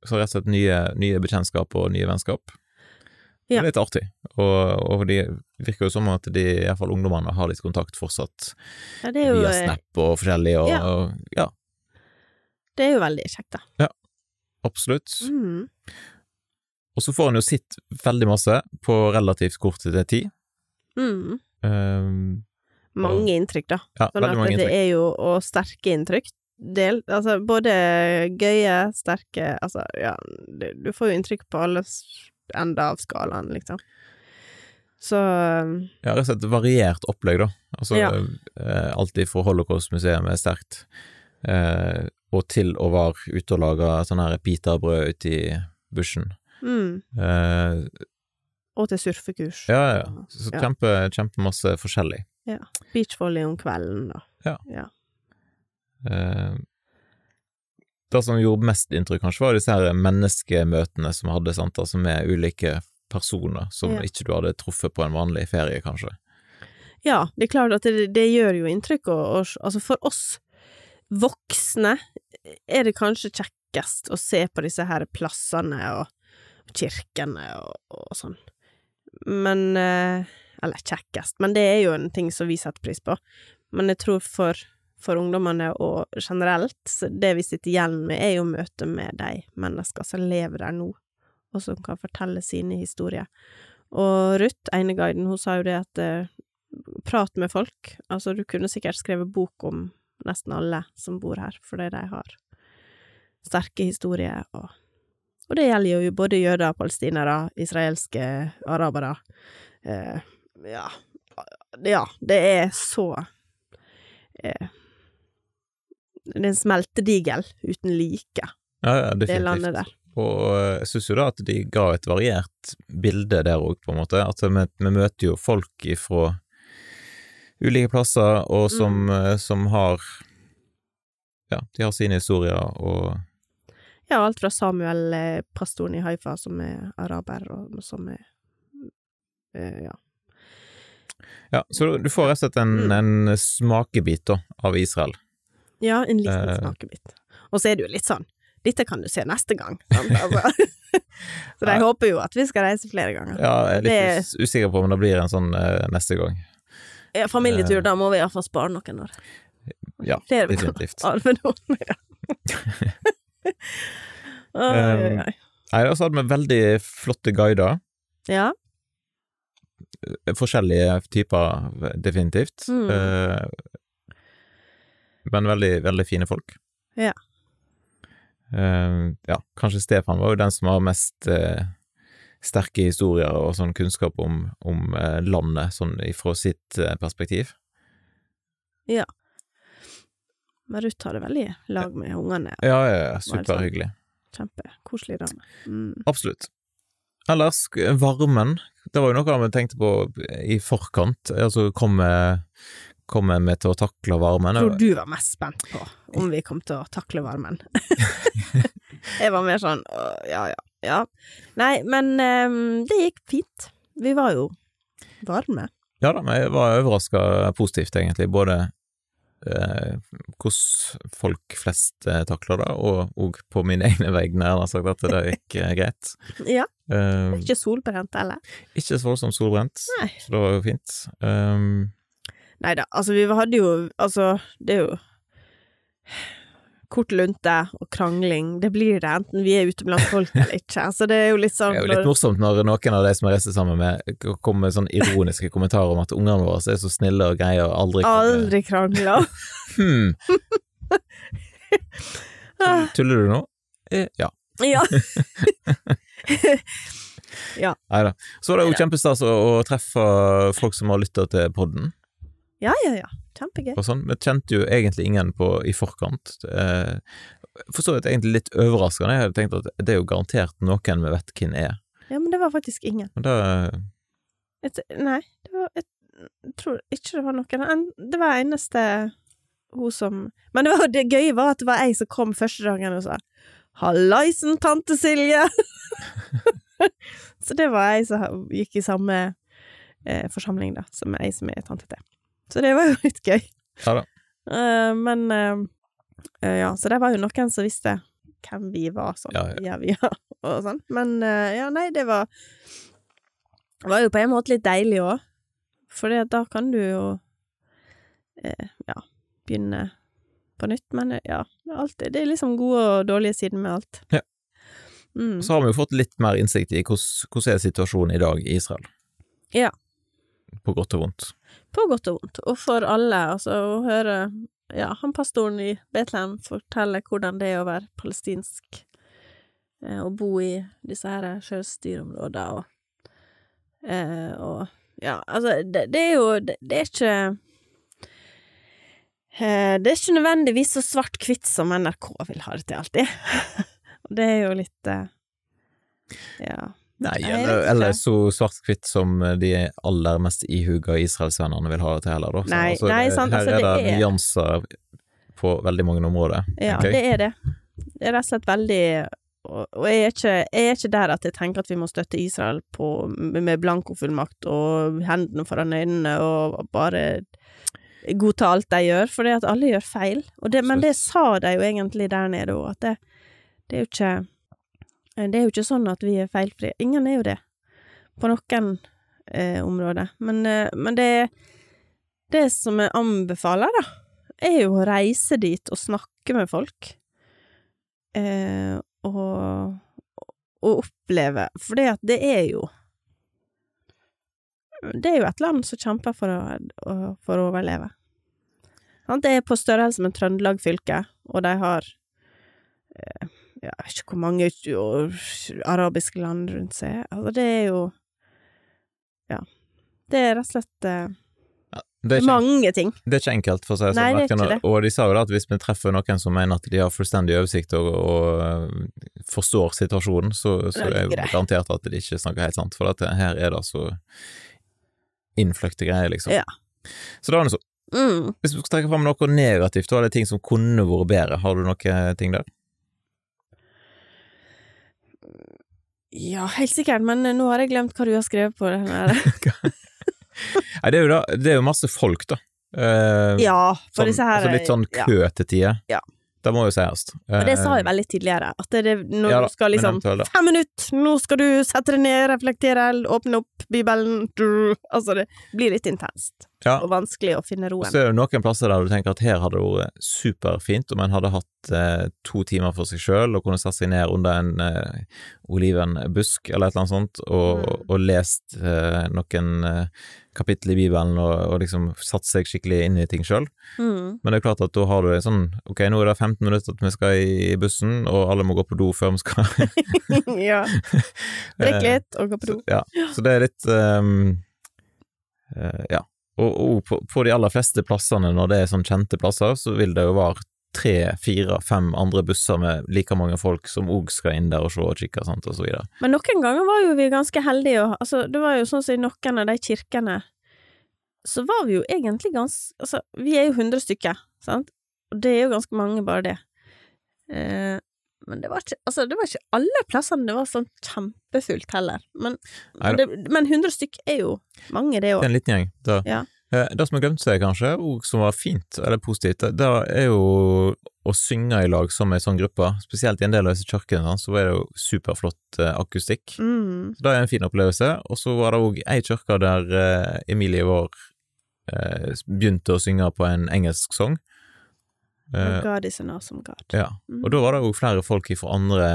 Speaker 1: Så rett og slett nye, nye bekjentskap og nye vennskap. Det
Speaker 3: Ja.
Speaker 1: er litt artig, og, og de virker jo som at de, iallfall ungdommene, har litt kontakt fortsatt
Speaker 3: Ja, det er jo
Speaker 1: via Snap og forskjellig, og
Speaker 3: Ja.
Speaker 1: ja, og, ja
Speaker 3: Det er jo veldig kjekt, da.
Speaker 1: absolutt.
Speaker 3: Mm.
Speaker 1: Og så får en jo sett veldig masse på relativt kort tid. Eh,
Speaker 3: Mm.
Speaker 1: Um,
Speaker 3: mange inntrykk, da.
Speaker 1: ja,
Speaker 3: Sånn
Speaker 1: veldig
Speaker 3: at
Speaker 1: mange
Speaker 3: det
Speaker 1: inntrykk.
Speaker 3: er jo og sterke inntrykk. Del, altså både gøye, sterke Altså, ja, du, du får jo inntrykk på alle s- ender av skalaen, liksom. Så
Speaker 1: Ja, rett og slett variert opplegg, da. Altså
Speaker 3: Ja.
Speaker 1: eh, alt ifra Holocaust-museet er sterkt, eh, og til å være ute og lage sånne her pitabrød ute i bushen.
Speaker 3: mm.
Speaker 1: Eh,
Speaker 3: Og til surfekurs.
Speaker 1: Ja, ja, ja. Så
Speaker 3: Ja.
Speaker 1: kjempe, kjempemasse forskjellig.
Speaker 3: Beachvolley om kvelden, da.
Speaker 1: Eh, Det som gjorde mest inntrykk, kanskje, var disse her menneskemøtene som vi hadde, sant, altså med ulike personer som
Speaker 3: Ja.
Speaker 1: ikke du hadde truffet på en vanlig ferie, kanskje.
Speaker 3: Ja, det er klart at det, det gjør jo inntrykk, og, og altså for oss voksne eh, er det kanskje kjekkest å se på disse her plassene og kirkene og, og sånn. Men eh, Eller kjekkest, men det er jo en ting som vi setter pris på. Men jeg tror for, for ungdommene og generelt, så det vi sitter igjen med, er jo møtet med de mennesker som lever der nå, og som kan fortelle sine historier. Og Ruth, eneguiden, hun sa jo det at eh, prat med folk. Altså, du kunne sikkert skrevet bok om nesten alle som bor her, fordi de har sterke historier. Og, og det gjelder jo både jøder, palestinere, israelske arabere. Eh, ja. ja, det er så eh, Det er en smeltedigel uten like,
Speaker 1: Ja, ja,
Speaker 3: det landet
Speaker 1: definitivt.
Speaker 3: der.
Speaker 1: Og eh, jeg syns jo da at de ga et variert bilde der òg, på en måte. At vi, vi møter jo folk ifra ulike plasser, og som, eh, som har Ja, de har sine historier, og
Speaker 3: Ja, alt fra Samuel eh, pastoren i Haifa, som er araber, og som er eh, Ja.
Speaker 1: Ja, så du får rett og slett en, en smakebit da, av Israel.
Speaker 3: Ja, en liten
Speaker 1: Eh.
Speaker 3: snakebit. Og så er det jo litt sånn Dette kan du se neste gang. Sant? Altså. så de
Speaker 1: Ja.
Speaker 3: håper jo at vi skal reise flere ganger.
Speaker 1: Ja, jeg er litt
Speaker 3: Det-
Speaker 1: us- usikker på om det blir en sånn eh, neste gang.
Speaker 3: Ja, familietur, da må vi iallfall spare noen år.
Speaker 1: Eh. Ja,
Speaker 3: flere vi kan
Speaker 1: definitivt.
Speaker 3: arve noen. Ja. Oi, oi,
Speaker 1: Um.
Speaker 3: oi.
Speaker 1: Nei, og så hadde vi veldig flotte guider.
Speaker 3: Ja.
Speaker 1: Forskjellige typer, definitivt.
Speaker 3: Mm.
Speaker 1: Eh, men veldig, veldig fine folk.
Speaker 3: Ja.
Speaker 1: Eh, ja, kanskje Stefan var jo den som har mest eh, sterke historier og sånn kunnskap om, om eh, landet, sånn ifra sitt eh, perspektiv.
Speaker 3: Men Ruth har det veldig i lag med ungene.
Speaker 1: Ja, ja, ja, superhyggelig.
Speaker 3: Kjempekoselig dame. Mm.
Speaker 1: Absolutt. Ellers, sk- varmen. Det var jo noe vi tenkte på i forkant. Altså, kommer kom vi til å takle varmen?
Speaker 3: Jeg tror du var mest spent på om vi kom til å takle varmen. jeg var mer sånn «Å, ja, ja, ja. Nei, men ehm, det gikk fint. Vi var jo varme.
Speaker 1: Ja da, men jeg var overraska positivt, egentlig. Både eh, hvordan folk flest eh, takler det, og, og på mine egne vegne, jeg har sagt at det gikk eh, greit.
Speaker 3: Ja,
Speaker 1: Eh,
Speaker 3: ikke solbrent heller.
Speaker 1: ikke så voldsomt solbrent,
Speaker 3: Nei.
Speaker 1: så det var jo fint. Um,
Speaker 3: Nei da, altså vi hadde jo Altså, det er jo Kort lunte og krangling, det blir det enten vi er ute blant folk eller ikke. Altså det er jo litt sånn
Speaker 1: det er jo litt morsomt når noen av de som jeg reiser sammen med, k- kommer med sånn ironiske kommentarer om at ungene våre er så snille og greie og aldri kan-
Speaker 3: Aldri krangla.
Speaker 1: Hmm, tuller du nå? Eh, ja.
Speaker 3: ja.
Speaker 1: Nei da. Så var det jo
Speaker 3: Neida.
Speaker 1: kjempestas å, å treffe folk som har lytta til podden.
Speaker 3: ja, ja, ja. Kjempegøy.
Speaker 1: og sånn. Vi kjente jo egentlig ingen på i forkant. Eh, For så vidt egentlig litt overraskende. Jeg hadde tenkt at det er jo garantert noen vi vet hvem er.
Speaker 3: Ja, men det var faktisk ingen.
Speaker 1: Men det,
Speaker 3: Et, nei, det var et, jeg tror ikke det var noen. En- Det var eneste hun som Men det, var, det gøye var at det var jeg som kom første dagen og sa 'Hallaisen, tante Silje!' så det var jeg som gikk i samme eh, forsamling, da, som jeg som er tante til. Så det var jo litt gøy.
Speaker 1: ja da.
Speaker 3: Eh, men eh, eh, Ja, så det var jo noen som visste hvem vi var, sånn.
Speaker 1: Ja,
Speaker 3: Ja, ja. og sånn. Men eh, ja, nei, det var Det var jo på en måte litt deilig òg. For det, da kan du jo eh, ja, begynne på nytt. Men eh, ja, det er alltid Det er liksom gode og dårlige sider med alt.
Speaker 1: Ja.
Speaker 3: Mm.
Speaker 1: Så har vi jo fått litt mer innsikt i hvordan, hvordan er situasjonen i dag i Israel.
Speaker 3: Ja.
Speaker 1: På godt og vondt.
Speaker 3: På godt og vondt. Og for alle, altså, å høre ja, han pastoren i Betlehem fortelle hvordan det er å være palestinsk, eh, og bo i disse her sjølstyrområdene og eh, Og ja, altså, det, det er jo Det, det er ikke eh, det er ikke nødvendigvis så svart-hvitt som NRK vil ha det til alltid. Og det er jo litt eh, Ja.
Speaker 1: Nei,
Speaker 3: Jeg
Speaker 1: eller,
Speaker 3: vet ikke.
Speaker 1: eller så svart-hvitt som de aller mest ihuga israelsvennene vil ha det til heller, da. Så,
Speaker 3: Nei, nei, sant,
Speaker 1: her
Speaker 3: altså,
Speaker 1: er det,
Speaker 3: det er-
Speaker 1: nyanser på veldig mange områder.
Speaker 3: Ja,
Speaker 1: tenker jeg.
Speaker 3: det er det. Det er rett og slett veldig Og, og jeg, er ikke, jeg er ikke der at jeg tenker at vi må støtte Israel på, med med blankofullmakt og hendene foran øynene og bare godta alt de gjør, for det at alle gjør feil. Og det, men det sa de jo egentlig der nede òg, at det, det er jo ikke Det er jo ikke sånn at vi er feilfrie. Ingen er jo det, på noen eh, områder. Men, eh, men det Det som jeg anbefaler, da, er jo å reise dit og snakke med folk. Eh, og, og oppleve. For det at det er jo Det er jo et land som kjemper for å, å- for å overleve. Sant? Det er på størrelse med Trøndelag fylke, og de har eh, ja, Jeg vet ikke hvor mange ut- og- arabiske land rundt seg. Altså, det er jo Ja. Det er rett og slett eh,
Speaker 1: Det er ikke-
Speaker 3: mange ting.
Speaker 1: Det er ikke enkelt, for å si det
Speaker 3: Nei,
Speaker 1: sånn.
Speaker 3: det er
Speaker 1: hverken-
Speaker 3: ikke det.
Speaker 1: Og de sa jo da at hvis vi treffer noen som mener at de har fullstendig oversikt og, og øh, forstår situasjonen, så, så
Speaker 3: Da
Speaker 1: er
Speaker 3: ligger
Speaker 1: jo
Speaker 3: det.
Speaker 1: garantert at de ikke snakker helt sant, for dette, her er det så innfløkte greier, liksom.
Speaker 3: Ja.
Speaker 1: Så da er det så.
Speaker 3: Mm.
Speaker 1: Hvis du skal trekke fram noe negativt, da er det ting som kunne vært bedre. Har du noen ting der?
Speaker 3: Ja, helt sikkert, men eh, nå har jeg glemt hva du har skrevet på den her.
Speaker 1: Nei, det er jo, da, det er jo masse folk, da. Eh,
Speaker 3: Ja, for
Speaker 1: sånn,
Speaker 3: disse her
Speaker 1: altså litt sånn
Speaker 3: ja.
Speaker 1: kø til tider.
Speaker 3: Ja.
Speaker 1: Det må jo sies.
Speaker 3: Men det sa jeg vel litt tidligere, at det, det- nå
Speaker 1: Eh, Ja da,
Speaker 3: skal
Speaker 1: men
Speaker 3: liksom
Speaker 1: eventuelt da.
Speaker 3: Fem minutter! Nå skal du sette deg ned, reflektere, åpne opp Bibelen du, Altså, det blir litt intenst.
Speaker 1: Ja.
Speaker 3: og vanskelig å finne
Speaker 1: Og
Speaker 3: roen.
Speaker 1: så er det noen plasser der du tenker at her hadde det vært superfint om en hadde hatt eh, to timer for seg sjøl og kunne satt seg ned under en eh, olivenbusk eller et eller annet sånt og,
Speaker 3: Mm.
Speaker 1: og lest eh, noen eh, kapittel i Bibelen og, og liksom satt seg skikkelig inn i ting sjøl.
Speaker 3: Mm.
Speaker 1: Men det er klart at da har du en sånn Ok, nå er det 15 minutter til vi skal i, i bussen, og alle må gå på do før vi skal
Speaker 3: ja. Drikke
Speaker 1: Eh,
Speaker 3: litt og gå på do.
Speaker 1: så, ja. så det er litt ehm, eh, Ja. Og, og på, på de aller fleste plassene, når det er sånn kjente plasser, så vil det jo være tre, fire, fem andre busser med like mange folk som òg skal inn der og se og kikke sant, og så videre.
Speaker 3: Men noen ganger var jo vi ganske heldige, og altså, det var jo sånn som i noen av de kirkene Så var vi jo egentlig ganske Altså, vi er jo 100 stykker, sant? Og det er jo ganske mange, bare det. Eh, men det var, ikke, altså, det var ikke alle plassene det var sånn kjempefullt heller. Men,
Speaker 1: Nei
Speaker 3: men, det, men 100 stykk er jo mange, det
Speaker 1: Det er
Speaker 3: òg.
Speaker 1: en liten gjeng. Det,
Speaker 3: Ja.
Speaker 1: Eh, det som har glemt seg, kanskje, og som var fint eller positivt, det, det er jo å synge i lag som ei sånn gruppe. Spesielt i en del av disse kirkene, sant, så er det jo superflott eh, akustikk.
Speaker 3: Mm.
Speaker 1: Så det er en fin opplevelse. Og så var det òg ei kirke der eh, Emilie vår eh, begynte å synge på en engelsk sang. Eh,
Speaker 3: God is an awesome God.
Speaker 1: ja.
Speaker 3: Mm.
Speaker 1: Og da var det òg flere folk fra andre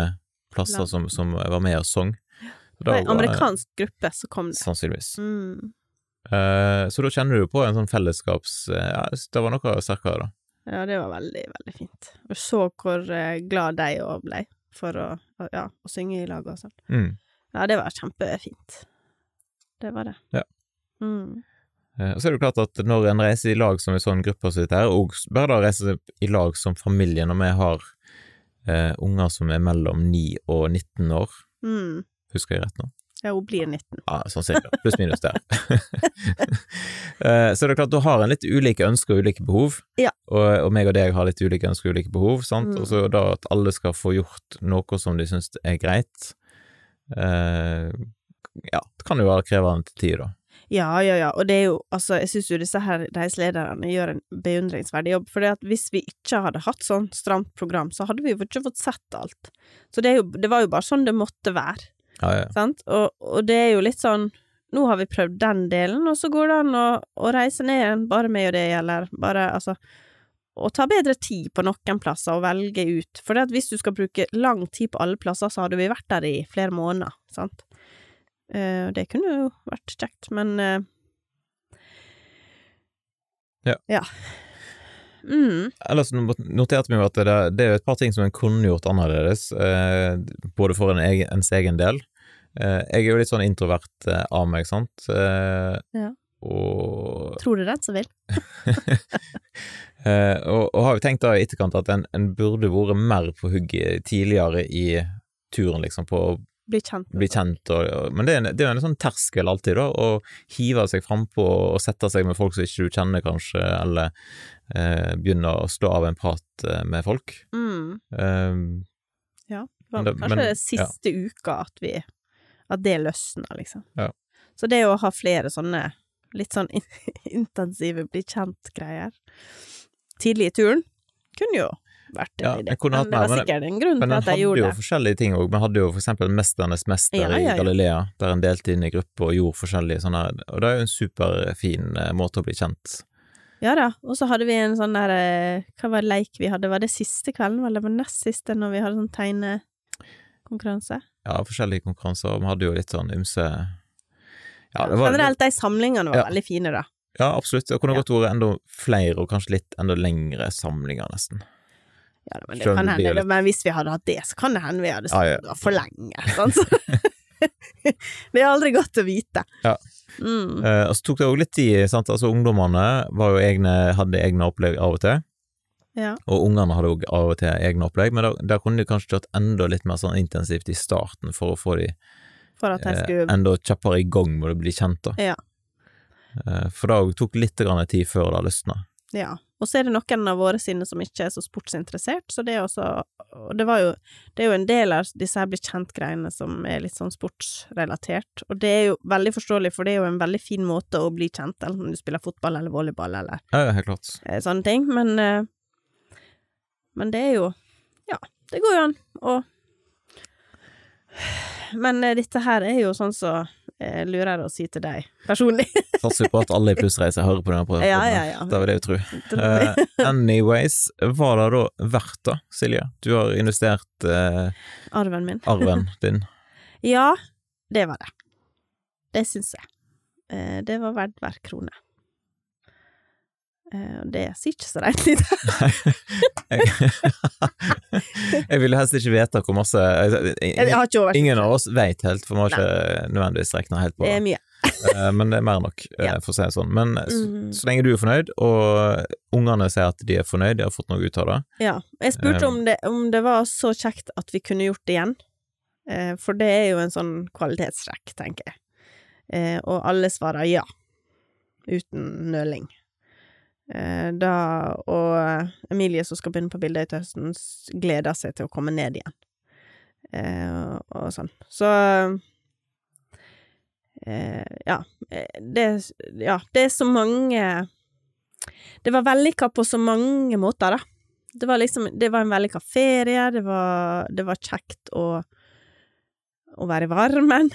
Speaker 1: plasser
Speaker 3: Land.
Speaker 1: som, som var med og sang. Så
Speaker 3: Det var
Speaker 1: da var
Speaker 3: en
Speaker 1: det-
Speaker 3: amerikansk gruppe som kom der.
Speaker 1: Sannsynligvis.
Speaker 3: Mm.
Speaker 1: Eh, så da kjenner du på en sånn fellesskaps... eh, ja, det var noe sterkere, da.
Speaker 3: Ja, det var veldig, veldig fint. Og så hvor eh, glad de òg ble for å, å- ja, å synge i lag og sånn.
Speaker 1: Mm.
Speaker 3: Ja, det var kjempefint. Det var det.
Speaker 1: Ja.
Speaker 3: Mm.
Speaker 1: Eh, Og så er det jo klart at når en reiser i lag som en sånn gruppe som dette her, og bare da reiser i lag som familie når vi har eh, unger som er mellom 9 og 19 år,
Speaker 3: Mm.
Speaker 1: husker jeg rett nå?
Speaker 3: Ja, hun blir 19.
Speaker 1: Ja, sånn cirka. Pluss minus der. Eh, så er det klart, da har en litt ulike ønsker og ulike behov,
Speaker 3: Ja.
Speaker 1: og, og meg og deg har litt ulike ønsker og ulike behov, sant?
Speaker 3: Mm.
Speaker 1: Og så da at alle skal få gjort noe som de syns er greit, eh, ja, det kan jo være krevende til tider, da.
Speaker 3: Ja, ja, ja. Og det er jo Altså, jeg syns jo disse her reiselederne gjør en beundringsverdig jobb. For at hvis vi ikke hadde hatt sånn stramt program, så hadde vi jo ikke fått sett alt. Så det, er jo, det var jo bare sånn det måtte være.
Speaker 1: Ja, ja.
Speaker 3: Sant? Og, og det er jo litt sånn Nå har vi prøvd den delen, og så går det an å, å reise ned igjen, bare meg og det, eller bare Altså Og ta bedre tid på noen plasser og velge ut. For det at hvis du skal bruke lang tid på alle plasser, så hadde vi vært der i flere måneder, sant? Eh, og det kunne jo vært kjekt, men eh,
Speaker 1: Ja.
Speaker 3: ja. Mm.
Speaker 1: Ellers noterte vi jo at det, det er jo et par ting som en kunne gjort annerledes, eh, både for en egen, ens egen del. Eh, jeg er jo litt sånn introvert eh, av meg, sant. Eh,
Speaker 3: Ja.
Speaker 1: og,
Speaker 3: Tror du den som vil?
Speaker 1: eh, og, og har jo tenkt da i etterkant at en, en burde vært mer på hugget tidligere i turen, liksom, på å
Speaker 3: Bli kjent. med
Speaker 1: bli kjent og, og Men det er, en, det er jo en sånn terskel alltid, da, å hive seg frampå og sette seg med folk som ikke du kjenner, kanskje, eller eh, begynne å slå av en prat eh, med folk.
Speaker 3: folk. Mm.
Speaker 1: Eh,
Speaker 3: Det
Speaker 1: Men
Speaker 3: var
Speaker 1: det-
Speaker 3: kanskje
Speaker 1: men-
Speaker 3: det siste uka at vi At det løsner, liksom.
Speaker 1: Ja.
Speaker 3: Så det å ha flere sånne litt sånn in- intensive bli kjent-greier tidlig i turen, kunne jo vært en
Speaker 1: Ja,
Speaker 3: idé.
Speaker 1: jeg kunne hatt
Speaker 3: men det var
Speaker 1: mer, men-
Speaker 3: sikkert en grunn
Speaker 1: Men den
Speaker 3: til Sånn at
Speaker 1: hadde
Speaker 3: jeg gjorde
Speaker 1: jo
Speaker 3: det.
Speaker 1: forskjellige ting òg. Vi hadde jo for eksempel Mesternes mester
Speaker 3: Ja, ja, ja.
Speaker 1: i Galilea, der en delte inn i grupper og gjorde forskjellige sånne her. Og det er jo en superfin eh, måte å bli kjent.
Speaker 3: Ja da. Og så hadde vi en sånn der eh, Hva var leik vi hadde? Var det siste kvelden, eller var det nest siste, når vi hadde sånn tegnekonkurranse?
Speaker 1: Ja, forskjellige konkurranser, og vi hadde jo litt sånn ymse Ja, det var
Speaker 3: Generelt, de samlingene var
Speaker 1: Ja.
Speaker 3: veldig fine, da.
Speaker 1: Ja, absolutt. Det kunne
Speaker 3: Ja.
Speaker 1: godt vært enda flere, og kanskje litt enda lengre samlinger, nesten.
Speaker 3: Ja, da, men, det
Speaker 1: Skjønner
Speaker 3: kan
Speaker 1: det blir
Speaker 3: hende,
Speaker 1: jo litt-
Speaker 3: men hvis vi hadde hatt det, så kan det hende vi hadde
Speaker 1: Ja, ja.
Speaker 3: stått for lenge. Sant? Så- det er aldri godt å vite.
Speaker 1: Ja.
Speaker 3: Mm.
Speaker 1: Eh, og så tok det òg litt tid, sant. Altså, ungdommene var jo egne, hadde egne opplegg av og til.
Speaker 3: Ja.
Speaker 1: Og ungene hadde òg av og til egne opplegg, men der, der kunne de kanskje tatt enda litt mer sånn intensivt i starten for å få de
Speaker 3: For at jeg
Speaker 1: eh,
Speaker 3: skulle
Speaker 1: enda kjappere i gang med å bli kjent, da.
Speaker 3: Ja.
Speaker 1: Eh, For det tok litt grann tid før det løsna.
Speaker 3: Ja. Og så er det noen av våre sine som ikke er så sportsinteressert, så det er også Og det var jo Det er jo en del av disse her bli kjent-greiene som er litt sånn sportsrelatert, og det er jo veldig forståelig, for det er jo en veldig fin måte å bli kjent, enten du spiller fotball eller volleyball eller
Speaker 1: Ja, ja, helt klart.
Speaker 3: eh, sånne ting, men eh, Men det er jo Ja, det går jo an å Men eh, dette her er jo sånn som eh, eh, lurere å si til deg personlig.
Speaker 1: Satser på at alle i Plussreise hører på denne prøven.
Speaker 3: Ja, ja, ja.
Speaker 1: Det var det jeg tror.
Speaker 3: Tror
Speaker 1: Eh, anyways, var det da verdt det, Silje? Du har investert eh,
Speaker 3: Arven min.
Speaker 1: arven din.
Speaker 3: Ja, det var det. Det syns jeg. Eh, det var verdt hver krone. Eh, og det sier ikke så rent lite.
Speaker 1: Jeg ville helst ikke vite hvor masse
Speaker 3: Jeg har ikke oversikt.
Speaker 1: Ingen av oss veit helt, for vi har ikke nødvendigvis regna helt på
Speaker 3: Det
Speaker 1: det.
Speaker 3: er mye.
Speaker 1: Eh, Men det er mer nok, eh,
Speaker 3: Ja.
Speaker 1: for å si det sånn. Men så,
Speaker 3: Mhm.
Speaker 1: så lenge du er fornøyd, og ungene sier at de er fornøyd, de har fått noe ut av det
Speaker 3: Ja. Jeg spurte om det, om det var så kjekt at vi kunne gjort det igjen. Eh, for det er jo en sånn kvalitetssjekk, tenker jeg. Eh, og alle svarer ja. Uten nøling. Eh, da, og Emilie, som skal begynne på Bildøy til høsten, s- gleder seg til å komme ned igjen. Eh, og sånn. Så eh, Ja. eh, Det, ja. Det er så mange Det var vellykka på så mange måter, da det var liksom Det var en vellykka ferie, det var, det var kjekt å å være i varmen.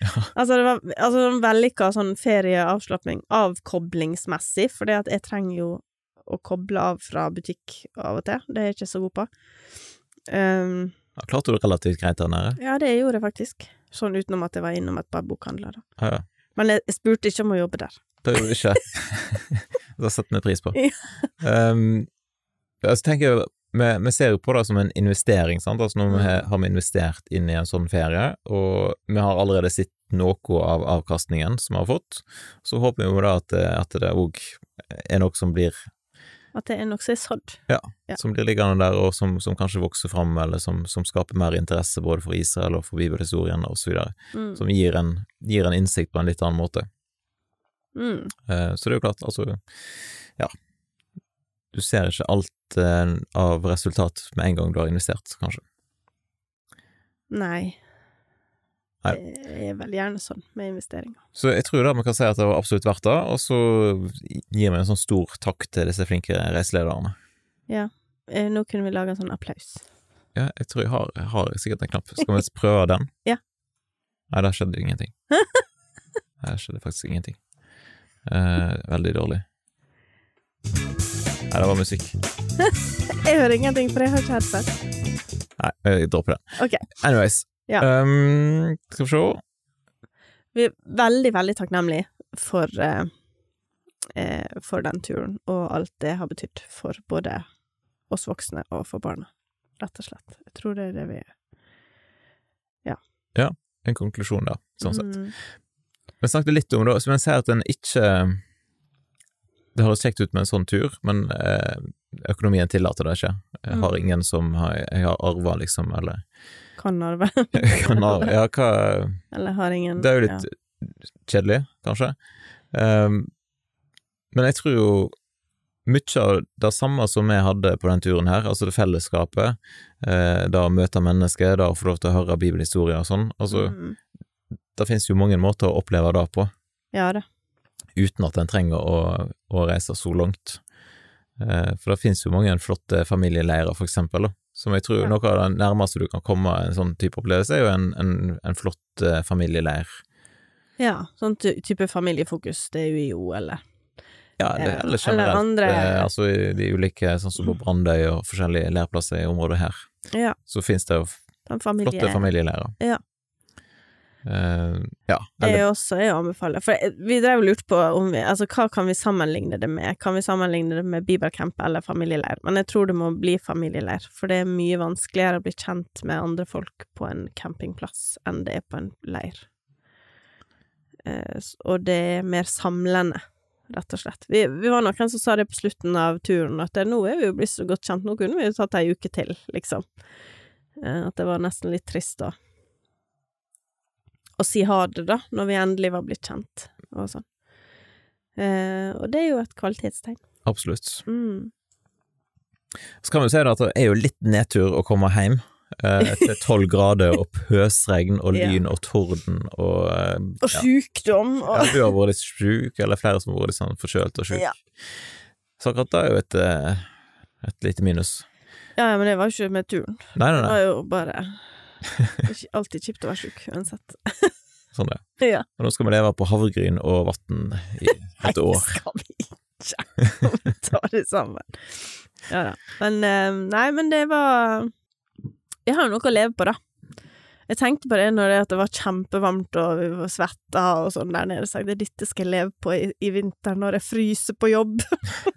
Speaker 3: altså, det var altså, en vellykka sånn ferieavslapping avkoblingsmessig, for at jeg trenger jo å koble av fra butikk av og til. Det er jeg ikke så god på. Um,
Speaker 1: Ja, Klarte du relativt greit der nede?
Speaker 3: ja, det gjorde jeg faktisk. Sånn utenom at jeg var innom et par bokhandler. Da.
Speaker 1: Ja, ja.
Speaker 3: Men jeg, jeg spurte ikke om å jobbe der.
Speaker 1: Det gjorde du ikke. det setter vi pris på.
Speaker 3: Ja.
Speaker 1: Um, altså, tenker jeg, vi, vi ser jo på det som en investering, sant. Altså, nå
Speaker 3: Mm.
Speaker 1: har har vi investert inn i en sånn ferie, og vi har allerede sett noe av avkastningen som vi har fått. Så håper vi jo da at, det- at det òg er noe som blir,
Speaker 3: At det er noe som er sådd. Ja.
Speaker 1: som blir liggende der, og som, som kanskje vokser fram, eller som, som skaper mer interesse både for Israel og for bibelhistorien og så videre.
Speaker 3: Mm.
Speaker 1: Som gir en, gir en innsikt på en litt annen måte.
Speaker 3: Mm.
Speaker 1: Eh, Så det er jo klart, altså Ja. Du ser ikke alt eh, av resultat med en gang du har investert, kanskje.
Speaker 3: Nei.
Speaker 1: Nei.
Speaker 3: Det er veldig gjerne sånn med investeringer.
Speaker 1: Så jeg tror da vi kan si at det var absolutt verdt det, og så gir vi en sånn stor takk til disse flinke reiselederne.
Speaker 3: Eh, Nå kunne vi lage en sånn applaus.
Speaker 1: Ja, jeg tror jeg har, jeg har sikkert en knapp. Skal vi prøve den?
Speaker 3: Ja.
Speaker 1: Nei, der skjedde ingenting. Der skjedde faktisk ingenting. Eh, veldig dårlig. Nei, det var musikk.
Speaker 3: Jeg hører ingenting, for jeg har ikke headset.
Speaker 1: Nei, jeg dropper den.
Speaker 3: Ok.
Speaker 1: Anyways.
Speaker 3: Ja.
Speaker 1: Um, skal vi se.
Speaker 3: Vi er veldig, veldig takknemlige for, eh, eh, for den turen, og alt det har betydd for både oss voksne og for barna, rett og slett. Jeg tror det er det vi er.
Speaker 1: en konklusjon der, sånn sett.
Speaker 3: Mm.
Speaker 1: Vi snakket litt om det, så vi ser at en ikke Det høres kjekt ut med en sånn tur, men eh, økonomien tillater det ikke. Jeg har
Speaker 3: Mm.
Speaker 1: ingen som har, jeg har arva, liksom, eller
Speaker 3: Kan arve,
Speaker 1: kan arve. Ja, hva
Speaker 3: eller har ingen
Speaker 1: Det er jo litt kjedelig, kanskje. Ehm, men jeg tror jo mye av det samme som vi hadde på den turen her, altså det fellesskapet, eh, det å møte mennesker, det å få lov til å høre bibelhistorier og sånn,
Speaker 3: ja.
Speaker 1: altså
Speaker 3: Mm.
Speaker 1: det finnes jo mange måter å oppleve det på.
Speaker 3: Ja da.
Speaker 1: uten at en trenger å, å reise så langt. Eh, for det finnes jo mange flotte familieleirer, for eksempel, da. som jeg tror
Speaker 3: Ja.
Speaker 1: noe av det nærmeste du kan komme en sånn type opplevelse, er jo en, en, en flott eh, familieleir.
Speaker 3: Ja, sånn ty- type familiefokus, det er UiO, eller
Speaker 1: Ja, eller,
Speaker 3: Ja,
Speaker 1: eller
Speaker 3: eller
Speaker 1: generelt,
Speaker 3: andre- Mm.
Speaker 1: eh, altså i de ulike, sånn som på Brandøy og forskjellige leirplasser i området her,
Speaker 3: Ja,
Speaker 1: så finnes det jo
Speaker 3: sånn familie...
Speaker 1: flotte familieleirer.
Speaker 3: Ja.
Speaker 1: Eh, ja,
Speaker 3: Det
Speaker 1: eller
Speaker 3: er også jeg anbefaler. For jeg- vi drev og lurte på om vi, altså, hva kan vi sammenligne det med. Kan vi sammenligne det med bibelcamp eller familieleir? Men jeg tror det må bli familieleir, for det er mye vanskeligere å bli kjent med andre folk på en campingplass enn det er på en leir. Eh, s- og det er mer samlende, rett og slett. Vi, vi var noen som sa det på slutten av turen, at det, nå er vi jo blitt så godt kjent, nå kunne vi jo tatt ei uke til, liksom. Eh, at det var nesten litt trist da å si ha det, da, når vi endelig var blitt kjent, og sånn. Eh, og det er jo et kvalitetstegn.
Speaker 1: absolutt.
Speaker 3: Mm.
Speaker 1: Så kan vi jo si da at det er jo litt nedtur å komme hjem eh, til tolv grader og pøsregn og
Speaker 3: Ja.
Speaker 1: lyn og torden og eh,
Speaker 3: Og sykdom og
Speaker 1: ja, Du har vært litt sjuk, eller flere som har vært litt sånn forkjølt og sjuk.
Speaker 3: Ja.
Speaker 1: Så akkurat det er jo et, eh, et lite minus.
Speaker 3: ja, ja, men det var jo ikke med turen.
Speaker 1: Nei, nei,
Speaker 3: Det
Speaker 1: nei.
Speaker 3: var jo bare Det er ikke- Alltid kjipt å være sjuk, uansett.
Speaker 1: Sånn det.
Speaker 3: Ja.
Speaker 1: Og nå skal vi leve på havregryn og vann i et år.
Speaker 3: Nei, skal vi ikke ta det sammen. Ja da. Men eh, Nei, men det var Jeg har jo noe å leve på, da. Jeg tenkte på det når det, at det var kjempevarmt og vi var svetta og sånn der nede. Så jeg tenkte, dette skal jeg leve på i, i vinter når jeg fryser på jobb.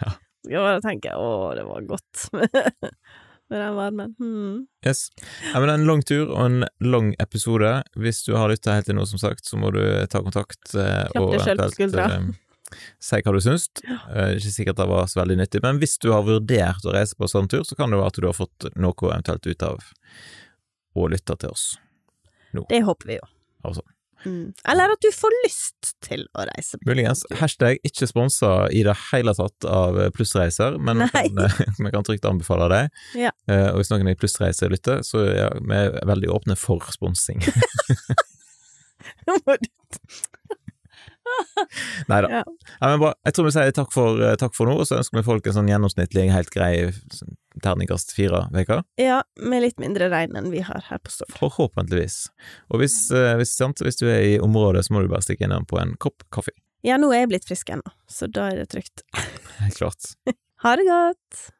Speaker 1: Ja.
Speaker 3: Ja, da tenker jeg å, det var godt med den varmen. Hmm.
Speaker 1: Yes. Ja, men en lang tur og en lang episode. Hvis du har lytta helt til nå, som sagt, så må du ta kontakt eh,
Speaker 3: Klapp
Speaker 1: og
Speaker 3: deg selv på skuldra.
Speaker 1: eventuelt, eh, si hva du syns. Eh, Ikke sikkert det var så veldig nyttig, men hvis du har vurdert å reise på en sånn tur, så kan det være at du har fått noe eventuelt ut av å lytte til oss.
Speaker 3: Det håper vi jo.
Speaker 1: Altså.
Speaker 3: Mm. Eller at du får lyst til å reise. på
Speaker 1: Muligens. Hashtag ikke sponsa i det hele tatt av Plussreiser, men vi kan, vi kan trygt anbefale det.
Speaker 3: Ja.
Speaker 1: Eh, og hvis noen i Plussreiser lytter, så ja, vi er veldig åpne for sponsing.
Speaker 3: Nå må du-
Speaker 1: Nei da.
Speaker 3: Ja.
Speaker 1: Nei, men bra. Jeg tror vi sier takk for, eh, takk for nå, og så ønsker vi folk en sånn gjennomsnittlig, helt grei sånn terningkast fire uker.
Speaker 3: Ja, med litt mindre regn enn vi har her på Stord.
Speaker 1: Forhåpentligvis. Og hvis, eh, hvis, sant, hvis du er i området, så må du bare stikke innom på en kopp kaffe.
Speaker 3: Ja, nå er jeg blitt frisk ennå, så da er det trygt.
Speaker 1: Helt klart.
Speaker 3: Ha det godt!